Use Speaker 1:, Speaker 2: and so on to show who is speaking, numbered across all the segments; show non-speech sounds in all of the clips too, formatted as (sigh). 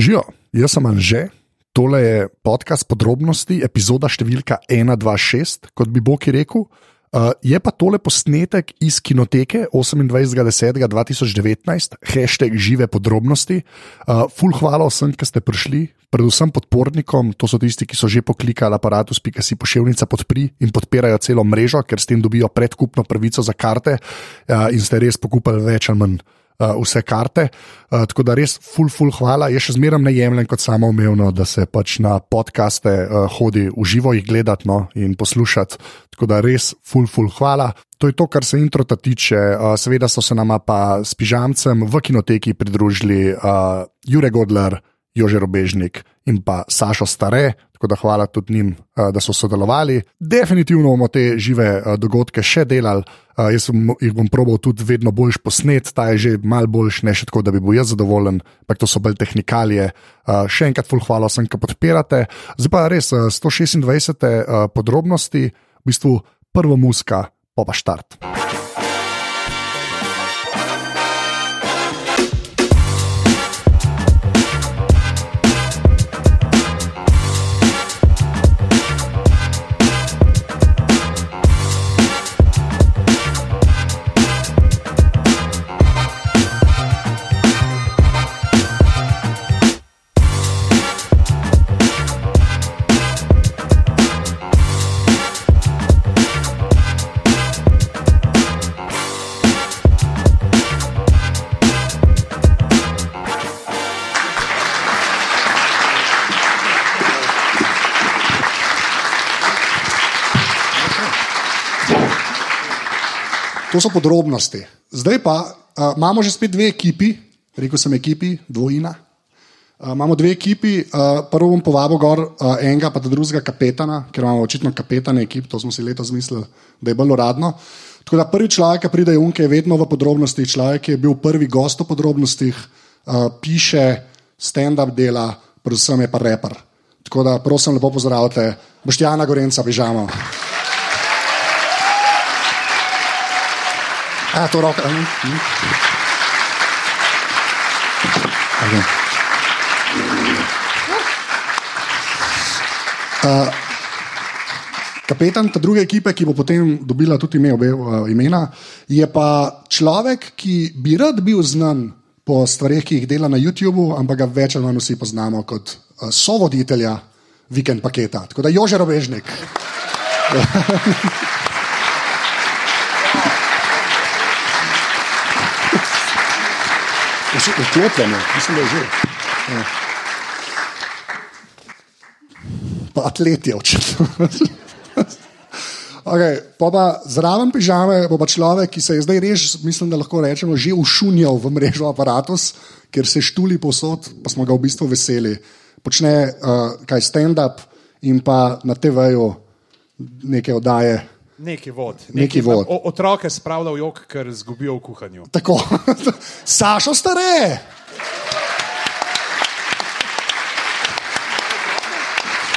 Speaker 1: Živijo, jaz sem Anže, tole je podcast podrobnosti, epizoda številka 126, kot bi Boki rekel. Uh, je pa tole posnetek iz kinoteke 28.10.2019, hashtag žive podrobnosti. Uh, ful hvala vsem, ki ste prišli, predvsem podpornikom, to so tisti, ki so že poklikali aparatus.si pošiljnica podpri in podpirajo celo mrežo, ker s tem dobijo predkupno pravico za karte uh, in ste res pokupili več ali manj uh, vse karte. Uh, tako da res, ful, ful, hvala. Jaz še zmeraj ne jemljem kot samoumevno, da se pač na podkaste uh, hodi v živo jih gledati no, in poslušati. Tako da res, ful, ful, hvala. To je to, kar se introta tiče. Uh, seveda so se nama pa s pižamcem v kinoteki pridružili uh, Jure Godler, Jože Robežnik in pa Sašo Stare. Tako da hvala tudi njim, uh, da so sodelovali. Definitivno bomo te žive uh, dogodke še delali, uh, jaz bom- jih bom probal tudi vedno boljš posnet, ta je že mal boljš, ne še tako, da bi bil jaz zadovoljen, ampak to so bolj tehnikalije. Uh, Še enkrat, ful, hvala vsem, ki podpirate. Zdaj pa res uh, 126. uh, podrobnosti, v bistvu prvo muska, pa pa štart. To so podrobnosti. Zdaj pa uh, imamo že spet dve ekipi, rekel sem ekipi, dvojina. Uh, imamo dve ekipi, uh, prvo bom povabil gor uh, enega, pa drugega kapetana, ker imamo očitno kapetane ekip, to smo si letos mislili, da je bolj uradno. Tako da prvi človek, ki pride unke, je vedno v podrobnostih. Človek, ki je bil prvi gost v podrobnostih, uh, piše, stand-up dela, predvsem je pa reper. Tako da prosim, lepo pozdravite, Boštjana Gorenca, pižamo. A, to roka. Mm, mm. Okay. Uh, kapetan te druge ekipe, ki bo potem dobila tudi ime, obe uh, imena, je pa človek, ki bi rad bil znan po stvareh, ki jih dela na YouTubu, ampak ga več ali manj vsi poznamo kot uh, sovoditelja vikend paketa. Tako da Jože Robežnik. Vklopljeno, mislim, da je že. Ja. Pa atlet je očitno. (laughs) Okay, pa pa zraven pižame pa, pa človek, ki se je zdaj res, mislim, da lahko rečemo, že ušunjal v mrežo aparatus, ker se štuli posod, pa smo ga v bistvu veseli. Počne uh, kaj stand-up in pa na TV-ju neke oddaje.
Speaker 2: Neki vod.
Speaker 1: Neki vod.
Speaker 2: O, otroke spravlja v jog, ker zgubijo v kuhanju.
Speaker 1: Tako, (laughs) Sašo stare!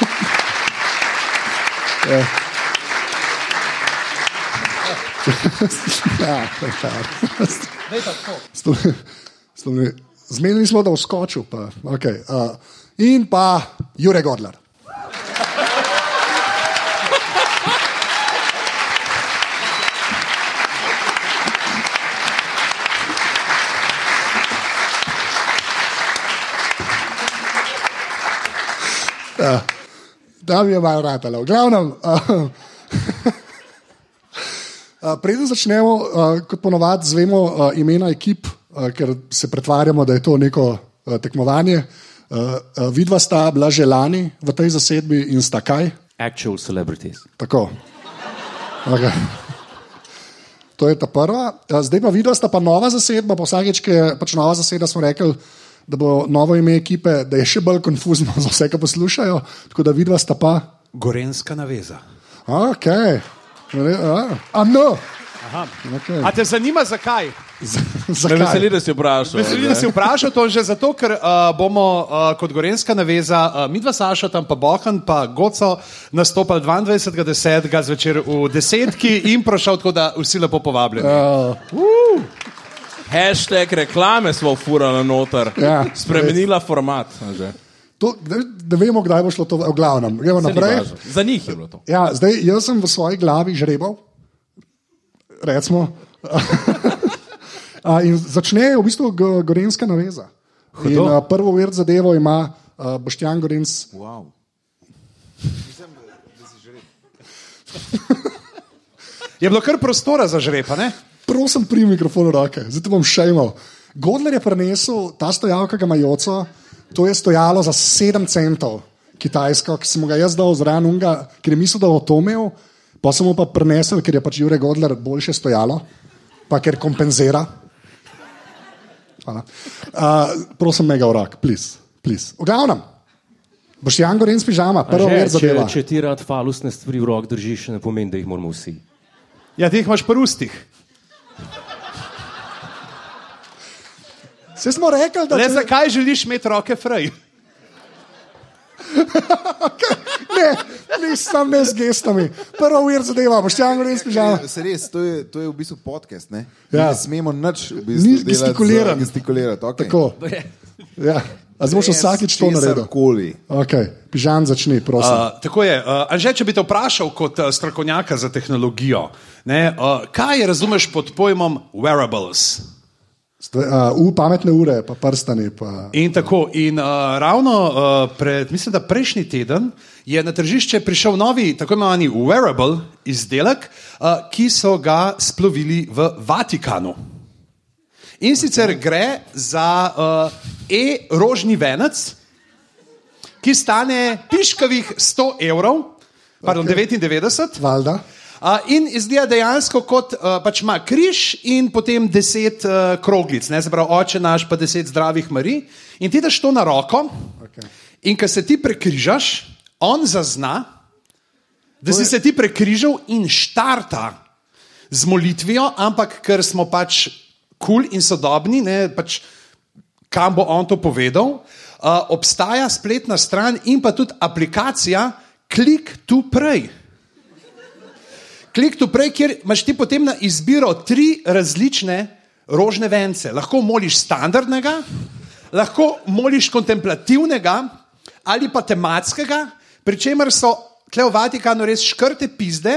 Speaker 1: (laughs) Ja, to je kar. Stol- stol- Zmenili smo, da vskočil. Pa. Okay, uh, in pa Jure Godler. Da bi je malo ratalo. V glavnem, (laughs) uh, Uh, Preden začnemo, uh, kot ponovadi, zvemo uh, imena ekip, uh, ker se pretvarjamo, da je to neko uh, tekmovanje. Uh, uh, vidva sta bila že lani v tej zasedbi in sta kaj?
Speaker 3: actual celebrities.
Speaker 1: Tako. Okay. To je ta prva. Eh, Zdaj pa videla sta pa nova zasedba, pa vsakeč, ki je pač nova zaseda, smo rekli, da bo novo ime ekipe, da je še bolj konfuzno (laughs) za vse, ki poslušajo. Tako da videla sta pa,
Speaker 2: Gorenska naveza.
Speaker 1: ok, a no. Okay. (laughs)
Speaker 2: A te zanima, zakaj?
Speaker 3: Me veseli,
Speaker 1: Zakaj?
Speaker 3: da si vprašal.
Speaker 2: Veseli, da si vprašal to že zato, ker uh, bomo uh, kot Gorenska naveza, uh, midva Saša, tam pa Bohan, pa Goco, nastopali 22.10.
Speaker 1: Ja.
Speaker 2: zvečer v desetki in prošel, tako da vsi lepo povabljeni.
Speaker 1: Uh,
Speaker 4: Hashtag reklame smo furali noter,
Speaker 1: Ja.
Speaker 4: spremenila format. a že.
Speaker 1: To, ne, ne vemo, kdaj bo šlo to, v glavnem. Gremo
Speaker 4: Saj ni
Speaker 1: naprej.
Speaker 4: važno. Za njih je bilo to.
Speaker 1: Ja, zdaj, jaz sem v svoji glavi žrebal, recimo. (laughs) A, in začne v bistvu go- gorenska naveza. In, a, prvo vrt zadevo ima a, Boštjan Gorenc.
Speaker 3: Wow.
Speaker 2: Je bilo kar prostora za žrepa, ne?
Speaker 1: Prosim, primi mikrofon v roke, zdaj te bom še imel. Godler je prenesel ta stojal, ki ga ima Joco, to je stojalo za 7 centov kitajsko, ki sem mu ga jaz dal zraven unga, ker je mislil, da bo to imel, pa sem mu pa prenesel, ker je pač Jure Godler boljše stojalo, pa ker kompenzira. Hvala. Uh, prosim, mega urak, plis, plis. V glavnem, boš Jan Gorenc pižama, prvo ver
Speaker 3: Že, če,
Speaker 1: zadeva.
Speaker 3: če ti rad falusne stvari v rok držiš, ne pomeni, da jih moramo vsi.
Speaker 2: Ja, ti jih imaš pri ustih.
Speaker 1: Ja, Vse smo rekli, da
Speaker 2: Le
Speaker 1: če-
Speaker 2: zakaj želiš imeti roke fraj?
Speaker 1: ne, nisem ne z gestami. Prvo uvir zadeva, boš tam res pižama.
Speaker 5: Ja, Se res, to je, to je v bistvu podcast.
Speaker 1: Ah.
Speaker 5: Ne,
Speaker 1: Ja.
Speaker 5: ja. ne smemo nič
Speaker 1: Ni
Speaker 5: v bistvu delati za-
Speaker 1: gestikulirati.
Speaker 5: gestikulirati. Okay.
Speaker 1: Tako. Ja. A zdaj boš vsakič to naredil.
Speaker 5: Koli.
Speaker 1: Okay. Pižam začni, prosim.
Speaker 2: Uh, tako je. Uh, Anže, če bi te vprašal kot uh, strokovnjaka za tehnologijo, ne, uh, kaj razumeš pod pojmom wearables?
Speaker 1: Sto- Uh, v pametne ure, pa prstani. Pa.
Speaker 2: In tako, in uh, ravno uh, pred, mislim, da prejšnji teden je na tržišče prišel novi, tako imenovani wearable izdelek, uh, ki so ga splovili v Vatikanu. In sicer gre za uh, e-rožni venec, ki stane piškavih 100 evrov, pardon, okay. 99.
Speaker 1: Valda.
Speaker 2: Uh, in izgleda dejansko kot uh, pač ima križ in potem deset uh, kroglic, ne se pravi, oče naš, pa deset zdravih mari. In ti daš to na roko, okay. in ko se ti prekrižaš, on zazna, da si se ti prekrižal in štarta z molitvijo, ampak ker smo pač kul cool in sodobni, ne, pač, kam bo on to povedal, uh, obstaja spletna stran in pa tudi aplikacija Click to Pray. Klik tu prej, kjer imaš ti potem na izbiro tri različne rožne vence. Lahko moliš standardnega, lahko moliš kontemplativnega ali pa tematskega, pri čemer so. Tle v Vatikanu res škrte pizde.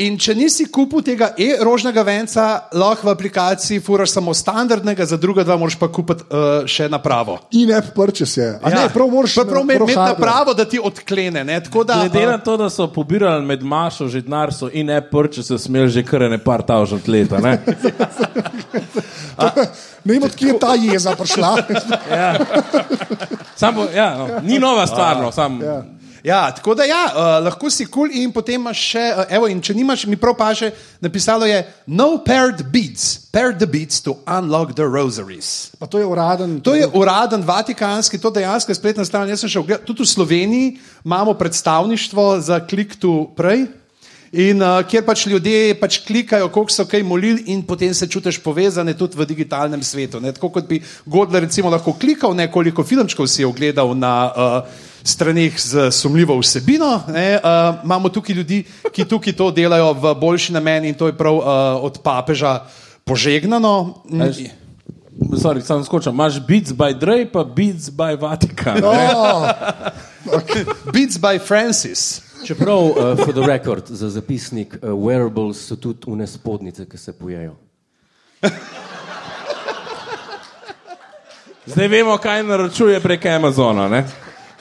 Speaker 2: In če nisi kupil tega e-rožnega venca, lahko v aplikaciji furaš samo standardnega, za druga dva moraš pa kupiti uh, še napravo.
Speaker 1: In-app purchase je. A ne, prav moraš
Speaker 2: Ja. Pa prav
Speaker 1: na-
Speaker 2: imeti
Speaker 1: hardware.
Speaker 2: napravo, da ti odklene. ne, tako Da,
Speaker 4: Glede
Speaker 2: eh,
Speaker 4: na to, da so pobirali med Mašo, že denarso in Apple, če so smeli že kar ne par tavžant leta.
Speaker 2: (laughs)
Speaker 4: Ne?
Speaker 1: Ne vem, odkje je ta jeza
Speaker 2: (laughs)
Speaker 1: prišla.
Speaker 4: Samo, ja, no. Ni nova stvar, no, samo. Ja.
Speaker 2: Ja, tako da ja, uh, lahko si kul cool in potem imaš še, uh, evo, in če nimaš, mi prav paše, napisalo je no paired beads, pair the beads to unlock the rosaries.
Speaker 1: Pa to je uraden.
Speaker 2: To je uraden vatikanski, to dejansko je spletna stran. Jaz sem šel, gledat, tudi v Sloveniji imamo predstavništvo za klik tu prej. In uh, kjer pač ljudje pač klikajo, koliko so kaj molili, in potem se čutiš povezane tudi v digitalnem svetu. Ne? Tako kot bi Godler recimo lahko klikal, ne koliko filmčkov si je ogledal na uh, straneh z sumljivo vsebino, ne? uh, imamo tukaj ljudi, ki tukaj to delajo v boljši namen in to je prav uh, od papeža požegnano. Mm.
Speaker 4: Veš, Sorry, sam skočam. Imaš Beats by Drej, pa Beats by Vatikan. No.
Speaker 1: Oh,
Speaker 2: Beats by Francis.
Speaker 3: Čeprav, uh, for the record, za zapisnik, uh, wearables so tudi une spodnice, ki se pojejo.
Speaker 4: Zdaj vemo, kaj naročuje prek Amazona. Ne?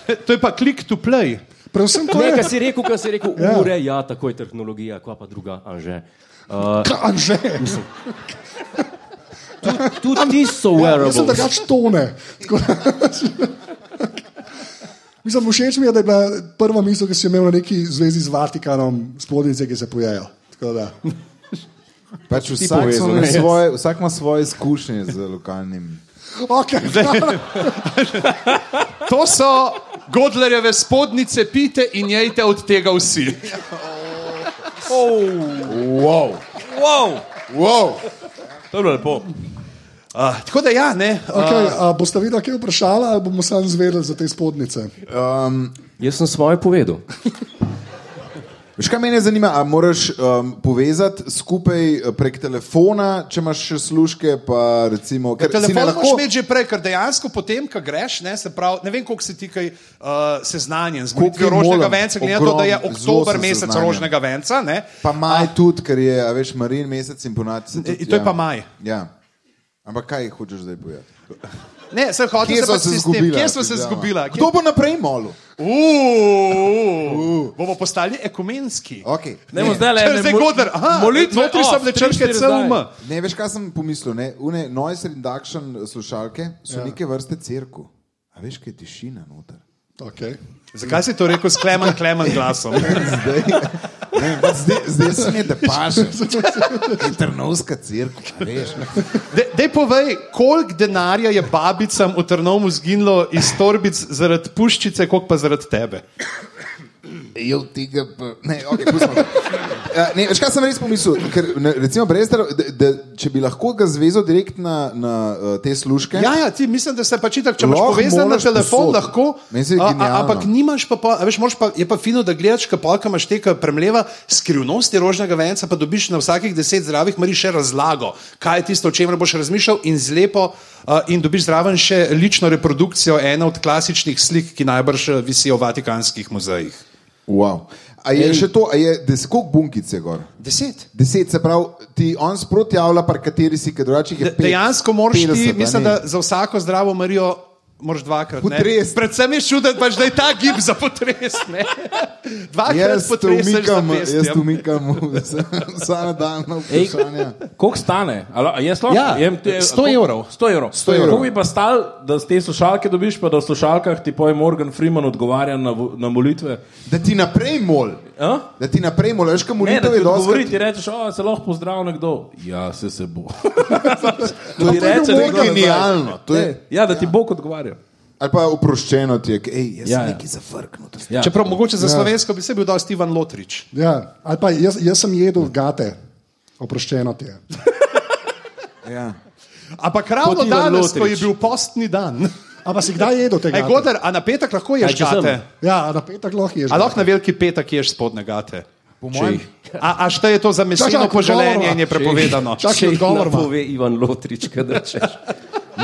Speaker 2: E, To je pa klik to play.
Speaker 1: predvsem to
Speaker 3: Ne,
Speaker 1: je.
Speaker 3: kar si rekel, kar si rekel,
Speaker 1: Ja.
Speaker 3: ja. ure, ja, tako je tehnologija, kva pa druga, anže. Uh,
Speaker 1: Anže.
Speaker 3: tudi ti so
Speaker 1: Jaz sem
Speaker 3: wearables.
Speaker 1: drugač tone. Tako da- Mislim, všeč mi je, da je bila prva misel, ki si jo imel na neki zvezi z Vatikanom, spodnice, ki se pojejo. Tako da.
Speaker 5: Pač vsak,
Speaker 4: povezal,
Speaker 5: so na
Speaker 4: ne jaz.
Speaker 5: svoje, vsak ima svoje izkušnje z lokalnim.
Speaker 1: Okay.
Speaker 2: To so Godlerjeve spodnjice, pite in jejte od tega vsi.
Speaker 5: Wow.
Speaker 4: Wow,
Speaker 5: Wow.
Speaker 4: to je bilo lepo.
Speaker 2: Uh, tako da ja, ne. Uh,
Speaker 1: Okay, a boste videli, kaj je vprašala, ali bomo sami zvedeli za te spodnice?
Speaker 5: Um,
Speaker 3: Jaz sem svoje povedal.
Speaker 5: Veš, kaj mene zanima, ali moraš um, povezati skupaj eh, prek telefona, če imaš še služke, pa recimo, ker si ne
Speaker 2: Ja, Telefon lahko...
Speaker 5: lahko.
Speaker 2: moraš imeti že prej, ker dejansko potem, ko greš, ne, se pravi, ne vem, koliko si ti kaj, uh, seznanjen z
Speaker 5: Koliko je
Speaker 2: molitvijo rožnega
Speaker 5: molen,
Speaker 2: venca, glede na to, da je
Speaker 5: ogrom, zelo
Speaker 2: oktober
Speaker 5: sem
Speaker 2: mesec
Speaker 5: seznanjen.
Speaker 2: rožnega venca. Ne,
Speaker 5: Pa maj tudi, ker je, a veš, marin mesec in ponad. se
Speaker 2: E,
Speaker 5: tudi-
Speaker 2: to je pa maj.
Speaker 5: Ja. Ampak kaj hočeš zdaj povedati?
Speaker 2: ne sem hotel
Speaker 5: Kje
Speaker 2: se
Speaker 5: so
Speaker 2: pač
Speaker 5: se
Speaker 2: s tem,
Speaker 5: izgubila?
Speaker 2: kje smo se
Speaker 5: težava?
Speaker 2: izgubila. Kje-
Speaker 5: Kdo bo naprej molil?
Speaker 2: Uuu, Bomo postali ekumenski.
Speaker 5: Okay.
Speaker 4: Ne, ne. zdaj le.
Speaker 2: Čez zdaj goder, aha,
Speaker 4: molitve
Speaker 2: notri so
Speaker 4: off,
Speaker 2: bile
Speaker 4: tri,
Speaker 2: črke
Speaker 4: štiri zdaj.
Speaker 2: CUM.
Speaker 5: Ne, veš, kaj sem pomislil? Ne? Une noise reduction eh, slušalke so ja. neke vrste crkva. A veš, kaj je tišina noter. (laughs)
Speaker 1: Okay.
Speaker 2: Zakaj si to rekel s klemen, klemen glasom?
Speaker 5: Zdaj, ne, pač zdaj, zdaj se mi je, da paše. Trnovska crkva, a veš.
Speaker 2: Dej- Dej povej, koliko denarja je babicam v Trnovu zginilo iz torbic zaradi puščice, koliko pa zaradi tebe?
Speaker 5: Jo, tega pa. Ne, okay, pustimo to. Ja, ne, veš, kaj sem res pomislil? Ker, ne, recimo, Brezder, da, da, če bi lahko ga zvezal direkt na, na eh, te sluške.
Speaker 2: Ja, ja, ti mislim, da se pač tako, če imaš
Speaker 5: Lahko
Speaker 2: povezan na
Speaker 5: moraš
Speaker 2: telefon,
Speaker 5: povsod.
Speaker 2: lahko.
Speaker 5: Meni se je
Speaker 2: a- a-
Speaker 5: genialno.
Speaker 2: Ampak nimaš pa, pa a veš, moraš pa, je pa fino, da gledaš, kaj polka imaš teka premleva skrivnosti rožnega venca, pa dobiš na vsakih deset zdravih mari še razlago, kaj je tisto, o čemer boš razmišljal in zlepo. a, In dobiš zraven še lično reprodukcijo ene od klasičnih slik, ki najbrž eh, visijo v vatikanskih muzejih.
Speaker 5: Wow. A je Ej. še to, a je desko bunkice gor?
Speaker 2: Deset.
Speaker 5: Deset, se pravi, ti on sproti javlja, par kateri si, ker drugače jih je
Speaker 2: De,
Speaker 5: pet,
Speaker 2: dejansko moraš
Speaker 5: 50,
Speaker 2: ti,
Speaker 5: a
Speaker 2: mislim,
Speaker 5: ne.
Speaker 2: da za vsako zdravo Marijo moraš dvakrat. ne.
Speaker 5: Potrest.
Speaker 2: Predvsem je čuden, pač, da je ta gib za potres.
Speaker 5: (laughs)
Speaker 2: ne. Dvakrat
Speaker 5: Jaz te
Speaker 2: potres.
Speaker 5: umikam,
Speaker 2: ja.
Speaker 5: jaz te umikam, (laughs) vsa nadaljna vprašanja.
Speaker 4: Koliko stane? Ali, a jaz lahko
Speaker 2: Ja,
Speaker 4: jem te-
Speaker 2: 100
Speaker 4: koliko-
Speaker 2: evrov.
Speaker 4: 100 evrov. 100
Speaker 5: evrov.
Speaker 4: Kako bi pa stal, da z te slušalke dobiš, pa da v slušalkah ti poje Morgan Freeman odgovarja na, vo- na molitve?
Speaker 5: Da ti naprej mol,
Speaker 4: A?
Speaker 5: da ti naprej mol, veš, kam
Speaker 4: Ne, da
Speaker 5: molitev
Speaker 4: ti
Speaker 5: je
Speaker 4: odgovori,
Speaker 5: dosti.
Speaker 4: ti rečeš, o, se lahko pozdrav nekdo. Ja, se se bo.
Speaker 5: To je
Speaker 4: reče
Speaker 5: bilo
Speaker 4: nekdo nazaj.
Speaker 5: genialno. To je,
Speaker 4: Ja, da ti Bog odgovarja.
Speaker 5: ali pa oproščeno ti je, ke, ej, jaz
Speaker 4: Ja,
Speaker 5: sem
Speaker 4: ja.
Speaker 5: neki zafrknut.
Speaker 4: Ja.
Speaker 2: Čeprav mogoče za slovensko bi se bil dosti Ivan Lotrič.
Speaker 1: Ja, ali pa jaz, jaz sem jedel gate, oproščeno ti je.
Speaker 5: Ja.
Speaker 2: Ampak ravno
Speaker 4: Kot Ivan
Speaker 2: danes,
Speaker 4: Lotrič.
Speaker 2: ko je bil postni dan.
Speaker 1: Ampak si kdaj jedel tega?
Speaker 2: Ej, Godar, a na petek lahko ješ
Speaker 3: Aj, če sem.
Speaker 2: gate?
Speaker 1: Ja, na petek lahko ješ.
Speaker 2: A lahko na veliki petek ješ spodne gate?
Speaker 5: Po mojem,
Speaker 2: A, a šta je to za mesino
Speaker 1: Čakaj,
Speaker 2: poželenje
Speaker 1: odgovora.
Speaker 2: in je prepovedano?
Speaker 1: Čakaj,
Speaker 3: (laughs) Če jih
Speaker 1: odgovor ima.
Speaker 3: pove Ivan Lotrič, kaj da rečeš.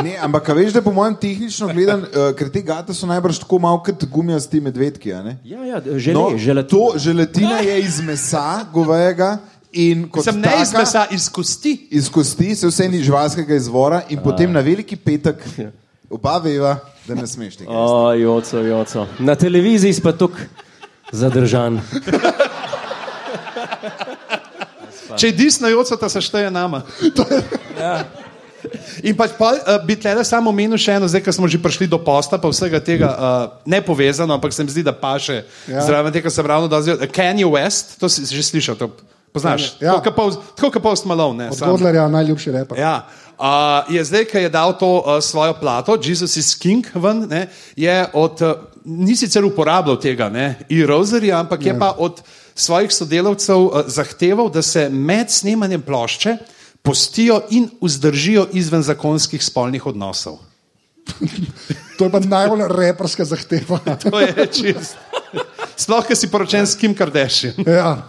Speaker 5: ne, ampak a veš, da po mojem tehnično gledam, eh, ker te gate so najbrž tako malo kot gumijasti medvedki, a ne?
Speaker 3: Ja, ja, žele,
Speaker 5: No,
Speaker 3: no, žele
Speaker 5: to želetina je iz mesa govejega in kot
Speaker 2: Sem ne iz
Speaker 5: taka-
Speaker 2: mesa, iz kosti.
Speaker 5: iz kosti, se vse ni živalskega izvora in potem na veliki petek oba veva, da ne smeš tega. Oh.
Speaker 3: O, joco, joco. Na televiziji si pa tukaj zadržan.
Speaker 2: Če je desno jocota, se šteje nama. (laughs) In pač pa, uh, bi tle samo omenil še eno, zdaj, ko smo že prišli do posta, pa vsega tega uh, ne povezano, ampak se mi zdi, da paše. Ja. Zraven tega sem ravno dal zjutraj. Kanye West, to si že slišal, to poznaš.
Speaker 1: Ja.
Speaker 2: Tako kot Post- Tako kot Post Malone. ne,
Speaker 1: Od
Speaker 2: samo-
Speaker 1: Godlerja najljubši repa.
Speaker 2: Ja. Uh, je zdaj, ki je dal to uh, svojo plato, Jesus is King, ven, ne, je od, uh, ni sicer uporabljal tega, ne, Erozerja, ampak je pa od svojih sodelavcev uh, zahteval, da se med snemanjem plošče postijo in vzdržijo izven zakonskih spolnih odnosov.
Speaker 1: To je pa najbolj reperska
Speaker 2: (laughs)
Speaker 1: zahteva.
Speaker 2: To je čisto. Sploh, ker si poročen s Kim Kardashian.
Speaker 1: ja.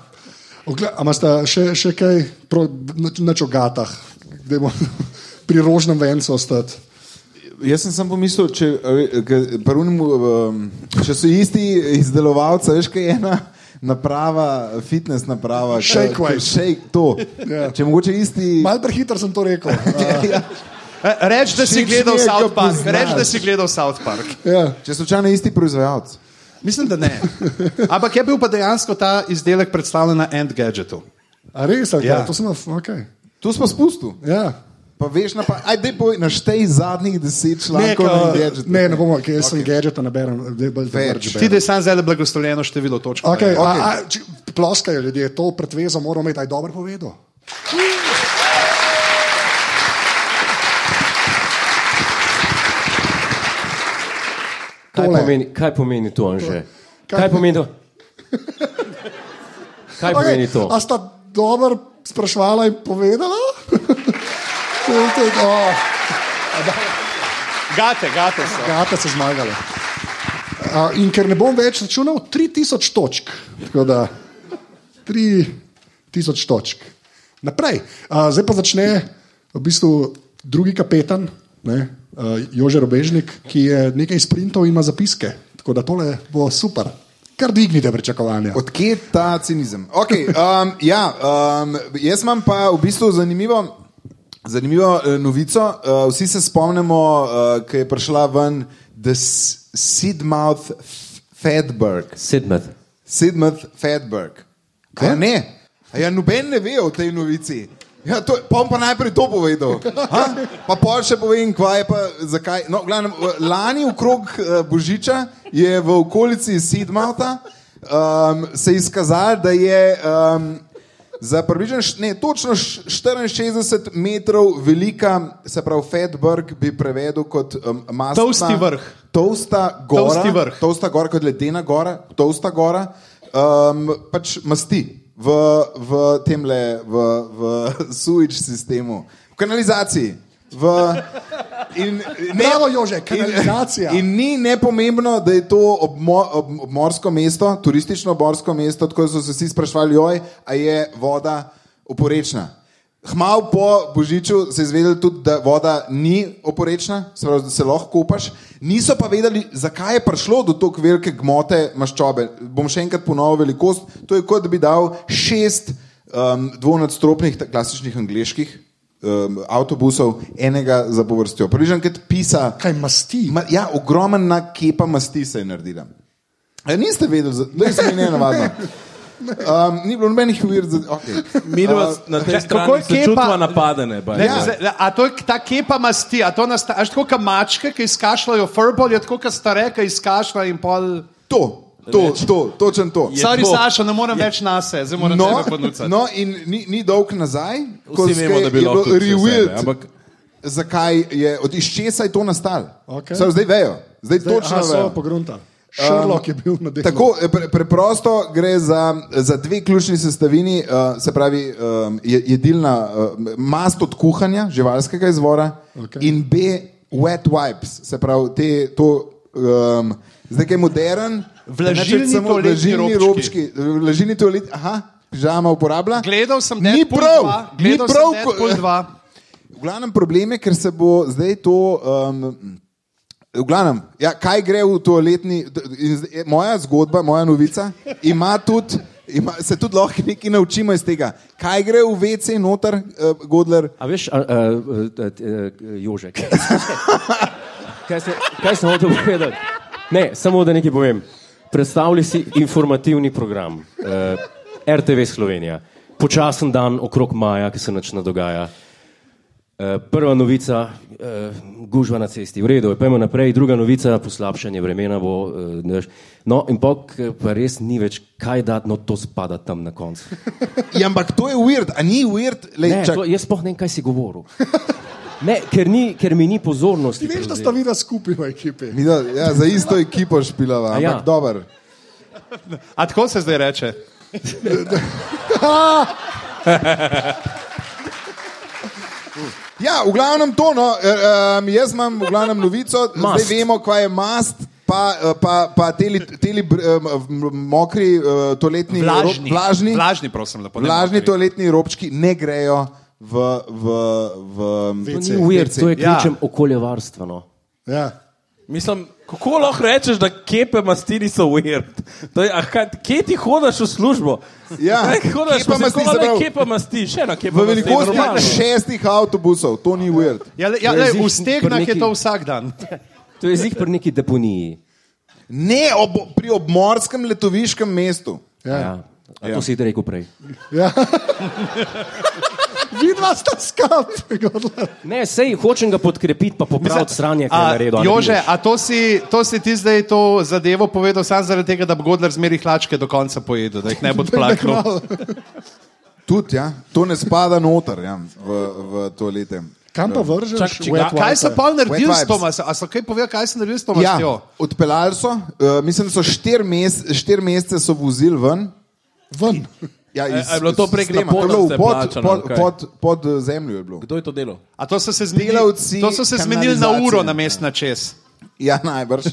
Speaker 1: Ogle- A imaš še, še kaj pro, nič, nič o gatah, da bomo (laughs) pri rožnem vencu ostati?
Speaker 5: Jaz sem samo pomislil, če, a ve- ke- pri onem, um, če so isti izdelovalci, veš, kaj je ena naprava, fitness naprava, ke-
Speaker 1: Shake
Speaker 5: ke-
Speaker 1: weight.
Speaker 5: shake to.
Speaker 1: Ja.
Speaker 5: Yeah. Če mogoče isti.
Speaker 1: Mal prehiter sem to
Speaker 2: (laughs)
Speaker 1: rekel. A,
Speaker 5: (laughs) ja,
Speaker 2: Eh, Reč, da si
Speaker 5: Všeč mi
Speaker 2: gledal
Speaker 5: je, ko
Speaker 2: South Park.
Speaker 5: poznaš.
Speaker 2: Reč, da si gledal South Park.
Speaker 1: ja.
Speaker 5: če slučajno isti proizvajalec.
Speaker 2: Mislim, da ne. Ampak je bil pa dejansko ta izdelek predstavljen na End Gadgetu.
Speaker 1: A res, ali
Speaker 2: Ja.
Speaker 1: kaj? to sem na- okay.
Speaker 5: To smo spustili.
Speaker 1: ja.
Speaker 5: Pa veš, na pa, ajde, boj, naštej zadnjih deset člankov.
Speaker 1: Neka-
Speaker 5: na gadgetu.
Speaker 1: ne, ne bomo, ker jaz okay. sem gadžeta naberem, da je bolj
Speaker 5: Več.
Speaker 2: Ti da je sam zdaj blagoslovljeno število točk.
Speaker 1: Okay,
Speaker 5: Ok.
Speaker 1: okay. A, a, či, ploskajo ljudje, to pretvezo moramo imeti, aj dobro povedal.
Speaker 3: Kaj
Speaker 1: Tole.
Speaker 3: pomeni, kaj pomeni to, Anže?
Speaker 1: Kaj-
Speaker 3: Kaj, kaj pomeni to? Kaj okay. pomeni to?
Speaker 1: A sta dobro sprašvala in povedala? to je to, oh,
Speaker 2: Gate, gate so.
Speaker 1: gata se zmagala. A, in ker ne bom več računal, 3000 točk. Tako da, 3000 točk. Naprej. Uh, zdaj pa začne v bistvu drugi kapetan, ne, uh, Jože Robežnik, ki je nekaj sprintov in ima zapiske. Tako da tole bo super. Kar dvignite pričakovanja.
Speaker 5: Odkje je ta cinizem? Okay, um, ja, um, jaz imam pa v bistvu zanimivo, zanimivo eh, novico. Uh, vsi se spomnimo, uh, ko je prišla ven The S- Sidmouth F- Fedberg.
Speaker 3: Sedmet.
Speaker 5: Sidmouth Fedberg. Kaj? Ja, ne, A ja, noben ne ve o tej novici. Ja, to, pa bom pa najprej to
Speaker 2: (laughs)
Speaker 5: povedal. Ha? Pa pol še povem, kva je pa, zakaj. No, glavnem, lani okrog eh, Božiča je v okolici Sidmouta um, se izkazalo, da je um, za približno, š- ne, točno š- 64 metrov velika, se pravi Fedberg bi prevedel kot um, masa.
Speaker 2: Tolsti vrh.
Speaker 5: Tolsta gora.
Speaker 2: Tolsti vrh.
Speaker 5: Tolsta gora kot ledena gora, tolsta gora, um, pač masti v, v tem le, v, v (laughs) suič sistemu, v kanalizaciji. V, in, ne,
Speaker 1: Bravo, Jože, kanalizacija.
Speaker 5: In, in ni nepomembno, da je to obmo, ob, obmorsko mesto, turistično obmorsko mesto, tako da so se vsi sprašvali, joj, a je voda oporečna. Hmal po Božiču se je izvedel tudi, da voda ni oporečna, se pravi, da se lahko kupaš. Niso pa vedeli, zakaj je prišlo do tako velike gmote maščobe. Bom še enkrat ponovil velikost. To je kot da bi dal šest um, dvonadstropnih, ta- klasičnih angliških um, avtobusov, enega za povrstjo. Približno kot pisa.
Speaker 1: Kaj masti?
Speaker 5: Ma, ja, ogromen na kepa masti se je naredila. E, niste vedeli, za- da je to ne navadno. Um, ni bilo nobenih uvir za okay.
Speaker 4: Mi dva na tej
Speaker 2: čak, kako je
Speaker 4: strani se
Speaker 2: kepa?
Speaker 4: čutimo napadene. by the
Speaker 2: Ne,
Speaker 5: Ja.
Speaker 4: way.
Speaker 2: zdaj, le, a to je ta kepa masti, a to nasta, a tako kot mačke, ki izkašljajo furbol, je tako kot stare, ki izkašljajo in pol.
Speaker 5: To, to, to, točen to.
Speaker 4: Je
Speaker 2: Sorry,
Speaker 4: to.
Speaker 2: Saša, ne morem več na sebe, zdaj moram no,
Speaker 5: No,
Speaker 2: tebe ponuditi. No.
Speaker 5: no, in ni, ni dolg nazaj, ko
Speaker 4: Vsi vemo,
Speaker 5: se
Speaker 4: da
Speaker 5: je
Speaker 4: bi
Speaker 5: bilo
Speaker 4: lahko tudi vse sebe,
Speaker 5: rewild,
Speaker 4: ampak
Speaker 5: zakaj je, od iz česa je to nastalo.
Speaker 1: Okej.
Speaker 5: Saj Zdaj vejo, zdaj, zdaj točno
Speaker 1: aha, so
Speaker 5: vejo.
Speaker 1: pogrunta. Sherlock um, je bil na delu.
Speaker 5: Tako eh, pre, preprosto gre za, za dve ključni sestavini, uh, se pravi um, je- jedilna uh, mast od kuhanja, živalskega izvora
Speaker 1: Okej.
Speaker 5: okay. in B, wet wipes, se pravi te, to, um, zdaj kaj modern,
Speaker 2: Vlažilni
Speaker 5: ne, če samo
Speaker 2: toaletni
Speaker 5: vlažilni
Speaker 2: robčki.
Speaker 5: robčki, vlažilni toalet, aha, pižama uporablja.
Speaker 2: Gledal sem
Speaker 5: Ni
Speaker 2: Deadpool
Speaker 5: prav,
Speaker 2: 2,
Speaker 5: ni
Speaker 2: gledal
Speaker 5: prav, eh,
Speaker 2: sem
Speaker 5: ko-
Speaker 2: Deadpool 2.
Speaker 5: V glavnem problem je, ker se bo zdaj to. Um, v glavnem, ja, kaj gre v toaletni. in zdaj- eh, Moja zgodba, moja novica, ima tudi. Ima, se tudi lahko nekaj naučimo iz tega. Kaj gre v VC noter, uh, Godler?
Speaker 3: A veš, a, a, a, a, Jožek. Kaj, se, kaj sem hotel povedati? Ne, samo da nekaj povem. Predstavljaj si informativni program eh, RTV Slovenija. Počasen dan okrog maja, ki se nič ne dogaja. Eh, prva novica, eh, gužva na cesti, v redu, je, pojmo naprej, druga novica, poslabšanje vremena bo. Eh, ne veš. no, in pok, pa res ni več kaj dati, no to spada tam na koncu.
Speaker 5: Ja, ampak to je weird, a ni weird,
Speaker 3: Ne,
Speaker 5: le
Speaker 3: to,
Speaker 5: čak.
Speaker 3: jaz sploh ne vem, kaj si govoril. Ne, ker, ni, ker mi ni pozornosti.
Speaker 1: Ti veš, da sta
Speaker 3: prevzela.
Speaker 1: videla skupaj v ekipi.
Speaker 5: Mi da- Ja, za isto ekipo špilava,
Speaker 3: A ja.
Speaker 5: ampak ja. dober.
Speaker 2: A tako se zdaj reče.
Speaker 5: Ja, v glavnem to, no, um, jaz imam v glavnem novico, mast.
Speaker 3: Mast.
Speaker 5: zdaj vemo, kaj je mast. Pa, eh, pa, pa teli, teli um, mokri, uh, toaletni, rob-
Speaker 2: Vlažni.
Speaker 5: vlažni,
Speaker 2: Vlažni, prosim, lepo. ne
Speaker 5: Vlažni
Speaker 2: mokri.
Speaker 5: toaletni robčki ne grejo v, v, v
Speaker 3: To ni ujer, to
Speaker 2: Ja.
Speaker 3: je ključem ja. okoljevarstveno.
Speaker 1: Ja.
Speaker 4: Mislim, kako lahko rečeš, da kepe masti niso weird? To je, a kaj, kje ti hodiš v službo?
Speaker 5: Ja,
Speaker 4: Kaj hodiš
Speaker 5: kepa
Speaker 4: v
Speaker 5: masti,
Speaker 4: službo?
Speaker 5: se pravi-
Speaker 4: Kepe masti, še ena kepe
Speaker 5: v
Speaker 4: masti.
Speaker 5: velikosti
Speaker 4: normalno.
Speaker 5: šestih avtobusov, to ni weird.
Speaker 2: Ja, le, ja,
Speaker 3: To je
Speaker 2: le,
Speaker 3: zih-
Speaker 2: v stegnah je
Speaker 3: pri neki-
Speaker 2: to vsak dan.
Speaker 3: To je zig pri neki deponiji.
Speaker 5: Ne ob, pri obmorskem letoviškem mestu.
Speaker 3: Ja. Ja. A To
Speaker 5: Ja.
Speaker 3: si ti rekel prej.
Speaker 1: Ja. (laughs) Vidva sta skupaj.
Speaker 3: Ne, sej hočem ga podkrepiti, pa popraviti sranje, kaj je
Speaker 2: A,
Speaker 3: naredil. a ne
Speaker 2: Jože,
Speaker 3: vidiš.
Speaker 2: a to si, to si ti zdaj to zadevo povedal samo zaradi tega, da bo Godler zmeri hlačke do konca pojedel, da jih ne bo odplaknil.
Speaker 5: Tudi, ja, to ne spada noter ja, v, v toalete.
Speaker 1: Kam
Speaker 5: Ja.
Speaker 1: pa vržeš?
Speaker 4: Čak, če ga-
Speaker 1: wet
Speaker 2: Kaj so
Speaker 1: wipe-e?
Speaker 2: pa naredili
Speaker 5: Wet
Speaker 2: s
Speaker 5: vibes.
Speaker 2: Tomas? A so kaj povedali, kaj so naredili s
Speaker 4: Pač
Speaker 2: Tomas?
Speaker 5: Ja, odpeljali so, uh, mislim, da so štiri mes, štir mesece so vozili ven.
Speaker 1: Ven.
Speaker 5: Ja, iz,
Speaker 4: E, a je bilo to
Speaker 5: iz
Speaker 4: prek
Speaker 5: sistema.
Speaker 4: napornosti
Speaker 5: To je bilo v pod,
Speaker 4: plačano,
Speaker 5: pod,
Speaker 4: ali kaj?
Speaker 5: pod, pod eh, zemljo. je bilo.
Speaker 4: Kdo je to delal?
Speaker 2: A to so se zmenili,
Speaker 5: Delavci
Speaker 2: to so se zmenili na
Speaker 5: kanalizacije.
Speaker 2: uro na mest na čez.
Speaker 5: Ja, najbrž.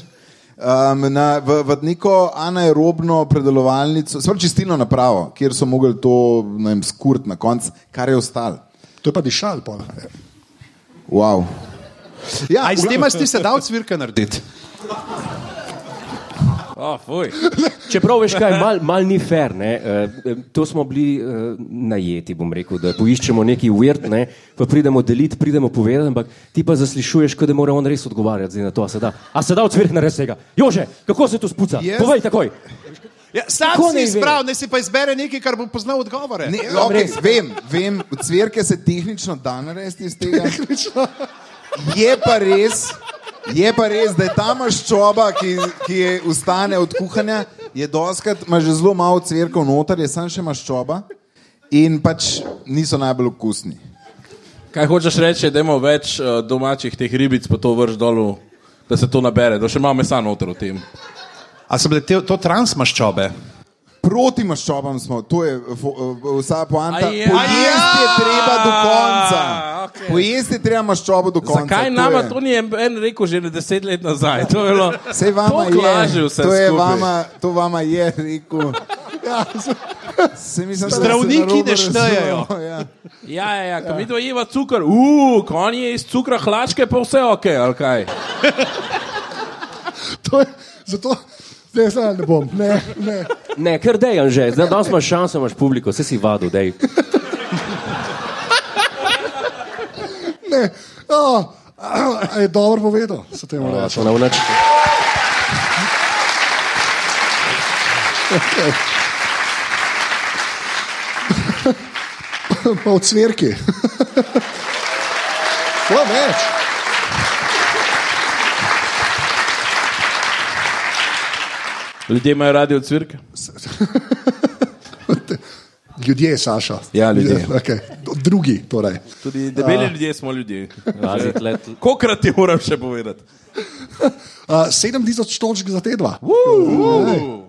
Speaker 5: um, na, v, v neko anaerobno predelovalnico, sploh čistilno napravo, kjer so mogli to ne vem, skurt na koncu, kar je ostalo.
Speaker 1: To je pa dišal. Pol.
Speaker 5: Wow. Ja,
Speaker 2: Aj s tem si se dal cvirka narediti.
Speaker 4: Oh, fuj.
Speaker 3: Čeprav veš, kaj mal, mal ni fair, ne, eh, to smo bili eh, najeti, bom rekel, da poiščemo neki uvrt, ne, pa pridemo deliti, pridemo povedati, ampak ti pa zaslišuješ, kot da mora on res odgovarjati zdaj na to, a se da. A se da odsvirk na res tega. Jože, kako se tu spuca?
Speaker 5: Jaz-
Speaker 3: Yes. Povej takoj.
Speaker 2: Ja, sam
Speaker 3: Kako
Speaker 2: si
Speaker 3: naj ve?
Speaker 2: izbral, ne si pa izbere nekaj, kar bo poznal odgovore.
Speaker 5: Ne, okay, vem, vem, cvrke se tehnično da narediti iz tega. Je pa res, je pa res da je ta maščoba, ki, ki je ustane od kuhanja, je doskrat, ima že zelo malo cvrkov noter, je samo še maščoba in pač niso najbolj okusni.
Speaker 4: Kaj hočeš reči, da imamo več eh, domačih teh ribic, pa to vrš dol, da se to nabere, da še malo mesa noter v tem.
Speaker 2: A so bile te, to transmaščobe?
Speaker 5: Proti maščobam smo, to je eh, fo- vsa poanta.
Speaker 4: Aja.
Speaker 5: Pojesti je treba do konca.
Speaker 4: Okej.
Speaker 5: Pojesti je treba maščobo do konca.
Speaker 4: Zakaj
Speaker 5: to
Speaker 4: nama
Speaker 5: je.
Speaker 4: to ni en- en rekel že ne deset let nazaj? To je bilo.
Speaker 5: Sej vama
Speaker 4: toliko lažje
Speaker 5: je,
Speaker 4: vse
Speaker 5: to je
Speaker 4: skupaj.
Speaker 5: vama, to vama je Ja, rekel. Se mi zdi, da se
Speaker 2: Zdravniki
Speaker 5: narobe
Speaker 2: ne štejejo.
Speaker 5: razumemo, Ja.
Speaker 4: Ja, ja, ja, ko mi dva jeva cukor, uuu, kon je iz cukra hlačke, pa vse ok, ali kaj.
Speaker 1: To je zato, da jaz ne bom. Ne, ne.
Speaker 3: Ne, ker dejan že, zdaj danes imaš šanso, imaš publiko, se si vadil, dej.
Speaker 1: ne. Oh, a je dobro povedal, se temu
Speaker 3: Ja,
Speaker 1: reče.
Speaker 3: to ne bo nič.
Speaker 1: (laughs) Pa v cvirki. To več.
Speaker 4: Ljudje imajo radi od cvirke.
Speaker 1: Ljudje, Saša.
Speaker 5: Ja, ljudje.
Speaker 1: Okay. Drugi, torej.
Speaker 4: Tudi debeli ljudje smo ljudje.
Speaker 3: Razi tle,
Speaker 4: Kokrat ti moram še povedati?
Speaker 1: Uh, 7000 točk za te dva.
Speaker 4: Uuu,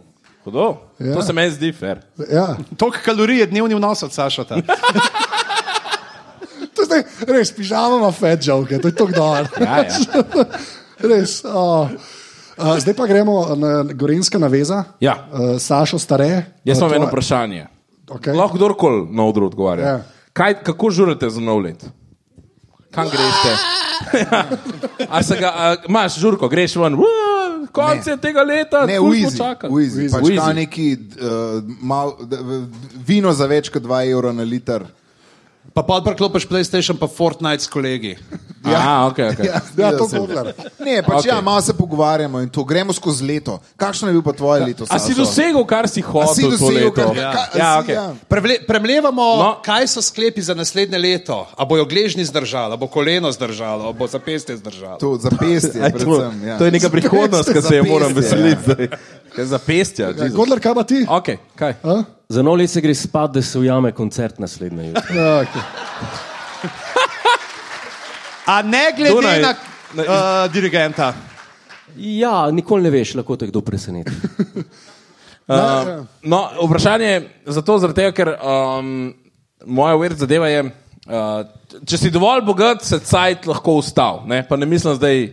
Speaker 4: hudo.
Speaker 1: Ja.
Speaker 4: To se meni zdi fair.
Speaker 1: Ja.
Speaker 2: Toliko kalorij je dnevni vnos od Sašota.
Speaker 1: To je zdaj res, pižamama fed žoge, to je tako dobro.
Speaker 4: (laughs) Ja, ja.
Speaker 1: (laughs) res. Uh, uh, zdaj pa gremo na Gorenska naveza.
Speaker 4: Ja.
Speaker 1: Uh, Sašo stare.
Speaker 4: Jaz
Speaker 5: No,
Speaker 1: uh,
Speaker 4: imam
Speaker 1: tvoje-
Speaker 4: eno vprašanje.
Speaker 1: Okej.
Speaker 4: Lahko kdorkoli na odru odgovarja.
Speaker 1: Ja.
Speaker 4: Ja. Kaj, kako žurate za nov let? Kam
Speaker 5: (laughs)
Speaker 4: greš? a se ga, a, imaš žurko, greš ven, "Uaa, konec je tega leta,
Speaker 5: Ne,
Speaker 4: ful
Speaker 5: v
Speaker 4: smo
Speaker 5: Izi.
Speaker 4: čakali."
Speaker 5: V Izi. Pač
Speaker 4: V Izi.
Speaker 5: kao neki, uh, mal, d, v- vino za več kot 2 evra na liter.
Speaker 2: Pa pa odprklopiš PlayStation, pa Fortnite s kolegi.
Speaker 4: Aha, ok, ok.
Speaker 1: Ja, to
Speaker 5: sem.
Speaker 1: Godler.
Speaker 5: Ne, pač
Speaker 4: Okej.
Speaker 5: okay. ja, malo se pogovarjamo in to gremo skozi leto. Kakšno je bilo pa tvoje leto?
Speaker 4: Ja. A si
Speaker 5: Sašo?
Speaker 4: dosegel, kar si
Speaker 5: A si
Speaker 4: hotel to
Speaker 5: dosegel,
Speaker 4: leto?
Speaker 5: kar, ja. Ka,
Speaker 4: ja,
Speaker 5: ja, si,
Speaker 4: okay.
Speaker 5: ja.
Speaker 2: Prevle, premlevamo, no.
Speaker 4: No.
Speaker 2: kaj so sklepi za naslednje leto. A bojo gležni zdržali, a bo koleno zdržalo, a bo zapestje zdržalo.
Speaker 5: To za pestje,
Speaker 4: Aj, to,
Speaker 5: predvsem. Ja.
Speaker 4: to je neka prihodnost, ki se je moram
Speaker 5: Zapestje, ja.
Speaker 4: veseliti. zdaj. Ja, Kaj Za pestja. Jezus.
Speaker 1: Godler, kaj pa ti?
Speaker 4: Ok, kaj?
Speaker 3: Za nov let se gre spat, da se ujame koncert naslednje jutro.
Speaker 1: Ja, okay.
Speaker 2: A ne glede Dunaj,
Speaker 4: Dunaj-
Speaker 2: na uh, dirigenta.
Speaker 3: Ja, nikoli ne veš, lahko te kdo preseneti.
Speaker 4: Uh, no, vprašanje je zato, zaradi tega, ker um, moja ured zadeva je, uh, če si dovolj bogat, se cajt lahko ustav. Ne? Pa ne mislim zdaj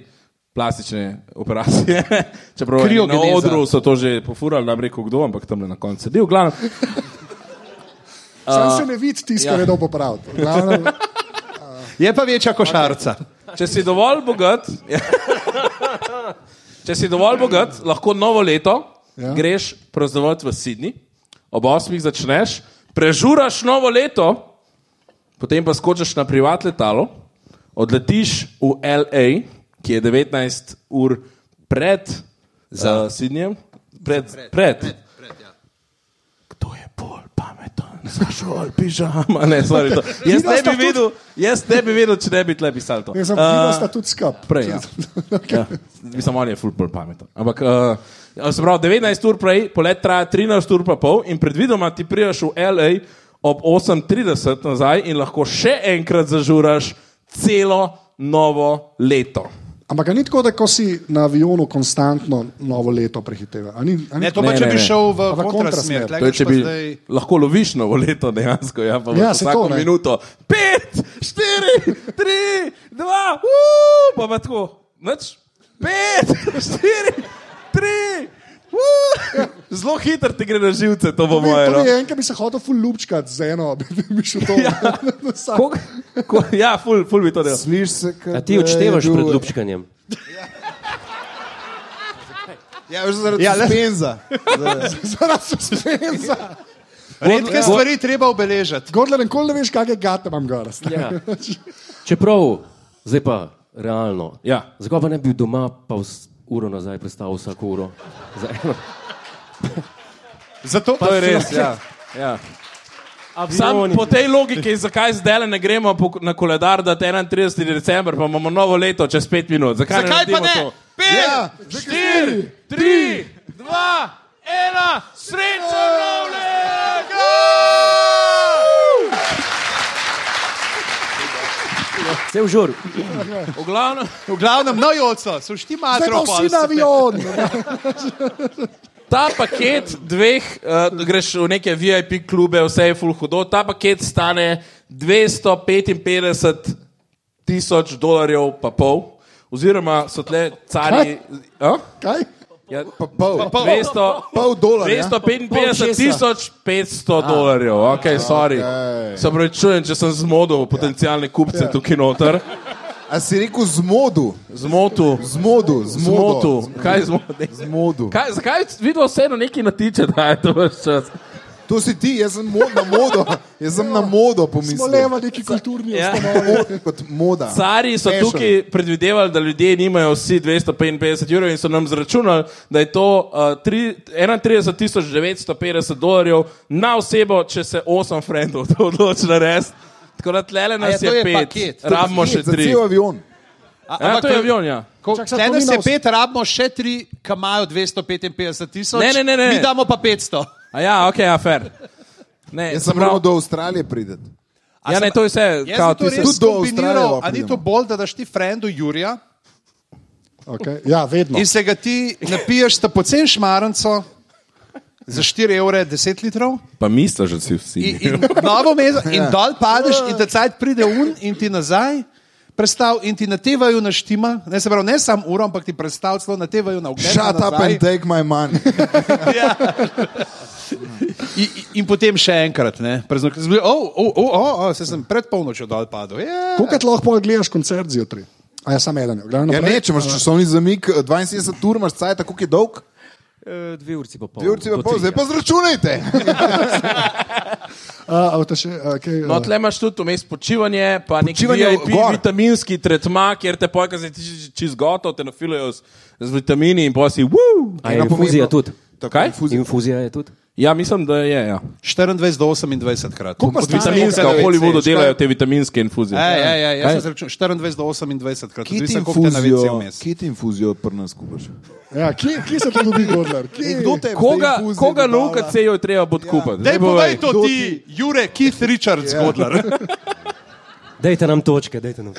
Speaker 4: plastične operacije. (laughs) Čeprav eni na
Speaker 2: Kriogeneza.
Speaker 4: odru so to že pofurali, nam rekel kdo, ampak tam le na koncu sedi. V glavnem,
Speaker 1: Sam se ne vidi tisto, kar
Speaker 4: ja.
Speaker 1: je dal popraviti. V glavnem,
Speaker 2: Je pa večja košarica.
Speaker 4: če si dovolj bogat, ja. če si dovolj bogat, lahko novo leto
Speaker 1: Ja.
Speaker 4: ja. greš praznovati v Sydney, ob 8. začneš, prežuraš novo leto, potem pa skočiš na privat letalo, odletiš v L.A., ki je 19 ur pred uh, Sydneyjem. Pred, pred, pred. pred. ja. Kdo je bolj pameten, zašel pižama? Ne, sorry, to- jaz,
Speaker 1: Vidva
Speaker 4: ne
Speaker 1: sta
Speaker 4: bi
Speaker 1: tudi-
Speaker 4: vedel, jaz ne bi vedel, če ne bi tle pisal to.
Speaker 1: ne sem videl, da
Speaker 4: Eh,
Speaker 1: sta tudi skup. (laughs)
Speaker 4: Prej, ja. ja. Mislim, on je fulpol pameten. Ampak, uh, se pravi, 19 ur prej, polet traja 13 ur pa pol in predvidoma ti prijaš v L.A. ob 8.30 nazaj in lahko še enkrat zažuraš celo novo leto.
Speaker 1: Ampak a ni tako, da ko si na avionu konstantno novo leto prehiteva. A Ni, a ni
Speaker 2: Ne, to
Speaker 1: tako?
Speaker 2: pač pa
Speaker 4: Ne,
Speaker 2: če
Speaker 4: ne,
Speaker 2: bi
Speaker 4: ne.
Speaker 2: šel v
Speaker 1: A v kontrasmer.
Speaker 2: kontrasmer. tle
Speaker 4: To je,
Speaker 2: greš
Speaker 4: če
Speaker 2: pa
Speaker 4: bi
Speaker 2: zdaj-
Speaker 4: lahko loviš novo leto dejansko, ja, pa
Speaker 1: Ja,
Speaker 4: ja,
Speaker 1: saj
Speaker 4: vsako
Speaker 1: to,
Speaker 4: to,
Speaker 1: ne.
Speaker 4: minuto. Pet, štiri, tri, dva, uu, pa pa tako, noč, pet, štiri, tri! Woo! Zelo hitro ti gre na živce, to bo moje.
Speaker 1: To
Speaker 4: No.
Speaker 1: mi je enkrat, bi se hotel ful ljubčkati z eno, (laughs) bi bi šel to. Ja.
Speaker 4: Kog, ko, ja, ful, ful bi to delal.
Speaker 5: Slišiš se,
Speaker 3: A ti odštevaš pred ljubčkanjem.
Speaker 5: Ja, že zaradi
Speaker 2: Ja,
Speaker 5: ja,
Speaker 2: le-
Speaker 5: suspenza.
Speaker 1: Zaradi suspenza.
Speaker 2: Redke stvari treba obeležiti.
Speaker 1: Gordler, nikoli ne veš, kakšne gate imam gor.
Speaker 3: Ja. Čeprav, zdaj pa realno.
Speaker 4: Ja.
Speaker 3: Zakaj pa ne bi bil doma, pa vs, uro nazaj predstavil vsako uro? Za eno.
Speaker 2: Zato,
Speaker 4: To je res. Ja. Ja. Sam po tej logiki, zakaj zdaj ne gremo po- na koledar, da je 31. december, pa imamo novo leto čez 5 minut. Zakaj,
Speaker 2: Zakaj pa
Speaker 4: naredimo
Speaker 2: ne?
Speaker 4: To?
Speaker 2: Pet!
Speaker 4: 4, 3, 2, 1, srečo, novega!
Speaker 3: Vse v žur.
Speaker 4: V glavnem,
Speaker 2: V glavnem, no, Joco, so šti
Speaker 1: Zdaj pa
Speaker 2: matro.
Speaker 1: vsi na avion.
Speaker 4: ta paket dveh, uh, greš v neke VIP klube, vse je full hudo, ta paket stane 255 tisoč dolarjev, pa pol. Oziroma so tle cari. A?
Speaker 1: Kaj?
Speaker 4: Ja,
Speaker 5: Pa pol.
Speaker 4: 200,
Speaker 5: Pol ja. dolarja.
Speaker 4: 255
Speaker 3: Pol česa?
Speaker 4: tisoč
Speaker 5: Ah,
Speaker 4: 500 dolarjev, ok, sorry.
Speaker 5: okej.
Speaker 4: Se pravi, čujem, če sem zmodil potencijalne
Speaker 5: Ja.
Speaker 4: kupce tukaj noter,
Speaker 5: A si rekel zmodu,
Speaker 4: zmotil,
Speaker 5: zmodu,
Speaker 4: zmotil,
Speaker 5: zmodu.
Speaker 4: kaj zmotil.
Speaker 5: Zmodu.
Speaker 4: Kaj, zakaj vidno vseeno nekaj natiče, da je to vse čas?
Speaker 5: To si ti, jaz sem mo- na modo, jaz sem na
Speaker 1: Smo
Speaker 5: modo pomislil.
Speaker 1: leva neki kulturni
Speaker 4: Ja.
Speaker 1: ustanovi.
Speaker 5: Mod kot moda.
Speaker 4: Cari so
Speaker 5: Fashion.
Speaker 4: tukaj predvidevali, da ljudje nimajo vsi 255 evrov in so nam zračunali, da je to uh, tri- 31.950 dolarjev na osebo, če se 8 frendov to odloči narediti. Tako da tlele nas
Speaker 2: A ja, to
Speaker 4: je
Speaker 2: je
Speaker 4: 5,
Speaker 2: paket.
Speaker 4: rabimo še
Speaker 5: Za
Speaker 4: 3.
Speaker 5: cel avion.
Speaker 4: Ja, to je avion, ja.
Speaker 1: Čak, sad
Speaker 2: Tene
Speaker 1: to ni
Speaker 2: se
Speaker 1: na vse-
Speaker 2: pet, rabimo še tri, ki imajo 255 tisoč.
Speaker 4: Ne, ne, ne, ne.
Speaker 2: Mi damo pa 500.
Speaker 4: A ja, ok, afer. Ne,
Speaker 5: Jaz
Speaker 4: se
Speaker 5: sem moral
Speaker 4: pravi-
Speaker 5: do Avstralije priti.
Speaker 4: Ja, ne, to je vse.
Speaker 2: Jaz
Speaker 4: Kao,
Speaker 2: sem
Speaker 4: ti
Speaker 2: to
Speaker 4: se...
Speaker 2: res
Speaker 5: Tudi do
Speaker 2: kombiniral.
Speaker 5: Avstralije
Speaker 2: A ni to
Speaker 5: pridemo.
Speaker 2: bolj, da daš ti frendu Jurija
Speaker 1: Okay. Ja, vedno.
Speaker 2: in se ga ti napiješ ta pocen šmaranco za 4 evre 10 litrov
Speaker 4: Pa misliš, da si vsi.
Speaker 2: in, in novo mezo in dol padeš in tacajt pride un in ti nazaj. Predstav in ti na TV-ju naštima, ne, se pravi, ne samo uro, ampak ti predstav celo na TV-ju na ogled.
Speaker 5: Shut up
Speaker 2: nazaj.
Speaker 5: and take my
Speaker 4: (laughs)
Speaker 5: money.
Speaker 2: In, in potem še enkrat, ne, prezno, ki sem bil, oh, oh, oh, oh, oh, se sem pred polnočjo dol padel. Ja. Yeah.
Speaker 1: Kolikrat lahko pol gledaš koncert zjutraj? A ja, samo eden. Gledam
Speaker 5: Ja,
Speaker 1: naprej.
Speaker 5: ne, če imaš časovni zamik, 72 ur imaš caj, tako je dolg.
Speaker 3: Eh, Dve urci pa pol.
Speaker 5: Dve urci pa
Speaker 3: do
Speaker 5: pol,
Speaker 3: tri,
Speaker 5: zdaj
Speaker 3: ja.
Speaker 5: pa zračunajte.
Speaker 4: (laughs)
Speaker 1: A, a boste še, a, kaj,
Speaker 2: Ja.
Speaker 4: No,
Speaker 1: a,
Speaker 4: tle imaš tudi vmes počivanje, pa nek
Speaker 5: Počivanje
Speaker 4: VIP,
Speaker 5: gor.
Speaker 4: vitaminski tretma, kjer te pojka zdaj čez gotov, te nafilajo z, z vitamini in posi. "Woo!"
Speaker 3: A je infuzija tudi?
Speaker 4: Kaj?
Speaker 3: Infuzija je tudi?
Speaker 4: Ja, mislim, da je. Ja.
Speaker 2: 24 do 28 krat.
Speaker 1: Koliko pa
Speaker 4: Od
Speaker 1: stane?
Speaker 4: vitaminska, v Hollywoodu delajo te vitaminske infuzije.
Speaker 2: Ja, ja, ja,
Speaker 4: Kaj?
Speaker 2: jaz sem račun, 24 do 28 krat,
Speaker 5: Kje ti
Speaker 2: odvisno koliko te navice
Speaker 5: infuzijo,
Speaker 2: vmes.
Speaker 5: kje ti infuzijo pri nas kupaš?
Speaker 1: Ja, kje, kje se to dobi, Gordler? Kje?
Speaker 5: te
Speaker 4: Koga, koga na UKC-ju je treba
Speaker 2: Dej
Speaker 4: podkupati? Zdaj povej.
Speaker 2: povej Ja. to
Speaker 5: Kdo
Speaker 2: ti, Jure, Keith Richards, yeah. Godler.
Speaker 3: Dajte nam točke, dajte nam.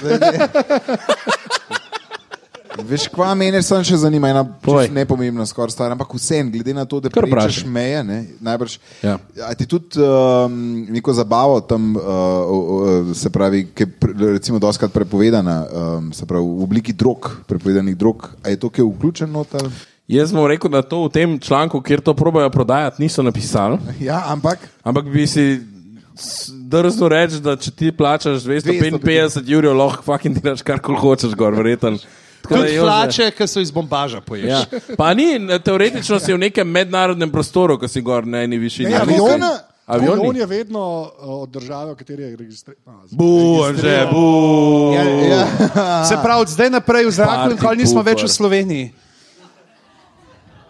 Speaker 5: Veš, kva mene samo še zanima, ena
Speaker 3: Povej.
Speaker 5: čisto nepomembna skoraj stvar, ampak vsem, glede na to, da
Speaker 4: Kar
Speaker 5: prečeš
Speaker 4: vprašaj.
Speaker 5: meje, ne, najbrž.
Speaker 4: Ja.
Speaker 5: A ti tudi um, neko zabavo tam, uh, uh, se pravi, ki je pre- recimo doskrat prepovedana, um, se pravi v obliki drog, prepovedanih drog, a je to, ki je vključen noter?
Speaker 4: Jaz bom rekel, da to v tem članku, kjer to probajo prodajati, niso napisali.
Speaker 5: Ja, ampak
Speaker 4: Ampak bi si s- drznil reči, da če ti plačaš 255 jurjev, lahko fucking delaš karkoli hočeš, gor verjeten.
Speaker 2: Tudi hlače, ki so iz bombaža pojeli.
Speaker 4: Ja. Pa ni, ne, teoretično si v nekem mednarodnem prostoru, ko si gor na eni višini.
Speaker 1: Ja,
Speaker 5: Ali
Speaker 1: avion,
Speaker 5: na-
Speaker 4: avioni?
Speaker 1: avion je vedno a, od države, v kateri je no, registriran.
Speaker 4: Bu, že, bu.
Speaker 5: ja, ja,
Speaker 2: Se pravi, od zdaj naprej v zraku in
Speaker 4: Party
Speaker 2: kol nismo
Speaker 4: pooper.
Speaker 2: več v Sloveniji.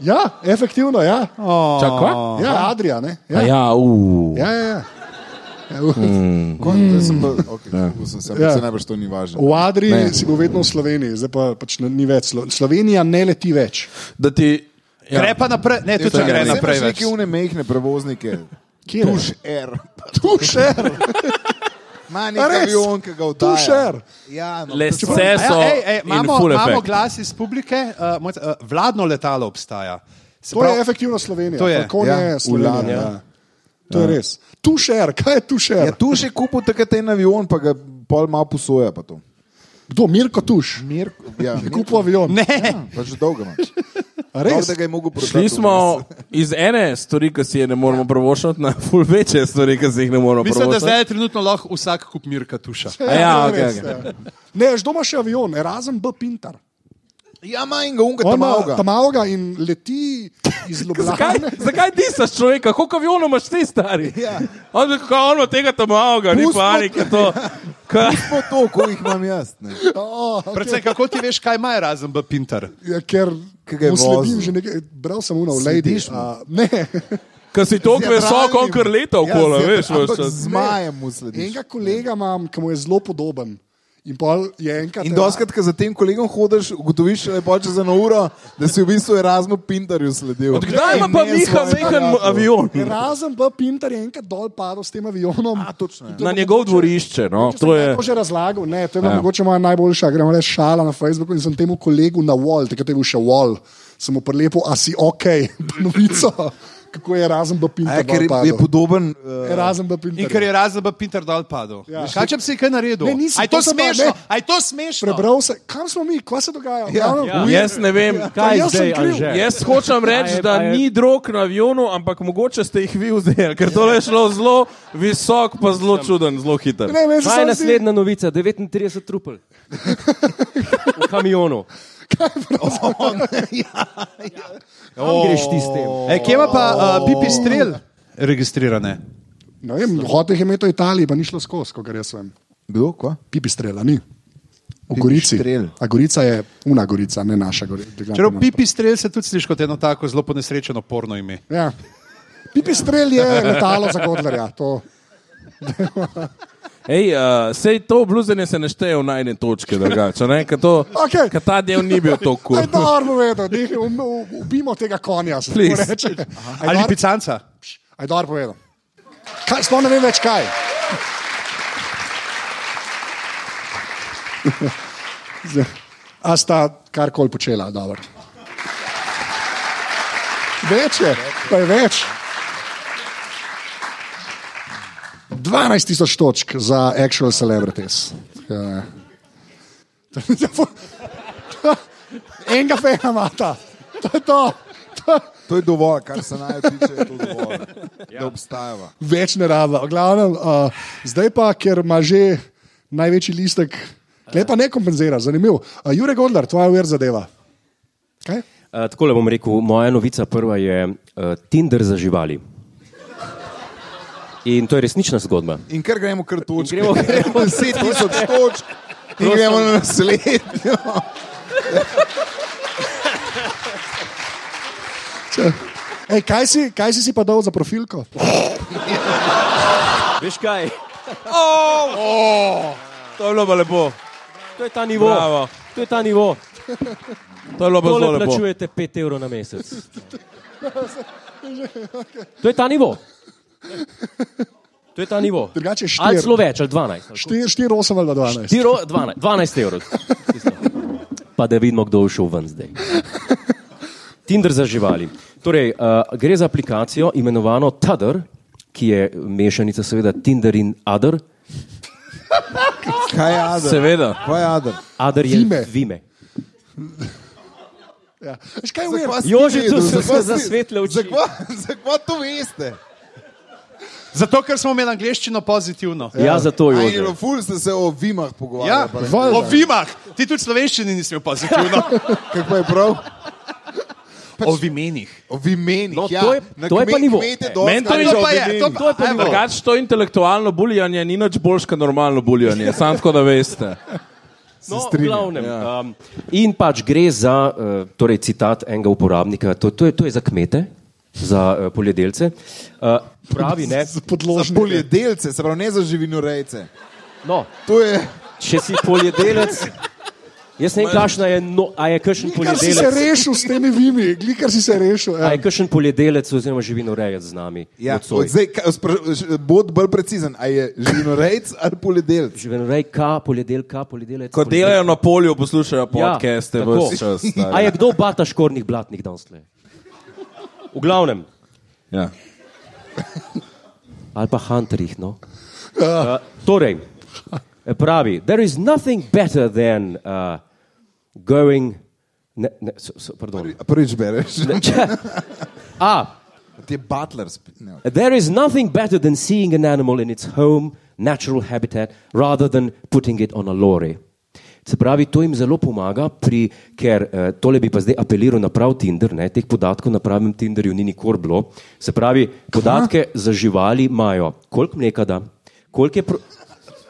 Speaker 1: Ja, efektivno, ja.
Speaker 4: Čakaj.
Speaker 1: Ja, Adria, ne?
Speaker 4: Ja,
Speaker 1: Ja,
Speaker 4: ja uu.
Speaker 1: ja, ja. ja. Ja, v-
Speaker 5: kot da sem bil, okay, sem se,
Speaker 1: Ja.
Speaker 5: ja. najbrž to ni važno.
Speaker 1: V Adri
Speaker 5: Ne.
Speaker 1: ne. si bil vedno v Sloveniji, zdaj pa pač ne- ni več. Slo- Slovenija ne leti več.
Speaker 4: Da ti.
Speaker 2: Ja. Gre
Speaker 4: Ja.
Speaker 2: pa naprej, ne, tudi če
Speaker 5: Saj
Speaker 2: gre
Speaker 5: imaš
Speaker 2: naprej. Več.
Speaker 5: Neke une mehne prevoznike.
Speaker 1: Kje je?
Speaker 5: Tuš R.
Speaker 1: Tušer.
Speaker 5: Ma nek
Speaker 1: A res?
Speaker 5: avion, ki ga
Speaker 1: Tu
Speaker 5: oddaja.
Speaker 1: šer.
Speaker 5: Ja, no,
Speaker 4: Le
Speaker 5: čeprav-
Speaker 4: vse so.
Speaker 2: Ja, ej, ej,
Speaker 4: in
Speaker 2: imamo,
Speaker 4: full
Speaker 2: imamo
Speaker 4: effect.
Speaker 2: glas iz publike, uh, moj, uh, vladno letalo obstaja. Se
Speaker 1: To je
Speaker 2: pravi,
Speaker 1: efektivno Slovenija.
Speaker 2: To je.
Speaker 1: Balkon
Speaker 5: Ja,
Speaker 1: je
Speaker 5: Ulan,
Speaker 1: Slovenija.
Speaker 5: ja.
Speaker 1: ja. To je res. Tušer, kaj je tušer?
Speaker 5: Ja, tu še kupil takrat en avion, pa ga pol malo posoja. Pa to.
Speaker 1: Kdo, Mirko Tuš?
Speaker 5: Mir, ja,
Speaker 1: (laughs) Je kupil avion.
Speaker 2: ne,
Speaker 5: Pa že dolgo imaš.
Speaker 1: A
Speaker 5: Prav, da ga je mogel prodati.
Speaker 4: Šli
Speaker 5: v
Speaker 4: smo
Speaker 5: nas.
Speaker 4: iz ene stvari, ki si je ne moremo prvošati, na ful večje stvari, ki si jih ne moremo
Speaker 2: Mislim, da
Speaker 4: prvošati.
Speaker 2: zdaj trenutno lahko vsak kup Mirka tuša.
Speaker 4: Ja,
Speaker 1: to
Speaker 4: okay,
Speaker 1: res,
Speaker 4: okay.
Speaker 1: ja. Ne, že doma še avion, razen B. Pintar.
Speaker 5: Ja, manj ga unga,
Speaker 1: On
Speaker 5: tam
Speaker 1: ima
Speaker 5: avga.
Speaker 1: tamavga in leti iz
Speaker 4: Zakaj,
Speaker 1: Ljubljana.
Speaker 4: zakaj disaš človeka, koliko avionov imaš ti stari? Ja. On je kot ono tega tam avga, ni
Speaker 5: Pustimo-
Speaker 4: panike to. Ka,
Speaker 5: Po to, ko jih imam jaz. Ne.
Speaker 1: Oh,
Speaker 2: (laughs) Predvsem, kako ti veš, kaj ima razen B. Pintar?
Speaker 1: ja, ker
Speaker 5: Ki ga je
Speaker 1: mu sledim
Speaker 5: vozil.
Speaker 1: že nekaj, bral sem uno, lady.
Speaker 5: Slediš mu?
Speaker 1: A, ne,
Speaker 4: ka si toliko visok,
Speaker 5: Jadralnim.
Speaker 4: on kar leta okolo,
Speaker 5: ja,
Speaker 4: ja, veš. veš
Speaker 5: veš. Zmajem mu slediš.
Speaker 1: enega kolega imam, ki mu je zelo podoben. In pol je enkrat.
Speaker 5: In doskrat, ko za tem kolegom hodiš, ugotoviš le pa čez eno uro, da si v bistvu Erasmu Pintarju sledil.
Speaker 4: Od kdaj ima pa
Speaker 5: In ne
Speaker 4: Miha
Speaker 5: svojim
Speaker 4: mehen
Speaker 5: prijateljem.
Speaker 4: avion?
Speaker 1: Ja, Razen B. Pintar je enkrat dol padel s tem avionom. A,
Speaker 5: točno, ja.
Speaker 4: Na njegov dvorišče, no. To
Speaker 1: To je
Speaker 4: je.
Speaker 1: to že razlagal, ne, to je bila ja. mogoče moja najboljša, gremo reči šala na Facebooku in sem temu kolegu na wall, takrat je bil še wall, sem mu prilepil, a si ok, (laughs) novico, kako je razen B.
Speaker 5: A Ja,
Speaker 1: Pintar.
Speaker 5: ker je- je podoben. eh,
Speaker 1: Razen B.
Speaker 2: In
Speaker 1: Pintar.
Speaker 2: ker je razen B. Pintar dol padel. Ja. Kaj če bi si kaj naredil?
Speaker 1: Ne, nisem,
Speaker 2: A je to
Speaker 1: to sem pa-
Speaker 2: smešno?
Speaker 1: ne.
Speaker 2: A je to smešno?
Speaker 1: Prebral sem, kam smo mi, kva se dogaja. Ja, ja.
Speaker 4: Jaz ne vem.
Speaker 3: Kaj
Speaker 1: jaz
Speaker 3: zdaj,
Speaker 1: sem kriv.
Speaker 3: Anže?
Speaker 4: Jaz hočem
Speaker 3: A
Speaker 4: reči,
Speaker 3: je-
Speaker 4: da
Speaker 3: a je-
Speaker 4: ni drog na avionu, ampak mogoče ste jih vi vzeli, ker to je šlo zelo visok, pa zelo čuden, zelo hiter.
Speaker 1: Ne, meni se
Speaker 3: Kaj je
Speaker 1: samo zdi,
Speaker 3: naslednja novica? 39 trupel. V kamionu. (laughs) Oh, ja, Kam greš ti s tem?
Speaker 2: E, kje ima pa uh, pipi strel registrirane?
Speaker 1: ne vem, hotel jih je imeti v Italiji, pa ni šlo skozi, kot jaz vem.
Speaker 5: Kdo, kva?
Speaker 1: Pipi strela, ni. V Gorici.
Speaker 5: Pipistrel.
Speaker 1: A Gorica je una Gorica, ne naša Gorica.
Speaker 2: Čeprav pipi strel se tudi sliši kot eno tako zelo ponesrečeno porno ime.
Speaker 1: Ja. Pipi strel je letalo za Godlerja. To.
Speaker 4: Ej, uh, sej to obluzenje se ne šteje v najne točke, drugače, ne? Ker to-
Speaker 1: Okej.
Speaker 4: ker ta del ni bil tako
Speaker 1: To je
Speaker 4: kul.
Speaker 1: dobro povedal, nehaj, um- um- ubijmo tega konja. se tako
Speaker 4: Please.
Speaker 1: reče. A je
Speaker 2: Ali
Speaker 1: dobro-
Speaker 2: picanca?
Speaker 1: A je dobro povedal. Kaj, sploh ne vem več kaj. Zdaj, A sta karkoli počela, dobro. Več je, pa je več. 12 tisoč točk za actual celebrities. Ja. (laughs) Enega fena imata, to je to. to. je-
Speaker 5: To je dovolj, kar se naj tiče, je to
Speaker 3: (laughs)
Speaker 5: dovolj.
Speaker 3: Ja.
Speaker 5: Da obstajava.
Speaker 1: več ne rabimo. Glavnem, uh, zdaj pa, ker ima že največji listek, lepa ne kompenzira, zanimiv. Uh, Jurek Godler, tvoja ver zadeva. Kaj?
Speaker 3: Uh, Tako le bom rekel, moja novica prva je uh, Tinder za živali. In to je resnična zgodba.
Speaker 5: In ker gremo kar točke. (laughs)
Speaker 3: In gremo- gremo
Speaker 5: 10
Speaker 3: (laughs)
Speaker 5: tisoč točk. In gremo na naslednjo.
Speaker 1: Ej, kaj, si, kaj si si pa dal za profilko?
Speaker 3: Veš kaj?
Speaker 4: To je bilo pa lepo.
Speaker 3: To je ta nivo.
Speaker 4: Bravo.
Speaker 3: To je ta nivo.
Speaker 4: To je bilo pa zelo
Speaker 3: Tole
Speaker 4: lepo.
Speaker 3: plačujete 5 evrov na mesec. To je ta nivo. To je ta nivo.
Speaker 1: Drugače je
Speaker 3: Ali celo
Speaker 1: štiri-
Speaker 3: več, ali 12. ali
Speaker 1: 4, 8 ali 12.
Speaker 3: Tiro, 12, 12 evrov. Tisto. Pa da vidimo, kdo je šel ven zdaj. Tinder za živali. Torej, uh, gre za aplikacijo imenovano Tudor, ki je mešanica seveda Tinder in Adr.
Speaker 5: (laughs) Kaj je Adam?
Speaker 4: Seveda.
Speaker 5: Kaj je Adam?
Speaker 3: Adr je
Speaker 1: Vime.
Speaker 3: vime.
Speaker 1: Ja. Veš, kaj je weird?
Speaker 3: Jože, tu so
Speaker 5: Za
Speaker 3: se
Speaker 5: kva si-
Speaker 3: zasvetle oči.
Speaker 5: Za kva, za kva to veste?
Speaker 2: Zato, ker smo imeli angliščino pozitivno.
Speaker 3: Ja, zato
Speaker 5: Aj,
Speaker 3: je.
Speaker 5: no, ful ste se o vimah
Speaker 2: Ja,
Speaker 5: pogovarjali. pa ne.
Speaker 2: o vimah. Ti tudi slovenščini nisi imel pozitivno.
Speaker 5: Kako je prav?
Speaker 2: o vimenih.
Speaker 5: O vimenih.
Speaker 3: No,
Speaker 5: ja.
Speaker 3: to je-
Speaker 5: Na
Speaker 3: to je
Speaker 5: kme-
Speaker 3: pa nivo.
Speaker 5: kmete
Speaker 3: E,
Speaker 5: dosti-
Speaker 4: meni to
Speaker 5: Ali
Speaker 4: ni
Speaker 2: To
Speaker 5: o
Speaker 2: pa je,
Speaker 5: vimenih.
Speaker 2: to pa je. Evo,
Speaker 4: Drugače to intelektualno buljanje ni nič boljš, kot normalno buljanje, samo tako da veste.
Speaker 3: No, v glavnem, ja. um, in pač gre za uh, torej citat enega uporabnika, to, to, je, to je za kmete, za uh, poljedelce. Uh, pravi, ne,
Speaker 5: Za poljedelce, se pravi ne za živinorejce.
Speaker 3: no,
Speaker 5: To je...
Speaker 3: če si poljedelec. Jaz ne vem, kakšna je, no, a je kakšen
Speaker 1: Kar si se
Speaker 3: poljedelec.
Speaker 1: rešil s temi vimi, glikar si se rešil.
Speaker 3: A
Speaker 1: Ja.
Speaker 3: je kakšen poljedelec oziroma živinorejec z nami?
Speaker 5: Ja,
Speaker 3: nocoj?
Speaker 5: od zdaj, ka- spra- š- bod bolj precizen, a je živinorejc ali poljedelc?
Speaker 3: Živinorejka, poljedelka, poljedelec.
Speaker 4: Ko
Speaker 3: poljedelec.
Speaker 4: delajo na polju, poslušajo
Speaker 3: Ja,
Speaker 4: podcaste
Speaker 3: tako.
Speaker 4: vse čas.
Speaker 3: (laughs) A je kdo bata škornih blatnih danes? tule? V glavnem,
Speaker 4: Ja.
Speaker 3: ali pa hunterjih. No? Uh, torej, pravi, there is nothing better than uh, eh, going Ne, ne, so, so, pardon.
Speaker 5: Prvič bereš. (laughs)
Speaker 3: (laughs) A,
Speaker 5: Ti je butler. sp- ne.
Speaker 3: There is nothing better than seeing an animal in its home, natural habitat, rather than putting it on a lorry. Se pravi, to jim zelo pomaga, pri, ker eh, tole bi pa zdaj apeliral na prav Tinder, ne, teh podatkov na pravem Tinderju ni nikoli bilo. Se pravi, podatke Kva? za živali imajo, koliko mleka da, koliko je. Pro...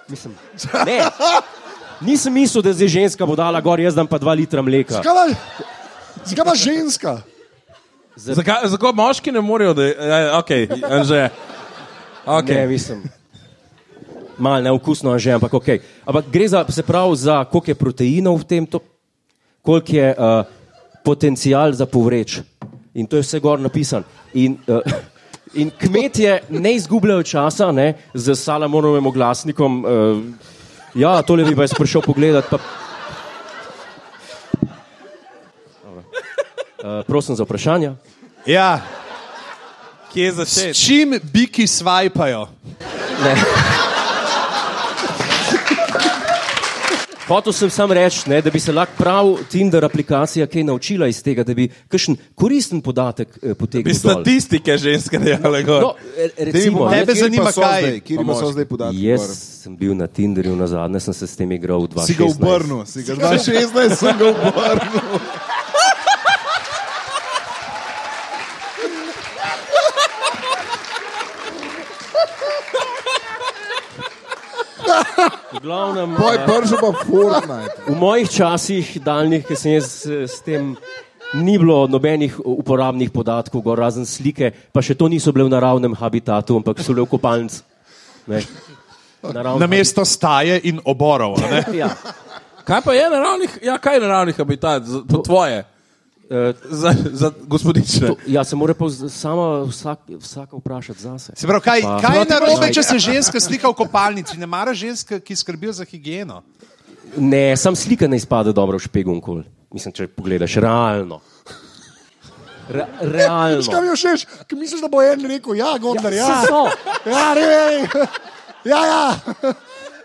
Speaker 3: Mislim, ne, nisem mislil, da zdaj ženska bo dala gor, jaz dam pa dva litra mleka.
Speaker 1: Zakaj pa- zakaj pa ženska?
Speaker 4: Zakaj zakaj moški ne morejo, Ja, da je okay,
Speaker 3: Okay.
Speaker 4: že.
Speaker 3: Ne,
Speaker 4: Okay.
Speaker 3: mislim. Mal neokusno je že, ampak ok. Ampak gre za, se pravi, za koliko je proteinov v tem, to- koliko je uh, potencial za povreč. In to je vse gor napisano. In, uh, in kmetje ne izgubljajo časa ne, z salamonovim oglasnikom. Uh, ja, tole bi pa jaz prišel pogledat. Pa... Dobro. Uh, prosim za vprašanja.
Speaker 2: Ja,
Speaker 4: Kje
Speaker 2: s
Speaker 4: začeti?
Speaker 2: čim biki svajpajo?
Speaker 3: Hotel sem sam reči, ne, da bi se lahko prav Tinder aplikacija kaj naučila iz tega, da bi kakšen koristen podatek eh,
Speaker 4: Bi
Speaker 3: potegnil. dol.
Speaker 4: statistike ženske dejale gor.
Speaker 3: No, eh, recimo,
Speaker 2: Tebe
Speaker 3: ne,
Speaker 5: Kjer pa
Speaker 2: zanima,
Speaker 5: so
Speaker 2: kaj?
Speaker 5: zdaj? Kjer pa so zdaj podatki?
Speaker 3: jaz
Speaker 5: gor?
Speaker 3: sem bil na Tinderju na zadnje, sem se s tem igral v 2016.
Speaker 5: Si ga obrnil, si ga 2016 sem ga obrnil.
Speaker 3: V, glavnem,
Speaker 5: Moj
Speaker 3: eh,
Speaker 5: prvi pa (laughs) Fortnite.
Speaker 3: v mojih časih daljnih, ki sem jaz eh, s tem, ni bilo nobenih uporabnih podatkov, gor, razen slike, pa še to niso bile v naravnem habitatu, ampak so bile v kopalnici. Ne. Naravni
Speaker 2: Na mesto staje in oborov. a ne?
Speaker 3: habitat. Ja.
Speaker 4: Kaj pa je naravnih, ja, kaj je naravnih habitat, za, po tvoje,
Speaker 3: Eh,
Speaker 4: za, za gospodične?
Speaker 3: To- Ja, se mora pa vz- sama vsak, vsaka vprašati zase.
Speaker 2: Se pravi, kaj,
Speaker 3: Pa-
Speaker 2: kaj je
Speaker 3: No, ti pa-
Speaker 2: narobe, če se ženska slika v kopalnici? Ne mara ženska, ki skrbijo za higieno.
Speaker 3: Ne, sam slika ne izpade dobro v špegu kol. Mislim, če pogledaš realno. Re,
Speaker 1: Veš, kaj
Speaker 3: realno.
Speaker 1: mi je všeč? Ki misliš, da bo en rekel, ja, Gondar, ja.
Speaker 3: saj so.
Speaker 1: Ja, rej, ja, ja.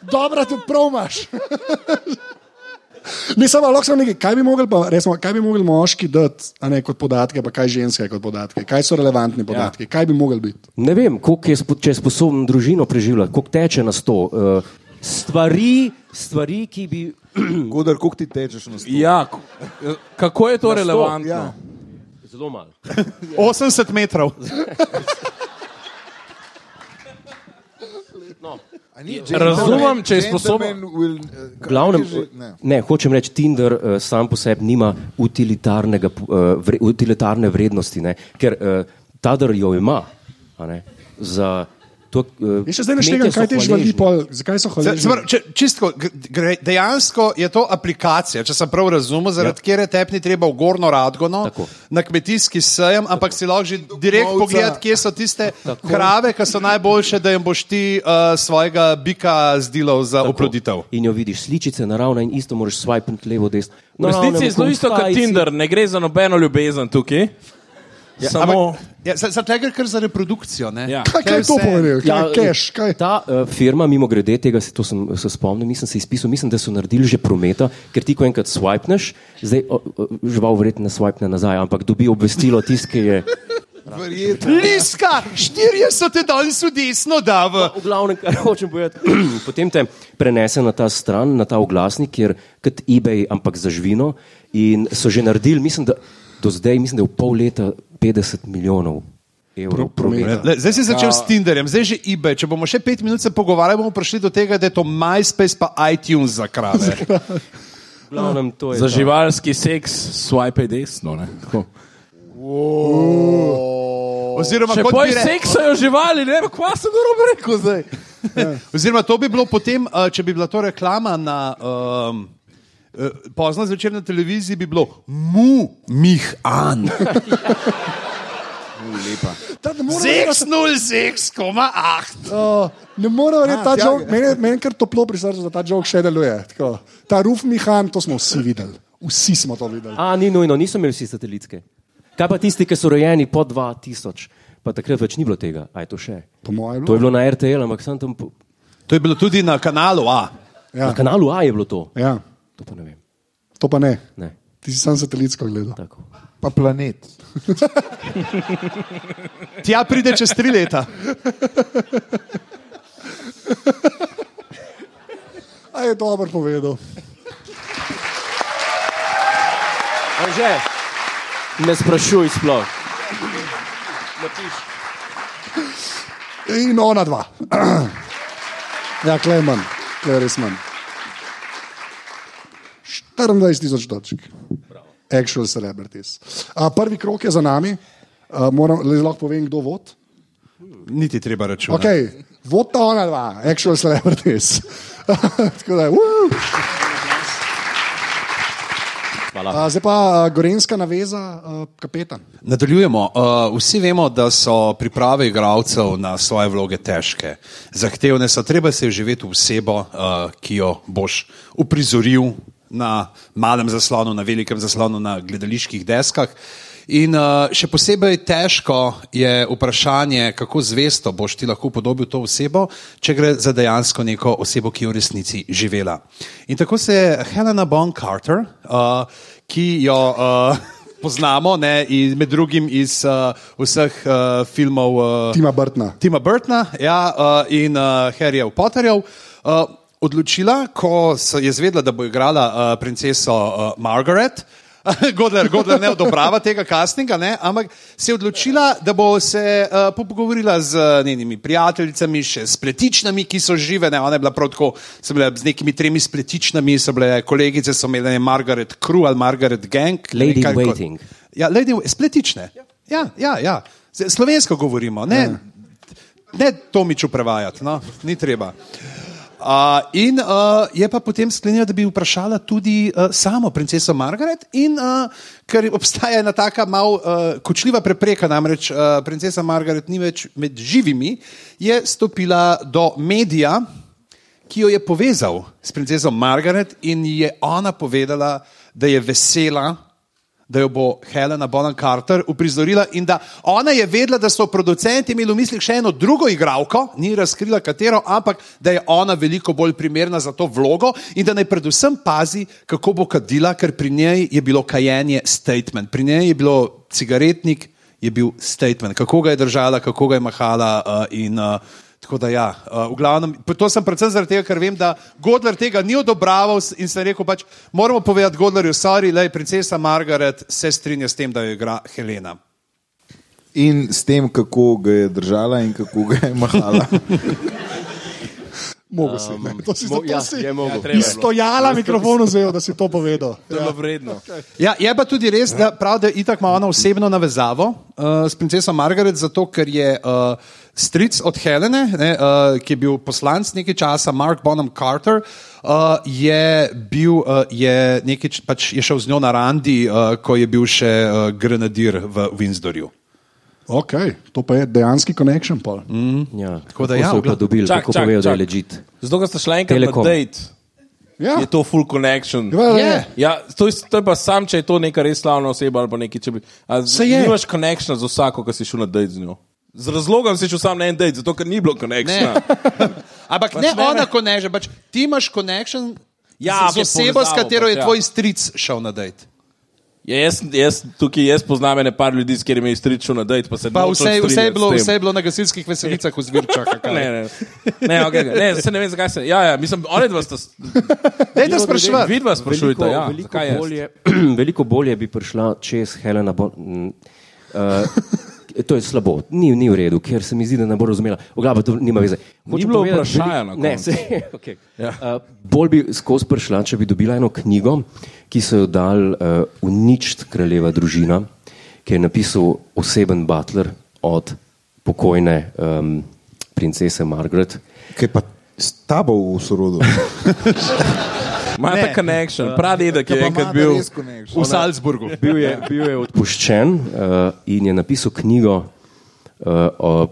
Speaker 1: Dobro, tu promaš. Ne, samo lahko sem nekaj, kaj bi mogli, pa, resmo, kaj bi mogli moški dati a ne, kot podatke, pa kaj ženske kot podatke, kaj so relevantni podatki, ja. kaj bi mogli biti.
Speaker 3: Ne vem, koliko je, spo- če je sposoben družino preživljati, koliko teče na sto. Uh, stvari, stvari, ki bi.
Speaker 5: Godar, koliko ti tečeš na stol?
Speaker 4: Ja, k- kako je to relevantno?
Speaker 5: Ja.
Speaker 3: Zelo malo.
Speaker 2: 80 metrov.
Speaker 4: Razumem, če je sposoben.
Speaker 5: eh,
Speaker 3: V glavnem,
Speaker 5: Ne.
Speaker 3: ne, hočem reči, Tinder uh, sam po sebi nima utilitarnega, uh, vre, utilitarne vrednosti, ne? ker uh, Tadar jo ima. a ne, Za, to, uh,
Speaker 1: In še zdaj neštegam, kaj te živali, pol, zakaj so
Speaker 2: Se- se
Speaker 1: hvaležni.
Speaker 2: pravi, Če, čistko, gre, dejansko je to aplikacija, če sem prav razumel, zaradi ja. kjer te ni treba v Gorno Radgono,
Speaker 3: Tako.
Speaker 2: na kmetijski sejem, ampak Tako. si lahko že direkt
Speaker 5: Kovca.
Speaker 2: pogledati, kje so tiste Tako. krave, ki so najboljše, da jim boš ti uh, svojega bika zdilov za oploditev.
Speaker 3: In jo vidiš, sličice naravna in isto moraš swipati levo, desno.
Speaker 4: No, V resnici je zelo isto kot Tinder, ne gre za nobeno ljubezen tukaj. Ja, Samo,
Speaker 2: Ampak, ja, za tega gre kar za reprodukcijo. ne?
Speaker 4: Ja.
Speaker 1: Kaj, kaj je to
Speaker 2: vse-
Speaker 1: povedal? Kaj, ja, cash, kaj?
Speaker 3: Ta uh, firma, mimo grede, tega se, to sem, eh, se spomnim, nisem se izpisal, mislim, da so naredili že prometa, ker ti, ko enkrat swipneš, zdaj o, o, žival verjetno ne swipne nazaj, ampak dobi obvestilo tisti, ki
Speaker 4: (laughs)
Speaker 3: je.
Speaker 5: Verjetno.
Speaker 2: Liska, štirje so te danes v desno, da v.
Speaker 3: V glavnem, kar hočem povedati, (clears throat) potem te prenese na ta stran, na ta oglasnik, kjer kot eBay, ampak za živino. In so že naredili, mislim, da do zdaj, mislim, da je v pol leta 50 milijonov evrov prometa.
Speaker 2: Le, Zdaj si začel s Tinderjem, zdaj že eBay. Če bomo še pet minut se pogovarjali, bomo prišli do tega, da je to MySpace pa iTunes za krave.
Speaker 3: V glavnem, to je ta-
Speaker 4: za živalski seks swipe desno. ne, tako.
Speaker 2: Oziroma,
Speaker 4: Če
Speaker 2: kot
Speaker 4: poj
Speaker 2: bi re-
Speaker 4: seksajo živali, ne vem, kva sem dobro rekel zdaj.
Speaker 2: Oziroma, to bi bilo potem, eh, če bi bila to reklama na um, eh, pozno zvečer na televiziji, bi bilo mu, mih, an.
Speaker 1: Ta ne more verjeti,
Speaker 2: 606,8.
Speaker 1: uh, ne more verjeti, ta
Speaker 5: tja
Speaker 1: joke,
Speaker 5: ga.
Speaker 1: meni, meni kar toplo pri srcu, da ta joke še deluje. Tako. Ta ruf Mihan, to smo vsi videli. Vsi smo to videli.
Speaker 3: A, ni nujno, niso imeli vsi satelitske. Kaj pa tisti, ki so rojeni po 2000, pa takrat več ni bilo tega, aj to še.
Speaker 1: Po mojem,
Speaker 3: To je bilo na RTL, ampak sem tam, po...
Speaker 2: To je bilo tudi na kanalu A.
Speaker 3: ja. na kanalu A je bilo to.
Speaker 1: Ja,
Speaker 3: To pa ne vem.
Speaker 1: to pa ne.
Speaker 3: Ne.
Speaker 1: Ti si sam satelitsko gledal.
Speaker 3: Tako.
Speaker 5: Pa planet.
Speaker 2: Tja pride čez tri leta.
Speaker 1: A je dobro povedal.
Speaker 3: Anže, ne sprašuj sploh.
Speaker 1: In ona dva. (clears throat) ja, klej manj, klej res manj. 24 tisoč točk. Actual celebrities. A, prvi krok je za nami, A, moram, le lahko povem, kdo vod.
Speaker 2: Niti treba računati.
Speaker 1: Okay.
Speaker 3: Ja.
Speaker 1: Vod ta ona dva, actual celebrities. (laughs) Tako da, woo!
Speaker 3: Hvala.
Speaker 1: A, zdaj pa a, gorenska naveza, a, kapetan.
Speaker 2: Nadaljujemo. Uh, vsi vemo, da so priprave igralcev na svoje vloge težke, zahtevne so, treba se je živeti v osebo, uh, ki jo boš uprizoril na malem zaslonu, na velikem zaslonu, na gledaliških deskah. In uh, še posebej težko je vprašanje, kako zvesto boš ti lahko podobil to osebo, če gre za dejansko neko osebo, ki je v resnici živela. In tako se je Helena Bon Carter, uh, ki jo. Uh, poznamo, ne, in med drugim iz uh, vseh uh, filmov uh,
Speaker 1: Tima Brtna.
Speaker 2: Tima Burtona ja, uh, in uh, Harryja Potterjev. Uh, odločila, ko se je zvedela, da bo igrala uh, princeso uh, Margaret. (laughs) Godler, Godler ne odobrava (laughs) tega castinga, ne? ampak se je odločila, da bo se uh, po- pogovorila z uh, njenimi prijateljicami, še s pletičnami, ki so žive. Ne? Ona je bila prav tako, so bile z nekimi tremi spletičnami, so bile kolegice, so imele Margaret Crew ali Margaret Gang. ne vem,
Speaker 3: Lady
Speaker 2: kaj
Speaker 3: in
Speaker 2: kot.
Speaker 3: waiting.
Speaker 2: Ja, lady, v- spletične. Ja, ja, ja. Z- Slovensko govorimo, ne,
Speaker 3: Ja.
Speaker 2: ne Tomiču prevajati, no, ni treba. Uh, in uh, je pa potem sklenila, da bi vprašala tudi uh, samo princeso Margaret, in uh, ker obstaja ena tako malo uh, kočljiva prepreka, namreč uh, princesa Margaret ni več med živimi, je stopila do medija, ki jo je povezal s princeso Margaret in ji je ona povedala, da je vesela, da jo bo Helena Bonham Carter uprizorila in da ona je vedela, da so producenti imeli v mislih še eno drugo igralko, ni razkrila katero, ampak da je ona veliko bolj primerna za to vlogo in da naj predvsem pazi, kako bo kadila, ker pri njej je bilo kajenje statement, pri njej je bilo cigaretnik, je bil statement, kako ga je držala, kako ga je mahala. Uh, in, uh, tako da, ja, uh, v glavnem, to sem predvsem zaradi tega, ker vem, da Godler tega ni odobraval s- in sem rekel, pač moramo povedati Godlerju, sorry, le princesa Margaret se strinja s tem, da jo igra Helena.
Speaker 5: In s tem, kako ga je držala in kako ga je mahala.
Speaker 1: Mogo si, um, to si,
Speaker 3: mo-
Speaker 1: to
Speaker 3: ja,
Speaker 1: si.
Speaker 3: je mogel.
Speaker 4: Ja, treba je bilo.
Speaker 1: Istojala mikrofon vzel, da si to povedal.
Speaker 4: Zelo vredno.
Speaker 2: Ja, je pa tudi res, da, prav, da itak ima ona osebno navezavo uh, s princeso Margaret, zato ker je uh, stric od Helene, ne, uh, ki je bil poslanc nekaj časa, Mark Bonham Carter, uh, je, bil, uh, je, nekaj, č- pač je šel z njo na randi, uh, ko je bil še uh, grenadir v Windsorju.
Speaker 1: Okay, to pa je dejanski konekšen. Mm.
Speaker 3: Ja,
Speaker 2: Tako da
Speaker 3: kako
Speaker 2: ja,
Speaker 3: so jo
Speaker 2: v glav-
Speaker 3: pa dobili,
Speaker 4: Čak,
Speaker 3: kako
Speaker 4: čak,
Speaker 3: povejo, da je
Speaker 4: čak.
Speaker 3: ležit.
Speaker 4: Zato, ker ste šli enkrat na
Speaker 3: Telekom.
Speaker 4: date,
Speaker 1: Ja,
Speaker 4: je to full connection.
Speaker 1: Ja,
Speaker 2: Je.
Speaker 1: ja.
Speaker 4: Ja, to je, to je pa sam, če je to neka res slavna oseba ali pa nekaj. če Bi, a z-
Speaker 2: Se je.
Speaker 4: Nimaš konekšnja z vsako, ki si šel na dejt z njo. Z razlogom si šel sam na en dejt, zato ker ni bilo konekšnja.
Speaker 2: Ampak
Speaker 4: Pač
Speaker 2: ne
Speaker 4: ne,
Speaker 2: ona,
Speaker 4: ne.
Speaker 2: ko ne že, pač ti imaš konekšen
Speaker 4: Ja,
Speaker 2: z, z
Speaker 4: ok,
Speaker 2: osebo, s
Speaker 4: povezavo
Speaker 2: katero
Speaker 4: pač,
Speaker 2: je
Speaker 4: ja.
Speaker 2: tvoj stric šel na dejt.
Speaker 4: Ja, jaz, jaz, tukaj jaz poznam ene par ljudi, s katerimi je stričil na dejt, pa se
Speaker 2: Pa vse,
Speaker 4: nočem
Speaker 2: vse, je
Speaker 4: strinjati
Speaker 2: bilo,
Speaker 4: s tem.
Speaker 2: vse je bilo na gasilskih veselicah v zvirčah.
Speaker 4: Ne, ne, ne, okay, ne, saj ne vem, zakaj se. Ja, ja, mislim, one dva sta. s-
Speaker 2: Dajte spraševati.
Speaker 4: Vidva sprašujte, ja,
Speaker 3: veliko,
Speaker 4: zakaj jaz?
Speaker 3: bolje, (clears throat) veliko bolje bi prišla čez Helena Bon. mm, Uh, to je slabo, ni, ni v redu, ker se mi zdi, da ne bo razumela. Oglava, to nima veze. Hočem
Speaker 4: bilo
Speaker 3: povedati,
Speaker 4: vprašanja
Speaker 3: veli-
Speaker 4: na
Speaker 3: Ne,
Speaker 4: koncu.
Speaker 3: se, (laughs) okay. ja. uh, bolj bi skozi prišla, če bi dobila eno knjigo, ki so jo dal uh, uničiti kraljeva družina, ki je napisal oseben Butler od pokojne um, princese Margaret.
Speaker 5: (laughs) Kaj pa s tabo v (laughs) sorodu?
Speaker 4: Ima ta connection, pravi, da je enkrat bil.
Speaker 2: V Salzburgu.
Speaker 3: Ja. Bil je, bil je odpuščen uh, in je napisal knjigo, uh, o,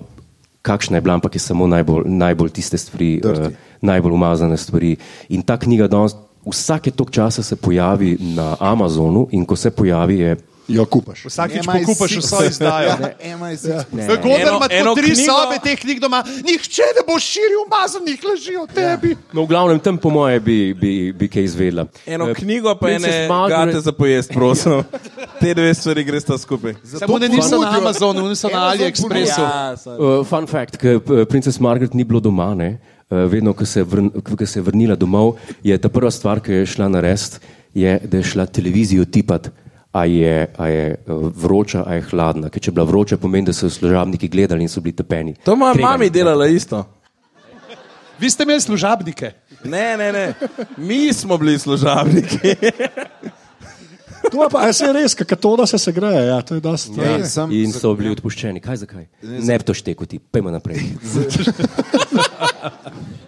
Speaker 3: kakšna je bila, ampak je samo najbolj, najbolj tiste stvari, uh, najbolj umazane stvari. In ta knjiga danes, vsake tok časa se pojavi na Amazonu in ko se pojavi, je
Speaker 1: Jo kupaš.
Speaker 2: Vsakič
Speaker 5: MI6.
Speaker 2: pokupaš vso izdajo.
Speaker 5: Ja, MI6.
Speaker 2: V Godler
Speaker 4: Eno-
Speaker 2: ima
Speaker 4: eno
Speaker 2: tako tri
Speaker 4: knjigo-
Speaker 2: sobe teh knjig doma, nihče ne bo širil umazanih laži o tebi.
Speaker 3: No, v glavnem tam, po moje, bi, bi, bi kaj izvedela.
Speaker 4: Eno
Speaker 3: Eh,
Speaker 4: knjigo, pa
Speaker 3: Princess
Speaker 4: ene
Speaker 3: Margaret-
Speaker 4: gate za pojest,
Speaker 3: (laughs)
Speaker 4: prosim. Te dve stvari greš ta
Speaker 3: Ja,
Speaker 4: skupaj.
Speaker 2: Samo da niso na Amazonu, niso na AliExpressu.
Speaker 3: Uh, fun fact, ker princes Margaret ni bilo doma, ne? Uh, vedno, ko se, je vrn, ko- ko se je vrnila domov, je ta prva stvar, ki jo je šla na rest, je, da je šla televizijo tipat, a je, a je uh, vroča, a je hladna. Ker če je bila vroča, pomeni, da so jo služabniki gledali in so bili tepeni.
Speaker 4: To moja
Speaker 3: Kregani.
Speaker 4: mama delala isto.
Speaker 2: Vi ste imeli služabnike.
Speaker 4: Ne, ne, ne. Mi smo bili služabniki.
Speaker 1: To je pa a se je res, kakatona se se greje, ja, to je dosti. Ja.
Speaker 5: Ej, sem-
Speaker 3: In so bili odpuščeni. Kaj zakaj? Ne bi to štekoti, pojmo naprej.
Speaker 2: (laughs)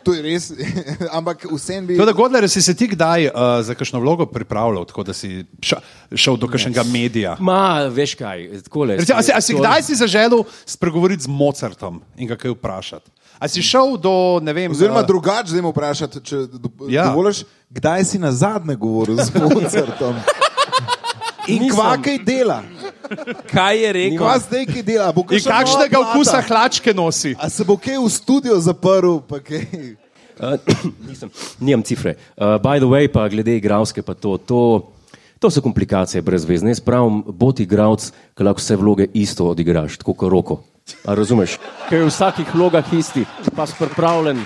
Speaker 5: To je res, (laughs) ampak vsem bi.
Speaker 2: Tako da, Godler, si se ti kdaj uh, za kakšno vlogo pripravljal, tako da si ša, šel do kakšnega medija?
Speaker 3: Ma, veš kaj, tako le.
Speaker 2: Recimo, a, si, a si kdaj si zaželel spregovoriti z Mozartom in ga kaj vprašati? A si šel do, ne vem,
Speaker 5: Oziroma,
Speaker 2: eh,
Speaker 5: drugače zdaj vprašati, če do,
Speaker 2: Ja.
Speaker 5: ja. dovoliš, kdaj si na zadnje govoril z Mozartom. In
Speaker 3: Nisem.
Speaker 5: kvakaj dela,
Speaker 4: Kaj je rekel?
Speaker 5: kva zdaj kaj dela. Bo
Speaker 2: in
Speaker 5: kakšna nova
Speaker 2: kakšnega
Speaker 5: plata?
Speaker 2: okusa hlačke nosi?
Speaker 5: A se bo kaj v studio zaprl, pa kaj?
Speaker 3: Uh, nisem, nimam cifre. Uh, by the way, pa glede igralske, pa to, to, to so komplikacije brez vezne. Jaz pravim, bo ti igralec, ki lahko vse vloge isto odigraš, tako kot roko. A razumeš? Ker je v vsakih vlogah isti, pa si pripravljen.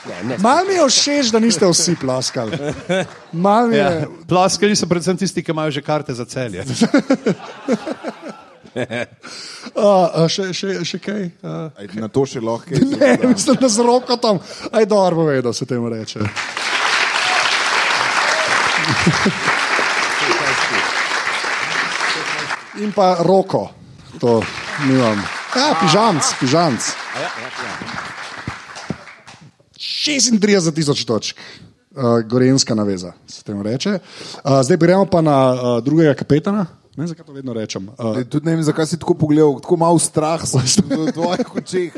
Speaker 3: Ne, ne,
Speaker 1: Mal mi je všeč, da niste vsi plaskali. Mal mi je.
Speaker 2: Ja, Plaskali so predvsem tisti, ki imajo že karte za celje.
Speaker 1: Uh, še, še, še kaj? Uh,
Speaker 5: Aj, Na to še lahko.
Speaker 1: ne, mislim, da z roko tam. Aj, dobro, vedno se temu reče. In pa roko, to nimam. Ja, pižamc, pižamc. 36 tisoč točk. Uh, gorenska naveza se temu reče. Uh, zdaj gremo pa na uh, drugega kapetana. Ne vem, zakaj to vedno rečem. Uh,
Speaker 5: Tudi ne vem, zakaj si tako pogledal, tako malo strah sem v tvojih očeh.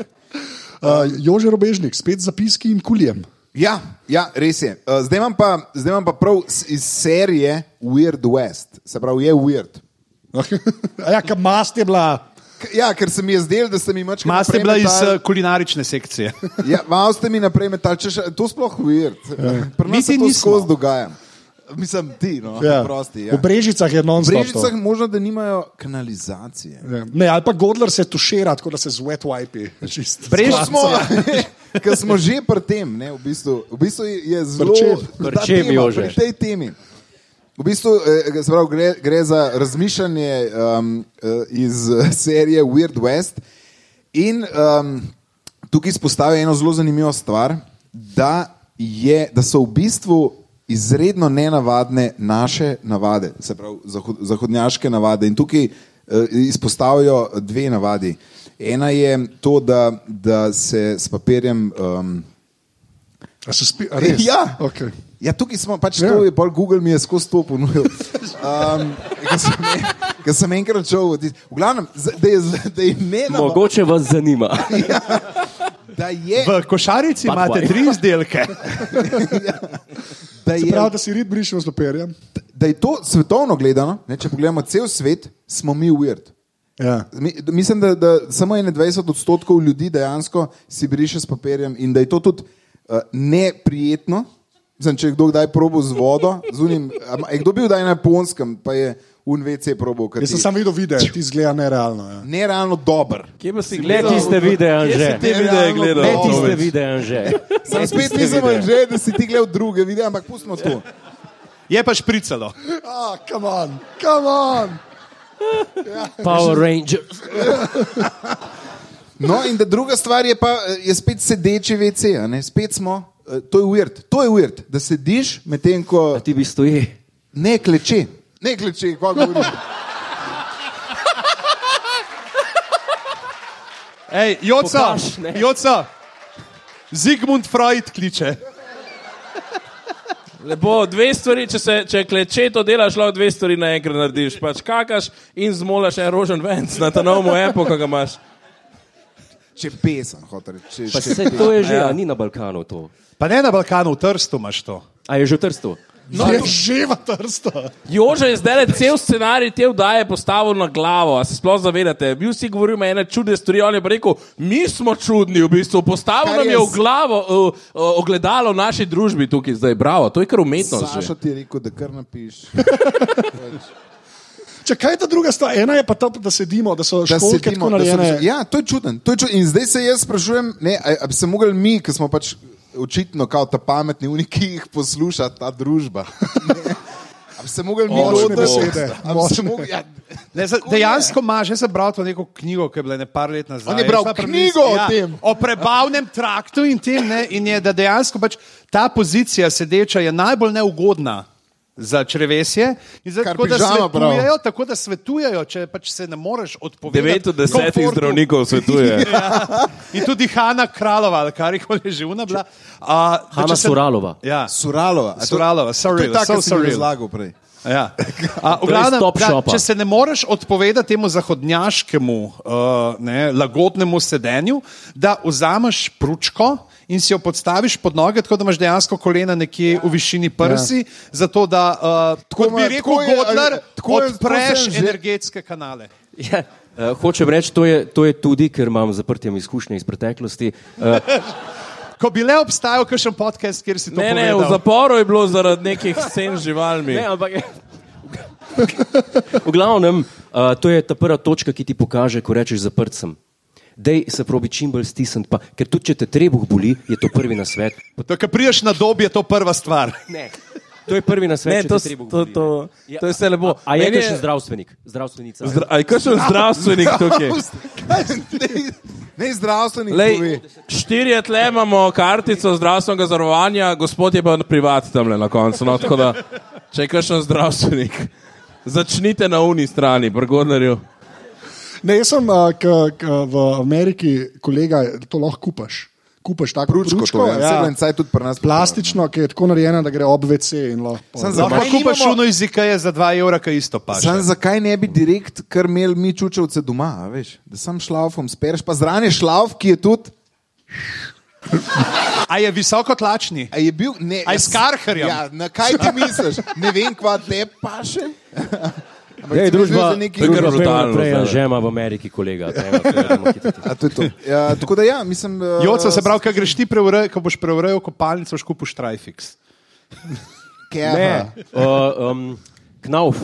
Speaker 1: Uh, Jože Robežnik, spet zapiski in kuljem. (laughs)
Speaker 5: Ja, ja, res je. Eh, Zdaj imam pa, zdaj imam pa prav s- iz serije Weird West, se pravi, je weird.
Speaker 1: A ja, ka mast je bila.
Speaker 5: K- Ja, ker se mi je zdelo, da sem jim več
Speaker 2: Mast je bila iz eh, kulinarične sekcije.
Speaker 5: Ja, malo ste mi naprej metali, če še, to sploh weird. Pri
Speaker 2: Mi
Speaker 5: nas
Speaker 2: ti
Speaker 5: se to
Speaker 2: nismo.
Speaker 5: skozi dogaja. Mislim, ti, no,
Speaker 1: Ja.
Speaker 5: ja. prosti.
Speaker 1: V
Speaker 5: Ja. V
Speaker 1: Brežicah je non-stop. to.
Speaker 5: Brežicah možno, da nimajo kanalizacije.
Speaker 1: Ja. Ne, ali pa Godler se tušira, tako da se z wet wipe. čisto
Speaker 5: Prejš
Speaker 1: splaca.
Speaker 5: smo, (laughs) ker smo že pri tem, ne, v, bistvu, v bistvu je zelo
Speaker 1: Pri čem?
Speaker 5: ta
Speaker 3: Pri čem,
Speaker 5: tema,
Speaker 3: Jože?
Speaker 5: pri tej temi. V bistvu eh, se pravi, gre, gre za razmišljanje um, eh, iz eh, serije Weird West. In um, tukaj izpostavlja eno zelo zanimivo stvar, da, je, da so v bistvu izredno nenavadne naše navade, se pravi zahod, zahodnjaške navade. In tukaj eh, izpostavljajo dve navadi. Ena je to, da, da se s papirjem. Um,
Speaker 1: A se spi, a res?
Speaker 5: Ja.
Speaker 1: Okay.
Speaker 5: Ja, tukaj smo pač
Speaker 1: Ja.
Speaker 5: ja. to, bolj Google mi je skozi to ponudil. Um, Ker sem, en- ker sem enkrat šel, v tis- v glavnem, z- da je, z- da je ne navadno.
Speaker 3: Mogoče vas zanima.
Speaker 5: Da je,
Speaker 2: V košarici
Speaker 3: Pa
Speaker 2: imate
Speaker 3: tvoj.
Speaker 2: tri izdelke.
Speaker 5: (laughs) da, je,
Speaker 1: Prav, da si rib brišel z papirjem.
Speaker 5: da je to svetovno gledano, ne, če pogledamo cel svet, smo mi weird.
Speaker 1: Ja.
Speaker 5: Mi, mislim, da, da samo 21 odstotkov ljudi dejansko si briše s papirjem in da je to tudi uh, neprijetno. Mislim, če je kdo kdaj probo z vodo, zunim, je kdo bil kdaj na Japonskem, pa je UNVC probo.
Speaker 1: Jaz sem sam videl video, ti zgleda nerealno. Ja.
Speaker 5: Nerealno dober.
Speaker 4: Kje pa si
Speaker 3: Ne
Speaker 4: gledal?
Speaker 3: tiste videe,
Speaker 4: Kje si
Speaker 3: Anže.
Speaker 4: te videe gledal?
Speaker 3: Ne tiste
Speaker 4: Tomič?
Speaker 3: videe, Anže.
Speaker 5: Sam spet nisem že, da si ti gledal druge videe, ampak pustimo to.
Speaker 2: Je pa špricalo.
Speaker 1: Ah, come on, come on.
Speaker 3: Power Rangers.
Speaker 5: No, in da druga stvar je pa eh, je spet sedeči VC, a ne? spet smo. eh, To je uvrt, to je uvrt, da sediš medtem, ko
Speaker 3: A ti bi stoji.
Speaker 5: ne kleče. Ne kleče, kako govoriš.
Speaker 2: Ej, Joca,
Speaker 3: Pokaž, ne.
Speaker 2: Joca, Zigmund Freud kliče.
Speaker 4: Lepo, dve stvari, če, se, če kleče to delaš, lahko dve stvari naenkrat narediš. Pač kakaš in zmolaš en rožen venc na ta novo epo, ki ga imaš.
Speaker 5: Če pesem, hotel reči.
Speaker 3: Pa (laughs)
Speaker 5: če
Speaker 3: Ja. se to je že, a ni na Balkanu to.
Speaker 2: Pa ne na Balkanu, v Trstu imaš to.
Speaker 3: A je že v Trstu?
Speaker 1: No, je že v Trstu.
Speaker 4: Jože je zdaj cel scenarij te vdaje postavil na glavo, a se sploh zavedate. Bil si govoril, ima ena čudna stvar, on je pa rekel, mi smo čudni v bistvu, postavil
Speaker 5: Kar
Speaker 4: nam je
Speaker 5: je
Speaker 4: v
Speaker 5: s-
Speaker 4: glavo uh, uh, ogledalo v naši družbi tukaj zdaj, bravo, to je kar umetnost.
Speaker 5: Saša
Speaker 4: že.
Speaker 5: ti je rekel, da kar napiš.
Speaker 1: Če kaj je ta druga stvar, ena je pa ta, da sedimo, da so
Speaker 5: Da
Speaker 1: školke
Speaker 5: sedimo,
Speaker 1: tako
Speaker 5: da so
Speaker 1: narejene.
Speaker 5: prišli- ja, to je čuden. To je čuden. In zdaj se jaz sprašujem, ne, a, a bi se mogli mi, ki smo pač očitno kao ta pametni uniki, jih poslušati ta družba. (laughs) Ne. A bi se mogli mi
Speaker 4: Močne
Speaker 5: lotiti
Speaker 1: besede,
Speaker 5: A bi se mogli, ja,
Speaker 2: Ne, za, dejansko imaš, jaz sem bral to neko knjigo, ki je bila ne par let nazaj.
Speaker 5: On je bral
Speaker 2: Šla pri
Speaker 5: knjigo
Speaker 2: misli,
Speaker 5: o tem.
Speaker 2: ja, O prebavnem traktu in tem, ne, in je, da dejansko pač ta pozicija sedeča je najbolj neugodna. Za črevesje, In zdaj,
Speaker 5: Kar
Speaker 2: tako, da
Speaker 5: pižama prav.
Speaker 2: svetujejo, tako da svetujejo, če pač se ne moreš odpovedati.
Speaker 4: 9 od 10
Speaker 2: komfortu.
Speaker 4: zdravnikov
Speaker 3: (laughs)
Speaker 4: svetuje.
Speaker 2: Ja. In tudi Hanna Kralova, ali kar jih je že ona bila. A, da
Speaker 3: Hana
Speaker 2: če se-
Speaker 3: Suralova.
Speaker 2: Ja.
Speaker 5: (laughs) Suralova. a to-
Speaker 2: Suralova,
Speaker 5: To je
Speaker 2: surreal,
Speaker 5: tako,
Speaker 2: so
Speaker 5: kot sem
Speaker 2: surreal.
Speaker 5: razlagal prej.
Speaker 2: Ja. A, v
Speaker 3: To je iz
Speaker 2: glavnem,
Speaker 3: Top
Speaker 2: da,
Speaker 3: Shopa.
Speaker 2: če se ne moreš odpovedati temu zahodnjaškemu, uh, ne, lagodnemu sedenju, da vzameš pručko in si jo podstaviš pod noge, tako da imaš dejansko kolena nekje v višini prsi, ja. zato da, uh, tako kot
Speaker 5: ima-
Speaker 2: bi rekel
Speaker 5: tako je,
Speaker 2: Godler,
Speaker 5: ali- tako je, tako
Speaker 2: odpreš
Speaker 5: sem že-
Speaker 2: energetske kanale.
Speaker 3: Ja, uh, hočem reči, to je, to je tudi, ker imam zaprtjem izkušnje iz preteklosti. Uh,
Speaker 2: Ko bi le obstajal kakšen podcast, kjer si to
Speaker 4: Ne, ne, v
Speaker 2: povedal.
Speaker 4: zaporu je bilo zaradi nekih scen z živalmi.
Speaker 3: ne, ampak. Eh, V glavnem, uh, to je ta prva točka, ki ti pokaže, ko rečeš zaprt sem. Dej se probi čim bolj stisniti, pa, ker tudi če te trebuh boli, je to prvi na svet.
Speaker 2: To, Ko priješ na dob, je to prva stvar.
Speaker 3: Ne. To je prvi na
Speaker 4: Ne,
Speaker 3: svet. če
Speaker 4: to
Speaker 3: te
Speaker 4: s-
Speaker 3: trebuh
Speaker 4: to-
Speaker 3: boli.
Speaker 4: to-
Speaker 3: Ja,
Speaker 4: to je vse lepo.
Speaker 3: A, a je
Speaker 4: Meni je-
Speaker 3: še zdravstvenik? Zdravstvenica.
Speaker 4: Zdra- A je kakšen zdravstvenik
Speaker 5: (laughs)
Speaker 4: tukaj?
Speaker 5: Ne zdravstveni.
Speaker 4: Lej, štirje tle imamo kartico zdravstvenega zavarovanja, gospod je pa privat tam le na koncu. No, tako da, če je kakšen zdravstvenik, začnite na uni strani, brgodnerju.
Speaker 1: Ne, jaz sem uh, k, k, v Ameriki, kolega, to lahko kupaš. Kupaš tako ja.
Speaker 5: Pručko, ja. to je. Saj en cajt tudi pri nas.
Speaker 1: Plastično, ki je tako narejena, da gre ob WC in lahko.
Speaker 5: Samo za-
Speaker 2: Lahko
Speaker 5: Zakaj
Speaker 2: kupaš
Speaker 5: nimamo-
Speaker 2: šuno jezika je za 2 evra, kaj isto pa.
Speaker 5: Sam zakaj ne bi direkt kar imeli mi čučevce doma, a veš? Da sam šlaufom spereš, pa zrane šlauf, ki je tudi.
Speaker 2: A je visoko tlačni?
Speaker 5: A je bil ne.
Speaker 2: A je s karharjem?
Speaker 5: Ja, na kaj ti misliš? Ne vem, kva te (laughs) paše. Ampak
Speaker 3: Ej,
Speaker 5: sem
Speaker 3: družba,
Speaker 5: izvedel za neki-
Speaker 4: družba-
Speaker 3: družba peva
Speaker 4: brutalno,
Speaker 3: naprej,
Speaker 4: zdaj.
Speaker 3: Anžema v Ameriki, kolega. Peva, peva, dajmo hiteti.
Speaker 5: A, to je to. Ja, tako da ja,
Speaker 2: (laughs)
Speaker 5: mislim. eh,
Speaker 2: Joca se pravi, kaj greš ti preurejati, ko boš preurejal kopalnico, boš kupil štrajfiks.
Speaker 5: keha.
Speaker 3: Ne, uh, um, knauf.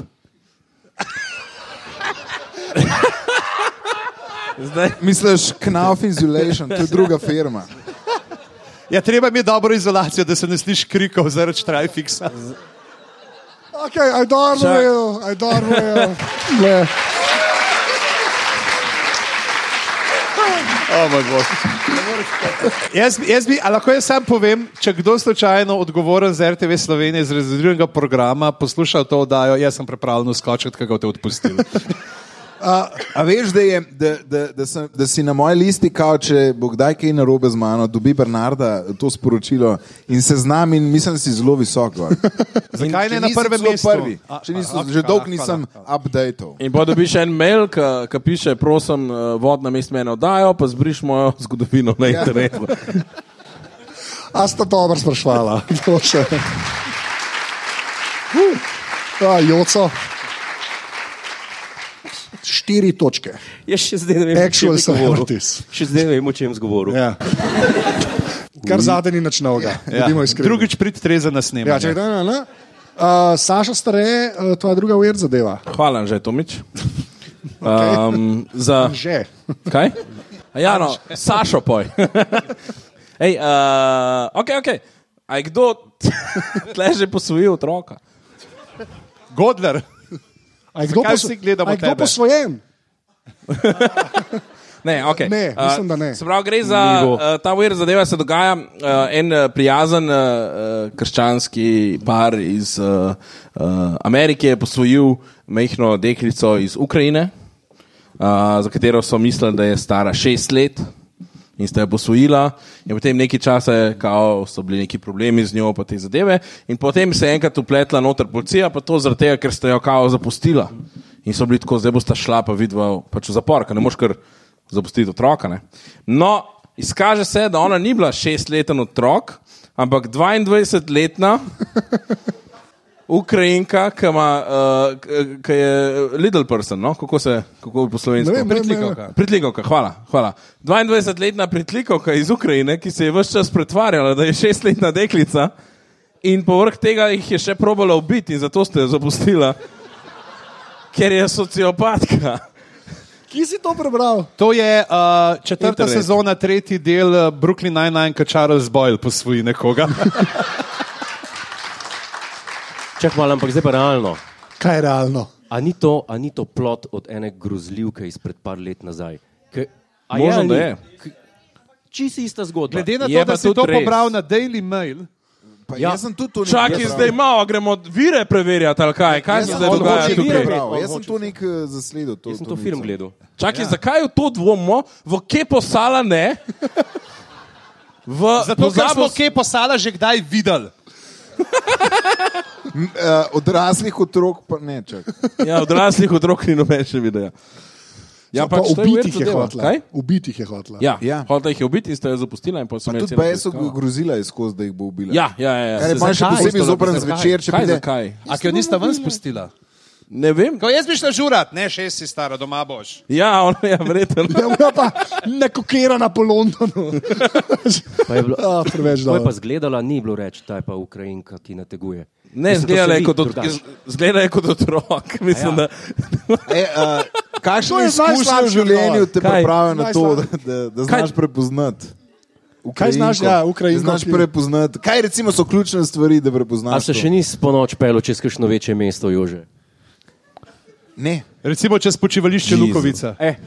Speaker 4: Zdaj,
Speaker 5: Misliš, Knauf Insulation, to je druga firma.
Speaker 2: Ja, treba mi je dobro izolacijo, da se ne sliši krikov zaradi štrajfiksa.
Speaker 1: Ok, I don't know, I don't know.
Speaker 2: Jaz, bi- jaz bi, a lahko jaz sam povem, če kdo slučajno odgovoren za RTV Slovenije iz rezerviranega programa posluša to oddajo, jaz sem pripravljen skočiti, kako te odpustim.
Speaker 5: A veš, da, je, da, da, da, sem, da si na moji listi, kao, če bo kdaj kaj narobe z mano, dobi Bernarda to sporočilo in se znam in mislim, da si zelo visok. (laughs) gor. In
Speaker 2: Zakaj
Speaker 5: če
Speaker 2: ne na
Speaker 5: nisi
Speaker 2: prvem
Speaker 5: celo
Speaker 2: mestu?
Speaker 5: Prvi,
Speaker 2: A,
Speaker 5: če
Speaker 2: a,
Speaker 5: niso,
Speaker 2: a,
Speaker 5: že
Speaker 2: hvala,
Speaker 5: dolgo
Speaker 2: hvala,
Speaker 5: nisem updateal.
Speaker 4: in pa dobiš en mail, ki piše, prosim, eh, vod na mest mene oddajo, pa zbriš mojo zgodovino na internetu.
Speaker 1: A sta dobro sprašvala. (laughs) To še. Uh, A, Joco. Štiri točke.
Speaker 3: Jaz še zdaj ne vem,
Speaker 1: Actual
Speaker 3: o čem bi govoril.
Speaker 1: celebrities.
Speaker 3: Še zdaj ne vem, o čem zgovorim. Ja.
Speaker 1: Ja. Kar zadnji ni nič novega. Ja.
Speaker 2: Drugič prid treza na snemanje.
Speaker 1: Ja, če da, ne, ne. Uh, Saša stare, uh, tvoja druga ujer zadeva.
Speaker 4: Hvala, že Tomič. Um, za,
Speaker 1: Že.
Speaker 4: Kaj? A Ja, no, Sašo poj. Ej, uh, ok, ok. A je kdo (laughs) tle že posvojil otroka?
Speaker 2: Godler,
Speaker 1: A je kdo,
Speaker 2: Zakaj vsi gledamo
Speaker 1: a je kdo
Speaker 2: tebe?
Speaker 1: posvojen?
Speaker 4: Ne, okay.
Speaker 1: Ne,
Speaker 4: A,
Speaker 1: mislim, da ne.
Speaker 4: Se pravi, gre za
Speaker 3: Nivo.
Speaker 4: uh, ta vir zadeva, se dogaja uh, en eh, prijazen uh, uh, krščanski par iz uh, uh, Amerike je posvojil mehko deklico iz Ukrajine, uh, za katero so mislili, da je stara šest let. In sta jo posvojila, in potem nekaj časa je, kao, so bili neki problemi z njo, pa te zadeve. In potem se je enkrat upletla noter policija, pa to zaradi tega, ker sta jo kao zapustila. In so bili tako, zdaj bosta šla, pa vidva pač v zapor, ker ne moš kar zapustiti otroka. Ne? No, izkaže se, da ona ni bila šestleten otrok, ampak 22-letna Ukrajinka, ki ima, uh, k- ki je little person, no? kako se kako bi po slovenski
Speaker 1: Ne vem, ne, ne, ne.
Speaker 4: Pritlikavka. Pritlikavka, hvala. hvala. 22-letna pritlikavka iz Ukrajine, ki se je vse čas pretvarjala, da je šestletna deklica in povrh tega jih je še probala ubiti in zato ste jo zapustila, ker je sociopatka.
Speaker 1: Kje si to prebral?
Speaker 2: To je uh, četrta
Speaker 4: Internet.
Speaker 2: Internet. sezona, tretji del uh, Brooklyn Nine-Nine, ko Charles Boyle posvoji
Speaker 4: (laughs)
Speaker 2: nekoga.
Speaker 3: Čak malo, ampak zdaj pa realno.
Speaker 1: Kaj je realno?
Speaker 3: A ni to, a ni to plot od ene grozljivke izpred par let nazaj? K,
Speaker 4: Možno, da je.
Speaker 3: Čisi ista zgodba.
Speaker 2: Glede na
Speaker 4: Je
Speaker 2: to,
Speaker 4: pa
Speaker 2: da si
Speaker 4: tudi
Speaker 2: to
Speaker 4: res.
Speaker 2: pobral na Daily Mail,
Speaker 5: Pa
Speaker 3: Ja.
Speaker 5: Jaz sem tudi to
Speaker 4: Čakaj, zdaj malo, a gremo vire preverjati, ali kaj, kaj
Speaker 5: Jaz
Speaker 4: se
Speaker 1: Ja,
Speaker 5: sem
Speaker 4: zdaj
Speaker 5: to
Speaker 4: dogaja
Speaker 5: mogoče
Speaker 4: tukaj.
Speaker 5: prebral,
Speaker 3: On
Speaker 5: Ja, Jaz sem
Speaker 3: hoče
Speaker 5: to nek eh, zasledil. to-
Speaker 3: Jaz sem
Speaker 5: to
Speaker 3: to film
Speaker 5: nisem.
Speaker 3: gledal.
Speaker 4: Čakaj, ja. zakaj v to dvomimo, v kepo sala ne? V,
Speaker 2: zato ker
Speaker 4: pozabo
Speaker 2: smo
Speaker 4: s-
Speaker 2: kje posala že kdaj videli.
Speaker 5: M, eh, Odraslih otrok pa ne čakaj.
Speaker 4: Ja, odraslih otrok ni noben še videl. Ja,
Speaker 1: Pa
Speaker 4: pač to weird
Speaker 1: ubiti jih je
Speaker 4: zadeva.
Speaker 1: hotla.
Speaker 4: Kaj?
Speaker 1: Ubiti jih je hotla.
Speaker 4: Ja, ja.
Speaker 5: Ja.
Speaker 4: hotel jih je ubiti in ste jo zapustili. in pol sem jaz celo
Speaker 5: Tudi BS so
Speaker 4: preiskal.
Speaker 5: grozila izkoz, da jih bo ubila.
Speaker 4: Ja, ja, ja.
Speaker 5: Kar je
Speaker 4: Se-
Speaker 5: pa še
Speaker 4: zakaj?
Speaker 5: posebej zoprn
Speaker 4: Zakaj?
Speaker 5: zvečer, če
Speaker 4: Kaj,
Speaker 5: pride-
Speaker 4: zakaj?
Speaker 2: A ki jo niste ven spustila?
Speaker 4: Ne vem.
Speaker 2: Ko jaz bi šla žurat, ne še si stara, doma boš.
Speaker 4: Ja, ona je verjetno.
Speaker 1: (laughs) (laughs) Ja, ona pa nekokirana po Londonu.
Speaker 3: Pa je bilo,
Speaker 1: Ah, preveč
Speaker 3: ko je pa
Speaker 1: dobro.
Speaker 3: zgledala, ni bilo reči, ta je pa Ukrajinka, ki nateguje. Mislim,
Speaker 4: Ne,
Speaker 3: to se
Speaker 4: zgleda je
Speaker 3: vidi
Speaker 4: kot, od,
Speaker 3: drugače.
Speaker 4: zgleda je kot otrok. (laughs) Mislim, ja.
Speaker 3: Ja.
Speaker 4: da,
Speaker 5: E, uh,
Speaker 1: To
Speaker 5: kakšne
Speaker 1: je
Speaker 5: izkušnje v
Speaker 1: najslabši
Speaker 5: življenju te
Speaker 4: odgovor. Kaj?
Speaker 5: pripravijo na to, da,
Speaker 1: Najslabši.
Speaker 5: da, da znaš
Speaker 4: Kaj?
Speaker 5: prepoznati?
Speaker 1: Kaj znaš, ja, Ukrajinko,
Speaker 5: Znaš
Speaker 1: ki-
Speaker 5: prepoznati. Kaj recimo so ključne stvari, da
Speaker 3: A
Speaker 5: prepoznaš?
Speaker 3: se
Speaker 5: to?
Speaker 3: še nisi po noč pelo čez kakšno večje mesto, Jože?
Speaker 5: Ne.
Speaker 2: Recimo čez počivališče
Speaker 4: Jezu.
Speaker 2: Lukovica.
Speaker 3: Eh,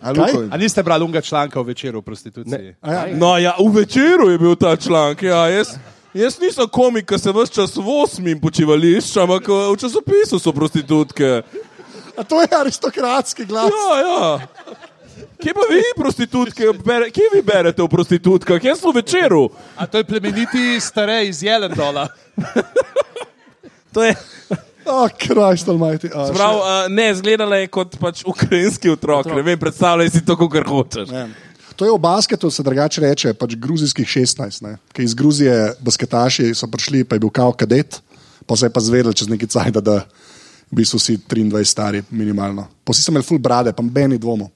Speaker 5: A
Speaker 1: Kaj?
Speaker 5: Lukovi?
Speaker 2: A niste brali unga članka o večeru v prostituciji?
Speaker 1: A ja.
Speaker 4: No, ja, v večeru je bil ta članek. Ja, jaz, jaz nisem komik, ki se vse čas v osmim počivališču, ampak eh, v časopisu so prostitutke.
Speaker 1: A to je aristokratski glas.
Speaker 4: Ja, ja. Kje pa vi, prostitutke, bere, kje vi berete o prostitutkah? Jaz sem v večeru.
Speaker 2: A to je plemeniti stare iz Jelendola.
Speaker 4: To je,
Speaker 1: Oh, Christ almighty. A, še-
Speaker 4: prav, uh, ne, zgledala je kot pač ukrajinski otrok. Ja, Ne vem, predstavljaj si to, kar hočeš.
Speaker 1: Ne. To je v basketu, se drugače reče, pač gruzijskih 16, ne? ki iz Gruzije basketaši so prišli, pa je bil kao kadet, pa se je pa zvedel čez neki cajt, da v bistvu si 23 stari minimalno. Pa vsi so imeli full brade, pa meni dvomo.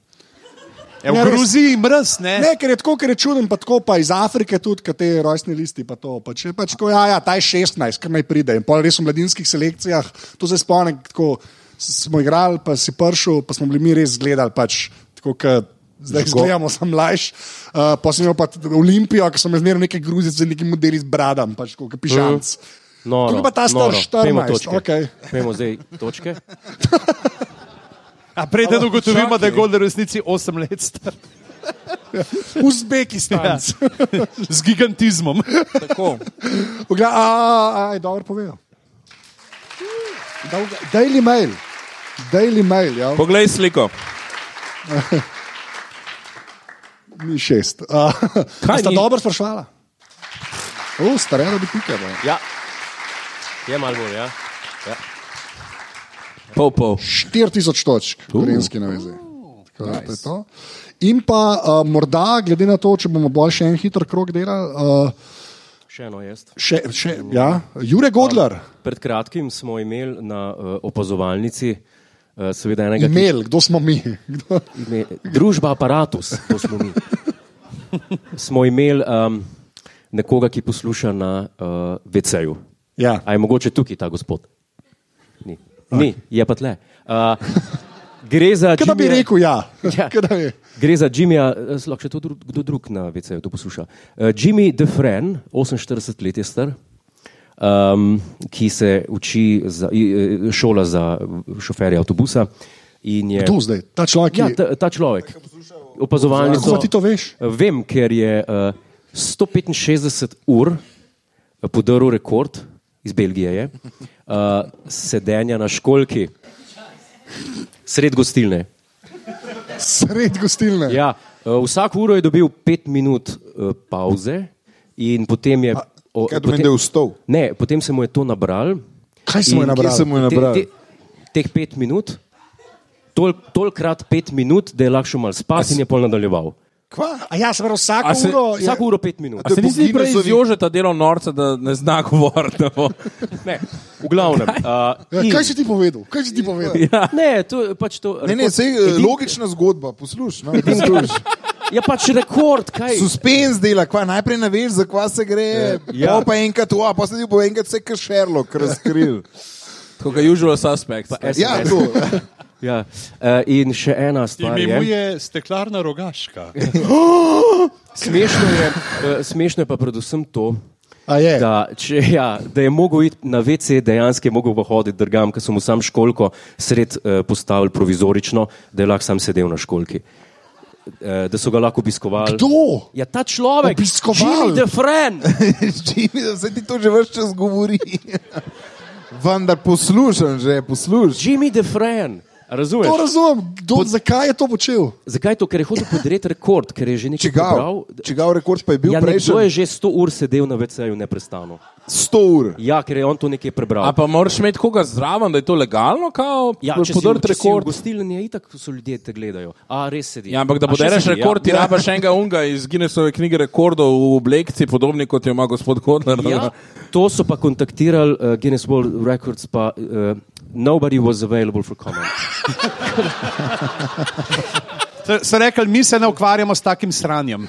Speaker 2: Ja,
Speaker 1: Ne,
Speaker 2: v
Speaker 1: res.
Speaker 2: Gruziji mrz, ne?
Speaker 1: Ne, ker je tako, ker je čuden, pa tako pa iz Afrike tudi, kaj te rojstni listi, pa to. Pač, je pač tako, ja, ja, ta je 16, kar naj pride. In pol res v mladinskih selekcijah, to se spomnim, tako s- smo igrali, pa si pršel, pa smo bili mi res gledali, pač, tako, kot zdaj
Speaker 5: Žgo.
Speaker 1: gledamo, sem mlajši. Uh, pa sem imel pa tudi Olimpijo, ki sem zmerno neki gruzic z nekim modeli z bradam, pač kot pižamc.
Speaker 3: noro,
Speaker 1: Kako pa ta star
Speaker 3: noro. Pejmo
Speaker 1: 14?
Speaker 3: točke.
Speaker 1: Okej.
Speaker 3: Pejmo zdaj točke.
Speaker 2: A preden ugotovimo, da je Gold v resnici 8 let star.
Speaker 1: Uzbekistan. Ja.
Speaker 2: (laughs) Z gigantizmom.
Speaker 4: Tako.
Speaker 1: Poglej, a, a, a, je dobro povedal. Dolga- Daily Mail, Daily Mail, ja.
Speaker 4: Poglej sliko.
Speaker 1: Ni šest. Uh,
Speaker 3: Kaj
Speaker 1: sta
Speaker 3: ni?
Speaker 1: dobro sprašvala? Uh, Starejno bi tukaj. Ne?
Speaker 3: Ja. Je malo bolj, ja.
Speaker 1: 4000 točk, gorenski navezi. Tako da, to je to. In pa uh, morda, glede na to, če bomo bolj še en hiter krok delali, uh,
Speaker 3: Še eno jaz.
Speaker 1: še, še, ja, Jure Godler,
Speaker 3: Pred kratkim smo imeli na uh, opazovalnici, uh, seveda, enega ki-
Speaker 1: imel, kdo smo mi? (laughs) Kdo?
Speaker 3: ime, družba aparatus, to smo mi. Smo imeli um, nekoga, ki posluša na uh, VC-ju.
Speaker 1: Ja.
Speaker 3: A je mogoče tukaj ta gospod? Ni, Ni je pa tle. Uh, gre za.
Speaker 1: Kaj da bi
Speaker 3: Jimmyja-
Speaker 1: rekel ja?
Speaker 3: (laughs) Ja.
Speaker 1: Kaj da bi-
Speaker 3: Gre za Jimmyja, eh, lahko še to dru, kdo drug na VC-ju to posluša. Uh, Jimmy DeFren, 48 let je star, um, ki se uči za, i- eh, šola za šoferje avtobusa. in je-
Speaker 1: Tu zdaj, ta človek, ki
Speaker 3: Ja, ta, ta človek. Opazovalni
Speaker 1: Kako
Speaker 3: so.
Speaker 1: pa ti to veš?
Speaker 3: Vem, ker je uh, 165 ur eh, podaril rekord, iz Belgije je, uh, sedenja na školki, sred gostilne.
Speaker 1: sred gostilne.
Speaker 3: Ja, uh, vsak uro je dobil 5 minut uh, pauze in potem je. o-
Speaker 5: Kaj pomeni, da je vstal?
Speaker 3: Ne, potem se mu je to nabral.
Speaker 1: Kaj se mu je
Speaker 3: In-
Speaker 1: nabralo?
Speaker 5: Kje se mu je nabral?
Speaker 3: Te, te, teh pet minut, tol- tolkrat pet minut, da je lahko šel malo spat in je pol nadaljeval.
Speaker 2: Kva?
Speaker 6: A ja, se pravi, vsako
Speaker 4: A se-
Speaker 6: uro. je-
Speaker 3: Vsako uro pet minut.
Speaker 5: A to je
Speaker 4: Se nisi
Speaker 5: po
Speaker 4: prej
Speaker 5: Guinnessovi-
Speaker 4: izjožeta delo norca, da ne zna (laughs) govoriti. no? da bo-
Speaker 3: Ne, v glavnem.
Speaker 1: Ja,
Speaker 3: Uh, in,
Speaker 1: kaj si ti povedal? Kaj si ti povedal?
Speaker 3: ne, to je pač to.
Speaker 5: Ne, eh, ne,
Speaker 3: rekord-
Speaker 5: sej,
Speaker 3: edin-
Speaker 5: edin, logična zgodba,
Speaker 4: (laughs)
Speaker 5: poslušaj. No, posluš.
Speaker 3: Ja, pač rekord, kaj.
Speaker 5: Suspenz dela, kva, najprej ne veš, za kva se gre,
Speaker 3: Ja.
Speaker 5: ja. pa enkrat, a pa se ti bo enkrat vse, kar Sherlock razkril.
Speaker 4: Tako kot usual suspect.
Speaker 5: Ja, to. (laughs)
Speaker 3: Ja. Uh, in še ena stvar. je.
Speaker 6: Imenuje steklarna rogaška.
Speaker 3: Smešno je, eh, smešno je pa predvsem to,
Speaker 1: A je?
Speaker 3: (laughs) da, če, ja, da je mogel iti na WC, dejansko je mogel pa hoditi drugam, ker so mu sam školko sred eh, postavili provizorično, da je lahko sam sedel na školki. Eh, Da so ga lahko obiskovali.
Speaker 1: Kdo?
Speaker 3: Ja, ta človek,
Speaker 1: Obiskoval?
Speaker 3: Jimmy the Friend.
Speaker 5: Jimmy, da se ti to že več čas govori. (laughs) Vendar poslušam že, poslušam.
Speaker 3: Jimmy the Friend. A Razumeš?
Speaker 1: To razumem. Kdo, zakaj je to počel?
Speaker 3: Zakaj je to? Ker je hotel podreti rekord, ker je že nekaj
Speaker 5: Čigav,
Speaker 3: prebral.
Speaker 5: čigav rekord pa je bil
Speaker 3: Ja,
Speaker 5: ja,
Speaker 3: nekdo je
Speaker 5: prejšnji
Speaker 3: že 100 ur sedel na WC-ju neprestano.
Speaker 5: 100 ur.
Speaker 3: Ja, ker je on to nekje prebral.
Speaker 4: A pa moraš imeti koga zraven, da je to legalno, kao
Speaker 3: Ja, če si,
Speaker 4: podrt
Speaker 3: če si v
Speaker 4: rekord.
Speaker 3: gostilni, je itak so ljudje te gledajo. A res sedi.
Speaker 4: Ja, ampak
Speaker 3: A še
Speaker 4: da podereš
Speaker 3: sedi,
Speaker 4: rekord, ti rabaš enega unga iz Guinnessove knjige rekordov v oblekci, podobni kot jo ima gospod Kodler.
Speaker 3: Ja. ja, to so pa kontaktirali uh, Guinness World Records, pa uh, nobody was available for comment.
Speaker 2: So- So rekli, mi se ne ukvarjamo s takim sranjem.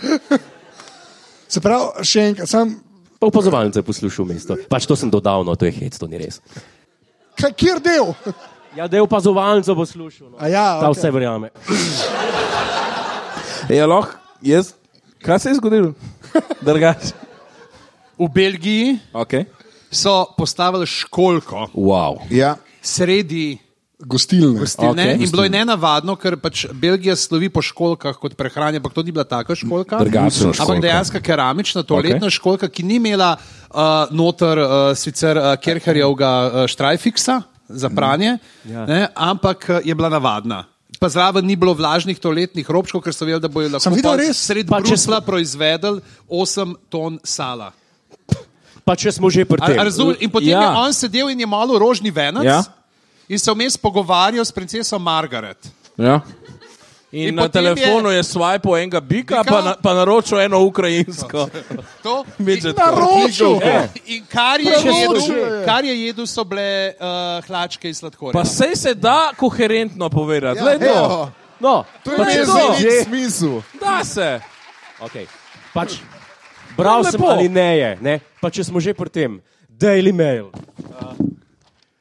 Speaker 1: Se pravi, še enkrat, sam,
Speaker 3: Pa opazovalnice poslušal mesto. Pač to sem dodal, no to je hec, to ni res.
Speaker 1: kaj, kjer del?
Speaker 3: Ja, da je opazovalnico poslušal. No.
Speaker 1: A ja,
Speaker 3: Ta
Speaker 1: ok.
Speaker 3: vse verjame.
Speaker 4: Je Ja, lahko, jaz, kaj se je zgodilo? Drugače.
Speaker 2: V Belgiji
Speaker 4: Okay.
Speaker 2: so postavili školko
Speaker 4: Wow.
Speaker 5: Ja.
Speaker 2: sredi
Speaker 1: Gostilne.
Speaker 2: gostilne
Speaker 4: Okej.
Speaker 2: okay, in bilo je nenavadno, ker pač Belgija slovi po školkah kot prehrani, ampak to ni bila taka školka.
Speaker 4: Drugačna školjka.
Speaker 2: Ampak dejansko keramična, toaletna okay. školka, ki ni imela uh, noter uh, sicer uh, Kerherjevega uh, štrajfiksa za pranje, ja. ne, ampak uh, je bila navadna. Pa zraven ni bilo vlažnih toaletnih robčkov, ker so vedeli, da bojo lahko
Speaker 1: Sem videl
Speaker 2: pol
Speaker 1: res.
Speaker 2: sredi
Speaker 3: Pa če
Speaker 2: Brusla proizvedli 8 ton sala.
Speaker 3: Pa če smo že pri
Speaker 2: A-
Speaker 3: tem.
Speaker 2: a Razumem. In potem ja.
Speaker 4: Ja.
Speaker 2: je on sedel in je malo rožni venec ja.
Speaker 4: Ja.
Speaker 2: in se vmes pogovarjal s princeso Margaret.
Speaker 4: Ja. In, in
Speaker 2: In
Speaker 4: na
Speaker 2: potem je-
Speaker 4: telefonu je svajpo enega
Speaker 2: Bika?
Speaker 4: bika, pa, na, pa naročil eno ukrajinsko.
Speaker 2: To
Speaker 4: Midget
Speaker 2: In-
Speaker 4: Naročil!
Speaker 2: Ja. In kar je, jedel,
Speaker 4: Naročil je.
Speaker 2: kar je jedel, so bile uh, hlačke iz sladkorja.
Speaker 4: Pa sej se da koherentno povedati. Ja, to.
Speaker 5: Evo,
Speaker 3: No,
Speaker 5: to je
Speaker 4: Pa
Speaker 5: meni
Speaker 4: to.
Speaker 5: zelo smisel.
Speaker 4: Da se.
Speaker 3: Okay. Pač, bral sem
Speaker 4: lepo.
Speaker 3: ali ne je, ne? Pa če smo že pri tem, Daily Mail, uh,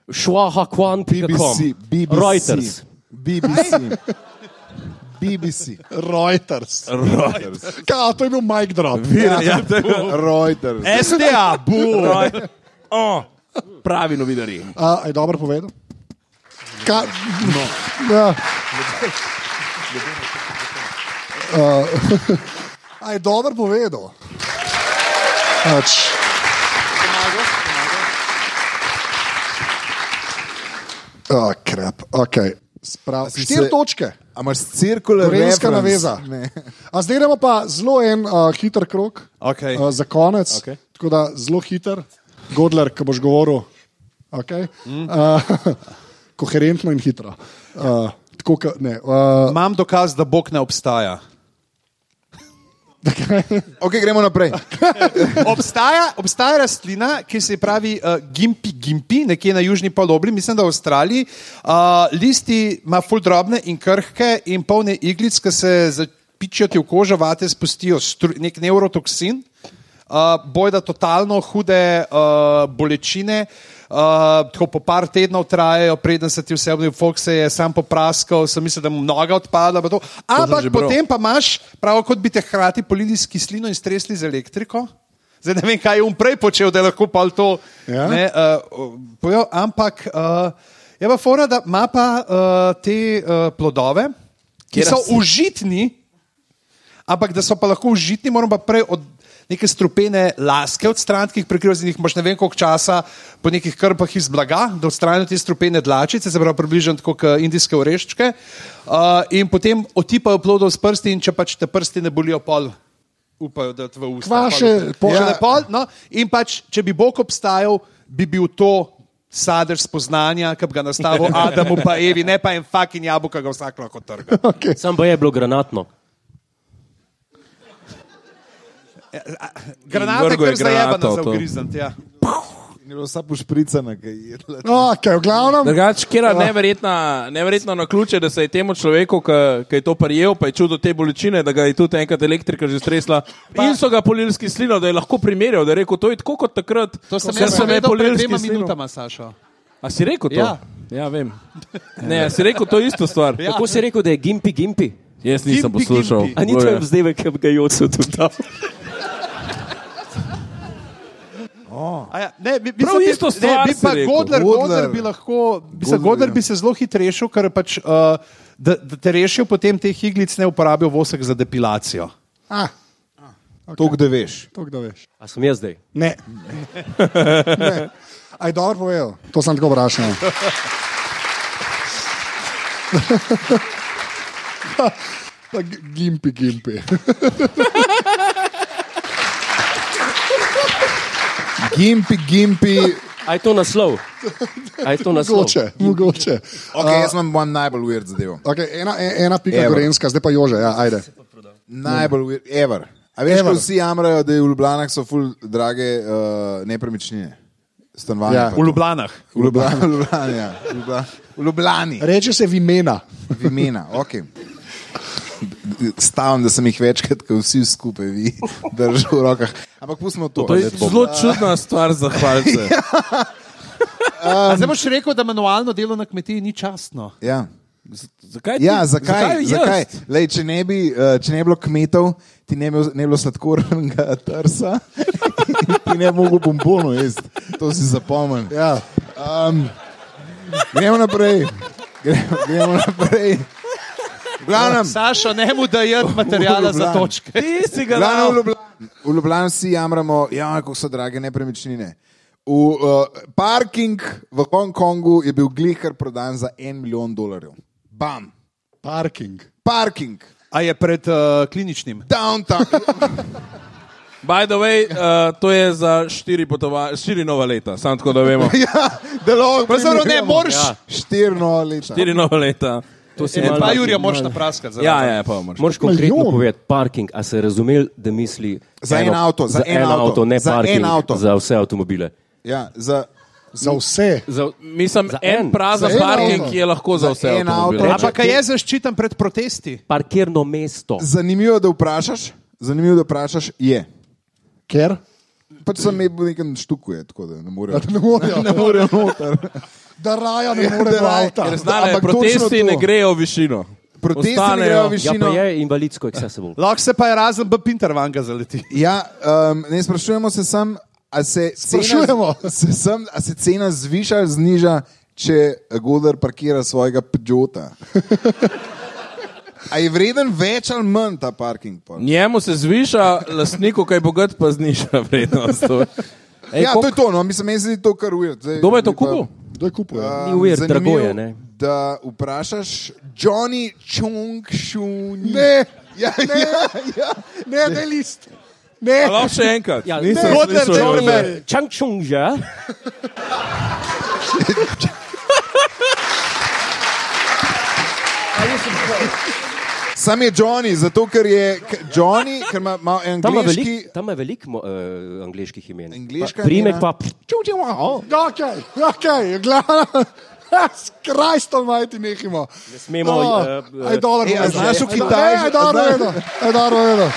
Speaker 5: BBC,
Speaker 3: šuahakwan.com,
Speaker 5: BBC.
Speaker 3: Reuters.
Speaker 5: BBC. BBC,
Speaker 1: Reuters. Kao, to je bil mic drop.
Speaker 4: Ja, (laughs) ja, to je bilo.
Speaker 5: Reuters.
Speaker 4: STA, boj. O, pravi novinarji.
Speaker 1: A, a je dobro povedal? Ka, no. ja. A, a je dobro povedal? Pač. Oh, krep, ok. Sprav,
Speaker 5: sem
Speaker 1: štiri
Speaker 5: se-
Speaker 1: točke,
Speaker 5: A imaš cirkular
Speaker 1: gorenska
Speaker 5: reference?
Speaker 1: naveza.
Speaker 5: Ne.
Speaker 1: A zdaj gremo pa zelo en uh, hiter krok
Speaker 2: Okej.
Speaker 1: uh, za konec.
Speaker 4: Okej.
Speaker 1: Tako da zelo hiter, Godler, ki boš govoril. Okay. Uh, (laughs) koherentno in hitro. Uh, tako, ka, ne, uh,
Speaker 2: Imam dokaz, da Bog ne obstaja.
Speaker 5: Ok, gremo naprej.
Speaker 2: (laughs) Obstaja, obstaja rastlina, ki se ji pravi uh, gimpi, gimpi, nekje na južni polobli, mislim, da v Avstraliji. Uh, listi ima ful drobne in krhke in polne iglic, ki se zapičijo ti v kožo, vate spustijo stru, nek neurotoksin, uh, bojda totalno hude uh, bolečine. Uh, tako po par tednov trajajo, preden se ti vse obnovi, Fox se je sam popraskal, sem mislil, da mu noga odpada. pa to.
Speaker 4: že
Speaker 2: Ampak
Speaker 4: bral.
Speaker 2: potem pa imaš, prav kot bi te hkrati polili s kislino in stresli z elektriko. Zdaj ne vem, kaj je um prej počel, da je lahko pa to
Speaker 1: Ja.
Speaker 2: ja. ne, uh, pojel, ampak uh, je pa fora, da ima pa uh, te uh, plodove, ki
Speaker 4: Kjer
Speaker 2: so
Speaker 4: rast-
Speaker 2: užitni, ampak da so pa lahko užitni, moramo pa prej od neke strupene laske odstraniti, ki jih prekrivaš, in jih imaš ne vem koliko časa po nekih krpah iz blaga, da odstranijo te strupene dlačice, se pravi približno tako kot indijske oreščke, uh, in potem otipajo plodov s prsti in če pač te prsti ne bolijo pol. Upajo, da te v usta.
Speaker 1: Kvaše, pol-
Speaker 2: pol, ja.
Speaker 1: ja.
Speaker 2: pol, no, in pač, če bi Bog obstajal, bi bil to sadež spoznanja, ki bi ga (laughs) nastavil Adamu pa Evi, ne pa en fucking jabolka, ki ga vsak lahko trga.
Speaker 3: Sam pa je bilo granatno.
Speaker 2: Granate,
Speaker 4: vrgel je
Speaker 2: ker zajebana
Speaker 4: granato
Speaker 2: za
Speaker 4: v to.
Speaker 2: ugrizen. Ja.
Speaker 5: Je bila vsa pošpricana, ki je jedla.
Speaker 1: Okay, v glavnem,
Speaker 4: Drugač, kera
Speaker 2: Ja.
Speaker 4: neverjetna, neverjetno na ključe, da se je temu človeku, ki je to prijel, pa je čudo te bolečine, da ga je tudi enkrat elektrika že stresla. Pa, in so ga polili s kislino, da je lahko primerjal, da je rekel, to je tako kot takrat,
Speaker 2: To sem
Speaker 4: ko
Speaker 2: jaz
Speaker 4: so me
Speaker 2: povedal pred
Speaker 4: polili s
Speaker 2: dvema
Speaker 4: kislino."
Speaker 2: minutama, Sašo.
Speaker 4: A si rekel to?
Speaker 2: Ja.
Speaker 4: ja vem. Ne, a si rekel to isto stvar? Ja.
Speaker 3: Kako si rekel, da je Gimpi Gimpi?
Speaker 4: Jaz nisem
Speaker 2: Gimpi,
Speaker 4: poslušal.
Speaker 2: gimpi.
Speaker 3: A ni to vzdevek, ki bi ga Jocu tudi dal?
Speaker 2: A Ja, ne, bi, bi
Speaker 4: Prav
Speaker 2: se ti-
Speaker 4: isto
Speaker 2: ne,
Speaker 4: stvar
Speaker 2: bi
Speaker 4: si
Speaker 2: pa
Speaker 4: rekel.
Speaker 2: Godler,
Speaker 5: Godler.
Speaker 2: Godler bi lahko, bi se,
Speaker 5: Godler,
Speaker 2: Godler
Speaker 5: ja.
Speaker 2: bi se zelo hitro rešil, ker pač, uh, da, da te rešijo, potem teh iglic ne uporabijo vosek za depilacijo.
Speaker 1: ah,
Speaker 5: To, kdo veš.
Speaker 1: to kdo veš.
Speaker 3: A sem jaz zdaj?
Speaker 1: Ne. (laughs) ne. Aj dobro povedal, to sem tako vprašal. (laughs) Pa g- Gimpi, gimpi.
Speaker 5: Gimpi, gimpi.
Speaker 3: A je to naslov? A je to naslov?
Speaker 1: Mogoče, mogoče.
Speaker 5: Okay, jaz imam one najbolj weird zadevo.
Speaker 1: Okay, ena, e- ena pika
Speaker 5: Evo.
Speaker 1: Evo. gorenska, zdaj pa jože, ja, ajde.
Speaker 5: Najbolj weird, ever. A veš, ko vsi jamrajo, da je v Ljubljanah so ful drage uh, nepremičnine. Stanovanja.
Speaker 1: Ja.
Speaker 5: pa
Speaker 2: V
Speaker 5: to.
Speaker 2: Ljubljanah.
Speaker 5: V Ljubljani. V Ljubljani. Ja. V Ljubljani. (laughs) V Ljubljani.
Speaker 1: Reče se vimena.
Speaker 5: V imena, ok. Stavim, da sem jih večkrat, kot vsi skupaj, vi (laughs) držite v rokah. Ampak pustimo to.
Speaker 4: To je zelo čudna stvar za hvalce.
Speaker 2: Um, zdaj boš rekel, da manualno delo na kmetiji ni častno.
Speaker 5: Ja.
Speaker 4: (laughs) Zakaj? ti-
Speaker 5: Ja, zakaj?
Speaker 4: zakaj jaz?
Speaker 5: zakaj? Lej, če, ne bi, eh, če ne bi bilo kmetov, ti ne bi, ne bi bilo sladkornega (laughs) trsa, ti ne bi mogel bombonov jesti. To si zapomni.
Speaker 1: Ja.
Speaker 5: Gremo naprej. Gremo, gremo naprej. V glavnem,
Speaker 2: Sašo, ne mu da (laughs) je materijala za
Speaker 5: Ljubljani.
Speaker 2: točke.
Speaker 4: Ti si ga
Speaker 5: Glavno, v,
Speaker 4: dal.
Speaker 5: Ljubljani, v Ljubljani vsi jamramo, ja, kako so drage nepremičnine. V, uh, parking v Hongkongu je bil glihar prodan za en milijon dolarjev. Bam,
Speaker 1: Parking.
Speaker 5: parking,
Speaker 2: A je pred uh, kliničnim.
Speaker 5: downtown.
Speaker 4: By the way, uh, to je za štiri, potova- štiri nova leta, samo tako da
Speaker 2: (laughs)
Speaker 4: vemo.
Speaker 5: (laughs) ja, delo,
Speaker 2: Pravzaprav ne moreš.
Speaker 5: Ja. Štirno leta.
Speaker 4: Štiri nova leta.
Speaker 3: To si
Speaker 2: En
Speaker 3: malo-
Speaker 2: pa Jurija moraš napraskati. zraven.
Speaker 4: Ja, ja, pa moraš.
Speaker 3: Moraš konkretno
Speaker 1: Milijon.
Speaker 3: povedati parking, a se razumel, da misli
Speaker 5: Za
Speaker 3: eno-
Speaker 5: en avto, za
Speaker 3: za
Speaker 5: en
Speaker 3: en
Speaker 5: avto,
Speaker 3: avto, ne
Speaker 5: za en
Speaker 3: parking,
Speaker 5: avto.
Speaker 3: za vse avtomobile.
Speaker 5: Ja, za,
Speaker 1: Za vse.
Speaker 3: Za,
Speaker 4: Mislim,
Speaker 3: Za en.
Speaker 4: en
Speaker 1: Za
Speaker 4: prazen
Speaker 1: en
Speaker 4: parking
Speaker 1: avto.
Speaker 4: je lahko za
Speaker 5: Za
Speaker 4: vse.
Speaker 5: en
Speaker 4: avtomobile.
Speaker 5: avto.
Speaker 2: Ampak a je zaščiten pred protesti.
Speaker 3: parkirno mesto.
Speaker 5: zanimivo, da vprašaš, zanimivo, da vprašaš je.
Speaker 1: Ker? (laughs)
Speaker 5: Pač sem imel v nekem štuku, je, tako da ne morejo.
Speaker 4: Ja,
Speaker 1: Da ne morejo. ne morejo noter. (laughs) Da raja ne more do avta.
Speaker 4: Ker znane,
Speaker 5: Ampak točno
Speaker 4: protesti
Speaker 5: to.
Speaker 4: ne grejo v višino.
Speaker 5: Protesti ne
Speaker 4: Ostanejo-
Speaker 5: grejo v
Speaker 3: Ja,
Speaker 5: višino.
Speaker 3: pa je invalidsko accessible.
Speaker 2: Lahko se pa je razen B. Pintervanga zaleti.
Speaker 5: Ja, um, ne sprašujemo se sam, ali se,
Speaker 1: Sprašujemo.
Speaker 5: cena z- (laughs) se, sam, a se cena zviša ali zniža, če Godler parkira svojega Peugeota. A je vreden več ali manj ta parking? pol?
Speaker 4: Njemu se zviša, lastniku, kaj bogat, pa zniža (laughs) vrednost. Ej,
Speaker 5: Ja, to je to, no, mislim, meni se zdi to kar ujed.
Speaker 4: Kdo je to kupil?
Speaker 1: Kdo je kupil?
Speaker 3: Ni weird, drago je, ne?
Speaker 5: Da vprašaš Johnny Chung Shun.
Speaker 1: Ne,
Speaker 5: Ja, ne. Ja, ja.
Speaker 1: ne, ne list. Ne.
Speaker 4: Lahko še enkrat.
Speaker 3: Ja, ne.
Speaker 4: Nisem slišal,
Speaker 2: Godler,
Speaker 4: Jože.
Speaker 2: Godler.
Speaker 3: Čangčung, ja?
Speaker 5: Sam je Johnny, zato ker je k- Johnny, ker ima malo
Speaker 3: Tam ima
Speaker 5: angliški.
Speaker 3: veliko velik, uh, angliških imen.
Speaker 5: Angleška
Speaker 3: Pa Primek
Speaker 5: imena.
Speaker 3: pa pff,
Speaker 1: Ok, ok, (laughs) glavno. Kraj to majti nehimo. Ne
Speaker 3: smemo, eh, eh,
Speaker 1: Aj dolar,
Speaker 5: Ej, a
Speaker 1: povedal.
Speaker 5: znaš v
Speaker 1: Aj do-
Speaker 5: Kitajž-
Speaker 1: ne, Aj E, dobro,
Speaker 5: znaš-
Speaker 1: vedno. Aj dobro, vedno.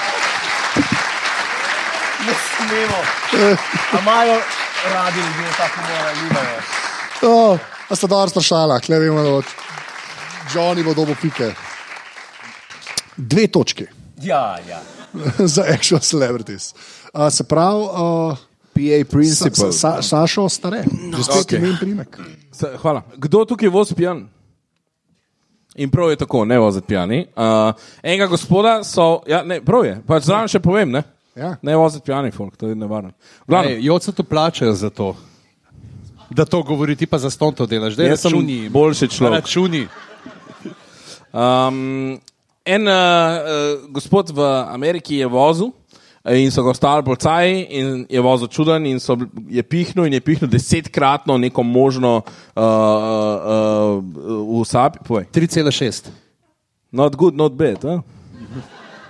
Speaker 1: Ne smemo. Amajo radi ljudi, tako mora, nimajo. A sta dobro strašala, kle vemo, da bo Johnny bo dobo pike. Dve točki
Speaker 3: Ja, ja.
Speaker 1: (laughs) za actual celebrities. Uh, se pravi, uh,
Speaker 5: PA
Speaker 1: Sa-
Speaker 5: Principle. No,
Speaker 1: Sa- Sašo stare, že spet imen primek.
Speaker 4: Se- Hvala. Kdo tukaj vozi pijan? In prav je tako, ne voziti pijani. Uh, enega gospoda so, ja, ne, prav je, pač zraven še povem, ne.
Speaker 1: Ja.
Speaker 4: Ne voziti pijani, folk, to je nevarno. Glavno,
Speaker 2: Joce to plačajo za to. Da to govori, ti pa za ston to delaš, da je
Speaker 4: jaz sem
Speaker 2: računi.
Speaker 4: boljši človek.
Speaker 2: Računi.
Speaker 4: Um, en uh, uh, gospod v Ameriki je vozil eh, in so ga ostali bolcaji in je vozil čuden in so, bili- je pihnil in je pihnil desetkratno neko možno uh, uh, uh, v sapi. Povej.
Speaker 2: 3,6.
Speaker 4: Not good, not bad. Eh?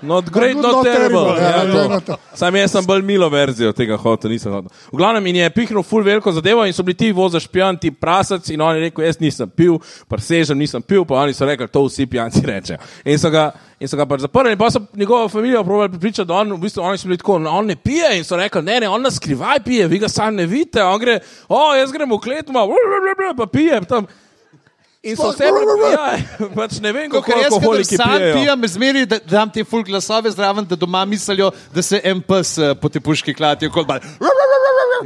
Speaker 4: Not great,
Speaker 1: Not
Speaker 4: not,
Speaker 1: good, not
Speaker 4: terrible.
Speaker 1: terrible. Ja,
Speaker 4: Ja,
Speaker 1: to je
Speaker 4: to.
Speaker 1: not-
Speaker 4: Sam jaz sem bolj milo verzijo tega hotel, nisem hotel. V glavnem in je pihnil full veliko zadevo in so bili ti vozaš pijan, ti prasac in on je rekel, jaz nisem pil, presežem, nisem pil, pa oni so rekli, to vsi pijanci rečejo. In so ga, in so ga pač zaprli, pa so njegovo familijo probali pripričati, da on, v bistvu oni so bili tako, "No, on ne pije in so rekli, ne, ne, on nas skrivaj pije, vi ga sam ne vidite, on gre, o, jaz grem v klet, ma, pa pije tam. In so vse, ja, (laughs) pač ne vem, kako
Speaker 2: Ker jaz, ko
Speaker 4: alkoholiki
Speaker 2: sam
Speaker 4: pijejo.
Speaker 2: pijem, zmeri da, dam ti full glasove zraven, da doma mislijo, da se en pes eh, po te puški klati. Kot bar.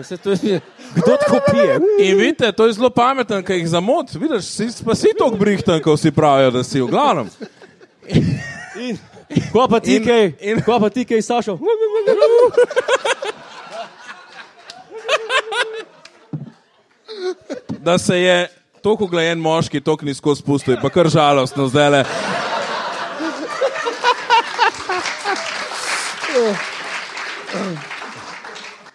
Speaker 3: Se to je, kdo tako pije?
Speaker 4: In vidite, to je zelo pameten, ker jih zamot, vidiš, si, pa si tako brihten, kot vsi pravijo, da si v glavnem.
Speaker 3: Ko pa ti
Speaker 4: In-
Speaker 3: kaj,
Speaker 4: in-
Speaker 3: ko pa ti kaj, Sašo?
Speaker 4: Da se je tako uglajen moški, tako nizko spustil, je pa kar žalostno zdaj le.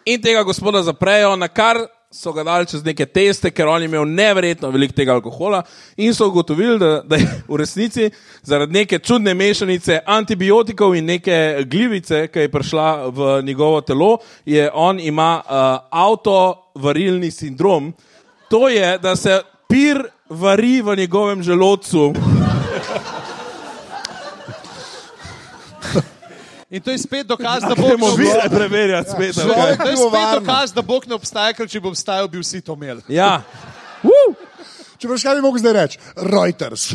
Speaker 4: In tega gospoda zaprejo, na kar so ga dali čez neke teste, ker on je imel neverjetno veliko tega alkohola, in so ugotovili, da, da je v resnici zaradi neke čudne mešanice antibiotikov in neke glivice, ki je prišla v njegovo telo, je on ima uh, avtovarilni sindrom. To je, da se pir vari v njegovem želodcu. (laughs)
Speaker 2: In to je spet dokaz, da Bog ne
Speaker 4: Moramo
Speaker 2: obstaja.
Speaker 4: preverjati spet. Okay.
Speaker 5: Človek-
Speaker 2: To je spet
Speaker 5: Pivovarna.
Speaker 2: dokaz, da Bog ne obstaja, ker če bi obstajal, bi vsi to imeli.
Speaker 4: Ja.
Speaker 1: Če veš, kaj bi mogel zdaj reči,
Speaker 5: (laughs)
Speaker 1: Reuters.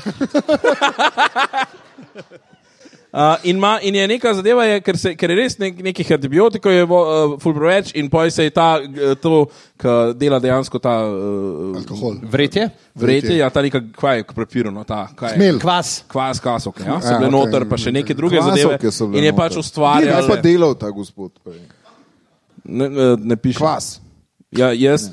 Speaker 4: Uh, in, ma, in je neka zadeva, je, ker, se, ker je res nek, nekih antibiotikov, je uh, ful preveč, in poj se je ta, eh, to, ki dela dejansko ta uh,
Speaker 1: Alkohol.
Speaker 2: Vretje?
Speaker 4: vretje, ja, ta neka, kaj je prepirano, ta kaj je.
Speaker 1: Hmelj.
Speaker 2: Kvas.
Speaker 4: Kvas, kasok, ja, so
Speaker 5: Ja,
Speaker 4: bile
Speaker 5: ok.
Speaker 4: noter, pa še neke druge zadeve.
Speaker 5: Kvasovke so bile
Speaker 4: In je
Speaker 5: noter.
Speaker 4: pač
Speaker 5: Kaj pa
Speaker 4: ustvarjal.
Speaker 5: delal ta gospod? prej?
Speaker 4: Ne, ne, ne piše.
Speaker 5: Kvas.
Speaker 4: Ja, jaz,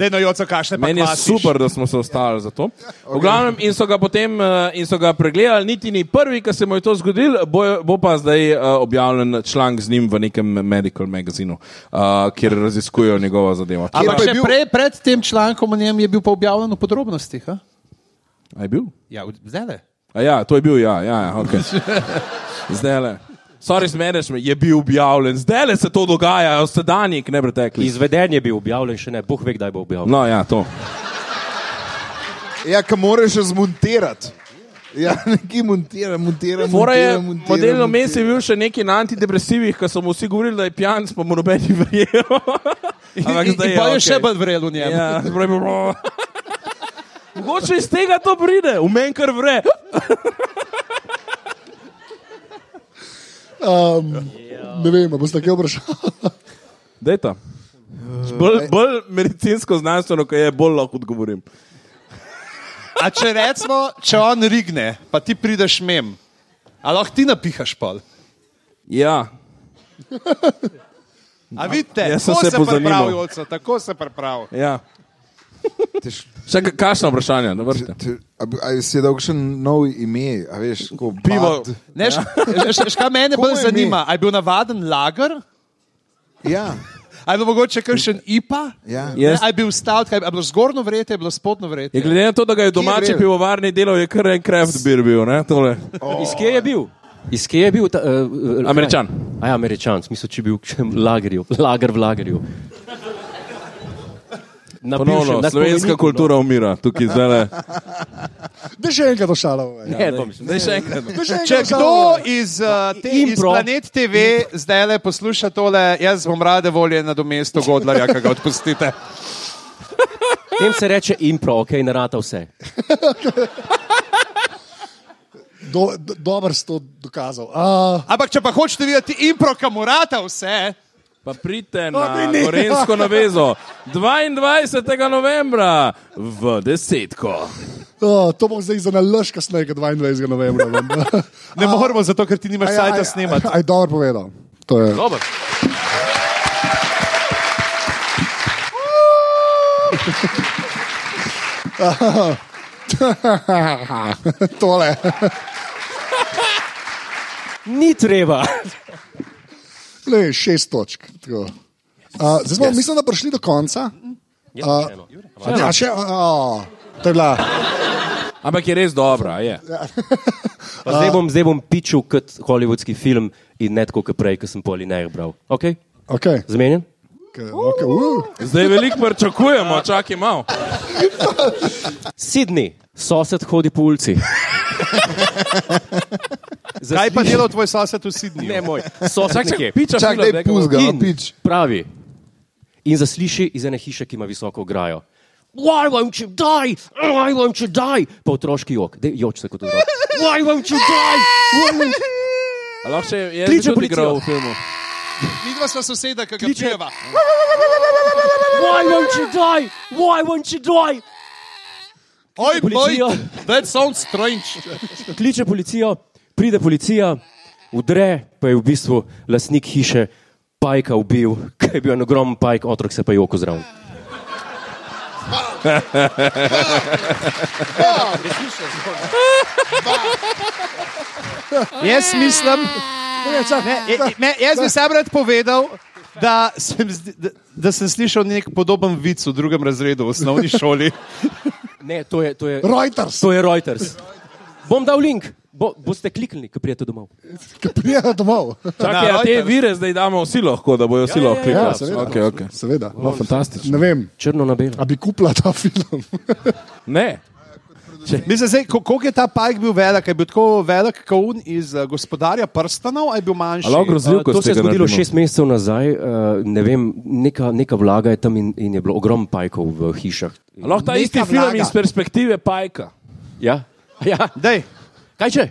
Speaker 2: Dej no, joco, kašne pa
Speaker 4: Meni je
Speaker 2: kvasiš.
Speaker 4: super, da smo se ostali za to. V glavnem, in so ga potem eh, in so ga pregledali, niti ni prvi, ki se mu je to zgodil, bo, bo pa zdaj eh, objavljen članek z njim v nekem medical magazinu, eh, kjer raziskujejo njegovo zadevo. A
Speaker 5: Kjer
Speaker 2: Ampak
Speaker 5: pa je
Speaker 2: še
Speaker 5: bil-
Speaker 2: prej, pred tem člankom o njem je bil pa objavljen v podrobnostih. A?
Speaker 4: a je bil?
Speaker 2: Ja, zdaj le.
Speaker 4: A ja, to je bil, ja, ja, ja ok. Zdaj le. Sorry, zmedeš me, je bil objavljen, zdaj le se to dogaja, sedanjik ne pretekli.
Speaker 3: Izveden je bil objavljen, še ne, Bog ve, kdaj bo objavljen.
Speaker 4: No, ja, to.
Speaker 5: Ja, ki moraš še zmontirati. Ja, (laughs) neki montira, montira,
Speaker 4: Fora je,
Speaker 5: montira, montira,
Speaker 4: modelno
Speaker 5: montira.
Speaker 4: mes je bil še neki na antidepresivih, ko so mu vsi govorili, da je pijan, pa mu noben ni (laughs) verjel. Ampak
Speaker 2: In,
Speaker 4: zdaj
Speaker 2: in pa je
Speaker 4: okej.
Speaker 2: še bolj vrel v njem.
Speaker 4: Ja, zdaj bo- bo- (laughs) Mogoče iz tega to pride, v meni kar vre.
Speaker 1: Um, ne vem, a boste kaj vprašali.
Speaker 4: Dejta. Bolj, bolj medicinsko znanstveno, ko je, bolj lahko odgovorim.
Speaker 2: A če recimo, če on rigne, pa ti prideš mem, ali lahko ti napihaš pol.
Speaker 4: Ja,
Speaker 2: A vidite,
Speaker 4: Jaz sem
Speaker 2: tako
Speaker 4: se
Speaker 2: se pripravi,
Speaker 4: pozanimal.
Speaker 2: oče, tako se pripravi.
Speaker 4: ja.
Speaker 5: Tež-
Speaker 4: Še ka- kakšno vprašanje, da vrste.
Speaker 5: Te- A, bi- a si je dal še nov ime, a veš, kot
Speaker 4: Pivo.
Speaker 2: Ne,
Speaker 4: Ja.
Speaker 2: š- š- š- Kaj mene bolj
Speaker 5: je
Speaker 2: zanima, ali je bil navaden lager,
Speaker 3: (laughs)
Speaker 5: Ja,
Speaker 2: ali je bil mogoče kakšen IPA,
Speaker 5: ja.
Speaker 4: Jaz-
Speaker 2: ali je bil stal, ali je bilo zgornjo vrete, ali je bilo spodnjo
Speaker 4: Je
Speaker 2: vrete.
Speaker 4: glede na to, da ga je v domači
Speaker 5: vrel?
Speaker 4: pivovarni delal, je kar en kraft bir bil, ne? Tole.
Speaker 3: Iz kje je bil? Iz kje je bil? Ta, uh,
Speaker 4: No. Američan.
Speaker 3: A ja, Američan, smisel, če bi bil v kakšnem lagerju, lager v lagerju. Na bivšem,
Speaker 4: Ponovno,
Speaker 3: na
Speaker 4: slovenska
Speaker 3: spomeniku,
Speaker 4: kultura umira tukaj zdaj.
Speaker 1: Da še enkrat ošalamo.
Speaker 3: No. Ne, to mislim.
Speaker 4: Zdaj še enkrat.
Speaker 2: Če kdo iz, uh, te, iz
Speaker 3: Impro.
Speaker 2: Planet TV zdaj le posluša tole, jaz bom rade volje na domesto Godlarja, ki ga odpustite.
Speaker 3: Tem se reče impro, ok, narata vse.
Speaker 1: Do, do, Dobro si to dokazal. Uh,
Speaker 2: Ampak če pa hočete videti impro, kamurata vse,
Speaker 4: Pa pridite
Speaker 1: Pa
Speaker 4: na
Speaker 1: pri njih.
Speaker 4: Gorensko navezo 22. novembra v desetko.
Speaker 1: uh, to bom zdaj za nalaž kasneje, 22. novembra. (laughs)
Speaker 2: ne moremo, zato ker ti nimaš sajta (laughs) snemati.
Speaker 1: Aj, dobro povedal. To je.
Speaker 4: Dobro.
Speaker 1: (laughs) Tole.
Speaker 3: Ni treba.
Speaker 1: Le, šest točk. Uh, zdaj smo, yes. mislim, da prišli do konca.
Speaker 3: Ja, še eno.
Speaker 1: Ja, še, uh, to je bila
Speaker 4: Ampak je res dobra. Je.
Speaker 3: Pa Zdaj bom, zdaj bom pičil kot holivudski film in ne tako, kot prej, ko sem poliner bral. Okay?
Speaker 1: Okay.
Speaker 3: Zamenjen?
Speaker 1: Okay. Uh.
Speaker 4: Zdaj veliko pričakujemo, čakaj malo.
Speaker 3: Sidni, sosed hodi po
Speaker 4: (laughs)
Speaker 3: ulici.
Speaker 2: Kaj pa dela tvoj sosed v Sydneyju?
Speaker 3: Ne moj, sosed nekje.
Speaker 4: Piča,
Speaker 5: Čak,
Speaker 4: Filip,
Speaker 5: daj, pust ga,
Speaker 3: no, In
Speaker 5: pič.
Speaker 3: Pravi. In zasliši iz ene hiše, ki ima visoko ograjo. Why won't you die? Why won't you die? Pa otroški jok, Dej, joč se kot otrok. Why won't you die? Why won't...
Speaker 4: A Lahko še je
Speaker 3: Kliče
Speaker 4: tudi
Speaker 3: policijo.
Speaker 4: igral v filmu.
Speaker 2: Vidva sta soseda, ki ga
Speaker 3: Kliče.
Speaker 2: pijeva.
Speaker 3: Why won't you die? Why won't you die?
Speaker 2: Oj, moj,
Speaker 3: Policijo.
Speaker 2: that sounds strange.
Speaker 3: Kliče policijo, pride policija, udre, pa je v bistvu lastnik hiše pajka ubil, ker je bil en ogromen pajk, otrok se pa je oko zraven.
Speaker 7: Jaz mislim, ne, ne, ne, jaz bi sam rad povedal, da sem, zdi- da, da sem slišal nek podoben vic v drugem razredu v osnovni
Speaker 2: (laughs)
Speaker 7: šoli.
Speaker 3: Ne, to je, to je,
Speaker 1: Reuters,
Speaker 3: to je Reuters. Bom dal link, Bo, boste kliknili, ko prijete domov.
Speaker 1: ki prijeha domov.
Speaker 2: Ja,
Speaker 4: Čakaj, a Ja, te vire zdaj damo vsi lahko, da bojo vsi lahko
Speaker 1: Ja,
Speaker 4: klikali.
Speaker 1: seveda.
Speaker 4: Okay, okay.
Speaker 1: seveda.
Speaker 4: No, fantastično.
Speaker 1: Ne vem,
Speaker 3: Črno na belo.
Speaker 1: a bi kupila ta film. (laughs)
Speaker 4: Ne,
Speaker 2: Mislim, zdaj, ko- koliko je ta pajk bil velik? Je bil tako velik kot un iz eh, gospodarja prstanov, ali je bil manjši?
Speaker 4: Alo, grozljiv,
Speaker 3: Uh,
Speaker 4: ko
Speaker 3: To
Speaker 4: ste
Speaker 3: se je
Speaker 4: ga
Speaker 3: zgodilo
Speaker 4: naredimo.
Speaker 3: šest mesecev nazaj, uh, ne vem, neka, neka vlaga je tam in, in je bilo ogromno pajkov v hišah.
Speaker 4: A Lahko ta
Speaker 1: Neka
Speaker 4: isti film
Speaker 1: vlaga.
Speaker 4: iz perspektive Pajka.
Speaker 3: Ja, (laughs) ja.
Speaker 2: Dej,
Speaker 3: kaj če?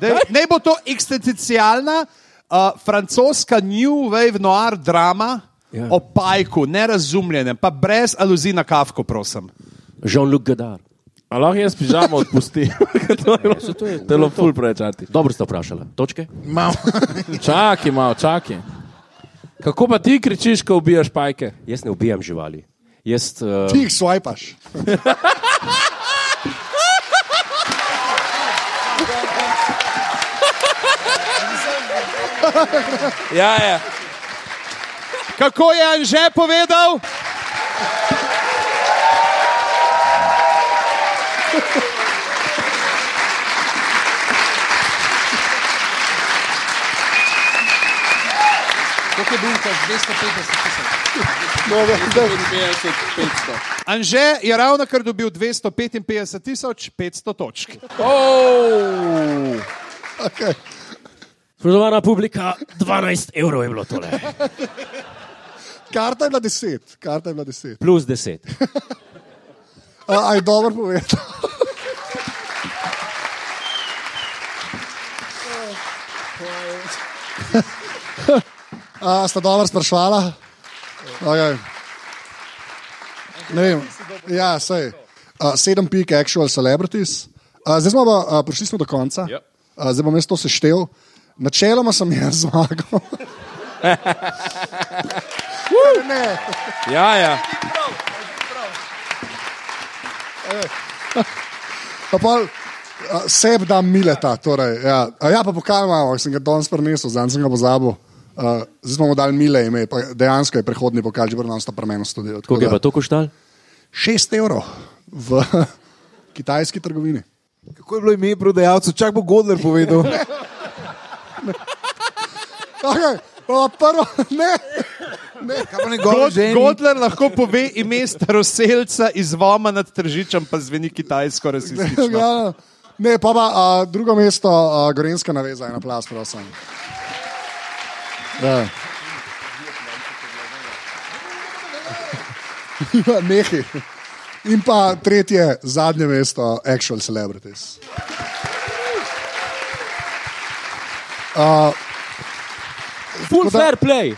Speaker 2: dej, ne bo to eksistencialna uh, francoska New Wave noir drama
Speaker 3: Ja.
Speaker 2: ja. o pajku, nerazumljenem, pa brez aluzij na kavko, prosim.
Speaker 3: Jean-Luc Godard.
Speaker 4: A Lahko jaz pižamo odpusti. to je bilo- to je bilo ful prečati.
Speaker 3: Dobro ste vprašali. Točke?
Speaker 4: Čakaj malo, čakaj. Kako pa ti kričiš, ko ubijaš pajke?
Speaker 3: Jaz ne ubijam živali. Jaz, uh,
Speaker 1: Ti jih swipaš.
Speaker 4: Ja, ja.
Speaker 2: Kako je Anže povedal? Kako je bil ta 250 tisoč? Anže je ravno kar dobil 255 tisoč 500 točk.
Speaker 4: Oh!
Speaker 1: Okay.
Speaker 3: spoštovana publika, 12 evrov je bilo tole.
Speaker 1: Karta je bila deset, karta je bila deset.
Speaker 3: Plus 10.
Speaker 1: A, a je dobro povedal. A, sta dobro sprašvala? Okay. Ne vem. Ja, sej. A, sedem pik, actual celebrities. A, zdaj smo pa, a, prišli smo do konca.
Speaker 4: Ja.
Speaker 1: A, zdaj bom jaz to seštel. Načeloma sem jaz zmagal. ne.
Speaker 4: Ja, ja.
Speaker 1: Pa pol, a, seb da mileta. Torej, ja. A ja, pa pokal imamo, sem ga danes prenesel, zdaj sem ga pozabil. Uh, zdaj smo mu dali mile ime, pa dejansko je prehodni pokal, že brnam sta premenu studio.
Speaker 3: Koliko je pa to
Speaker 1: 6
Speaker 3: koštalo?
Speaker 1: evrov v (laughs) kitajski trgovini.
Speaker 5: (laughs) Kako je bilo ime prodajalcu? Čak bo Godler povedal.
Speaker 4: (laughs)
Speaker 1: Okay, pa prvo, (laughs) ne,
Speaker 5: Kaj pa njegov ženi?
Speaker 2: Godler lahko pove ime staroseljca iz Voma nad Tržičem, pa zveni kitajsko rasistično.
Speaker 1: (laughs) ja, ne, pa pa a, drugo mesto, a, gorenska naveza, ena plast, prosim. (laughs) Ja. Ja, Nehi. In pa tretje, zadnje mesto, actual celebrities.
Speaker 3: Full fair play.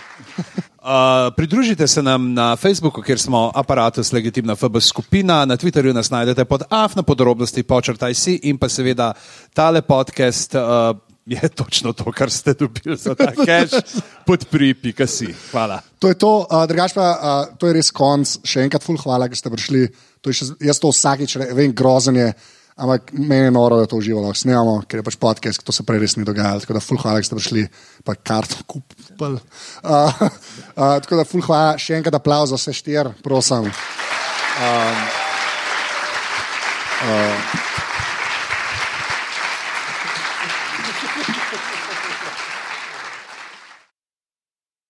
Speaker 2: Uh, pridružite se nam na Facebooku, kjer smo aparatus legitimna FB skupina, na Twitterju nas najdete pod AF na podrobnosti, počrtaj si in pa seveda tale podcast. Uh, Je točno to, kar ste dobili za ta cache, podprij, pika si. Hvala.
Speaker 1: To je to, uh, drugač pa uh, to je res konc. Še enkrat, ful, hvala, da ste prišli. To je še, jaz to vsakič re- vem, grozen je, ampak meni je noro, da to uživamo, snemamo, ker je pač podcast, to se prej res ni dogajalo. Tako da, ful, hvala, da ste prišli, pa karto kupili. Uh, uh, tako da, ful, hvala, še enkrat aplauz za vse štir, prosim. Um, uh,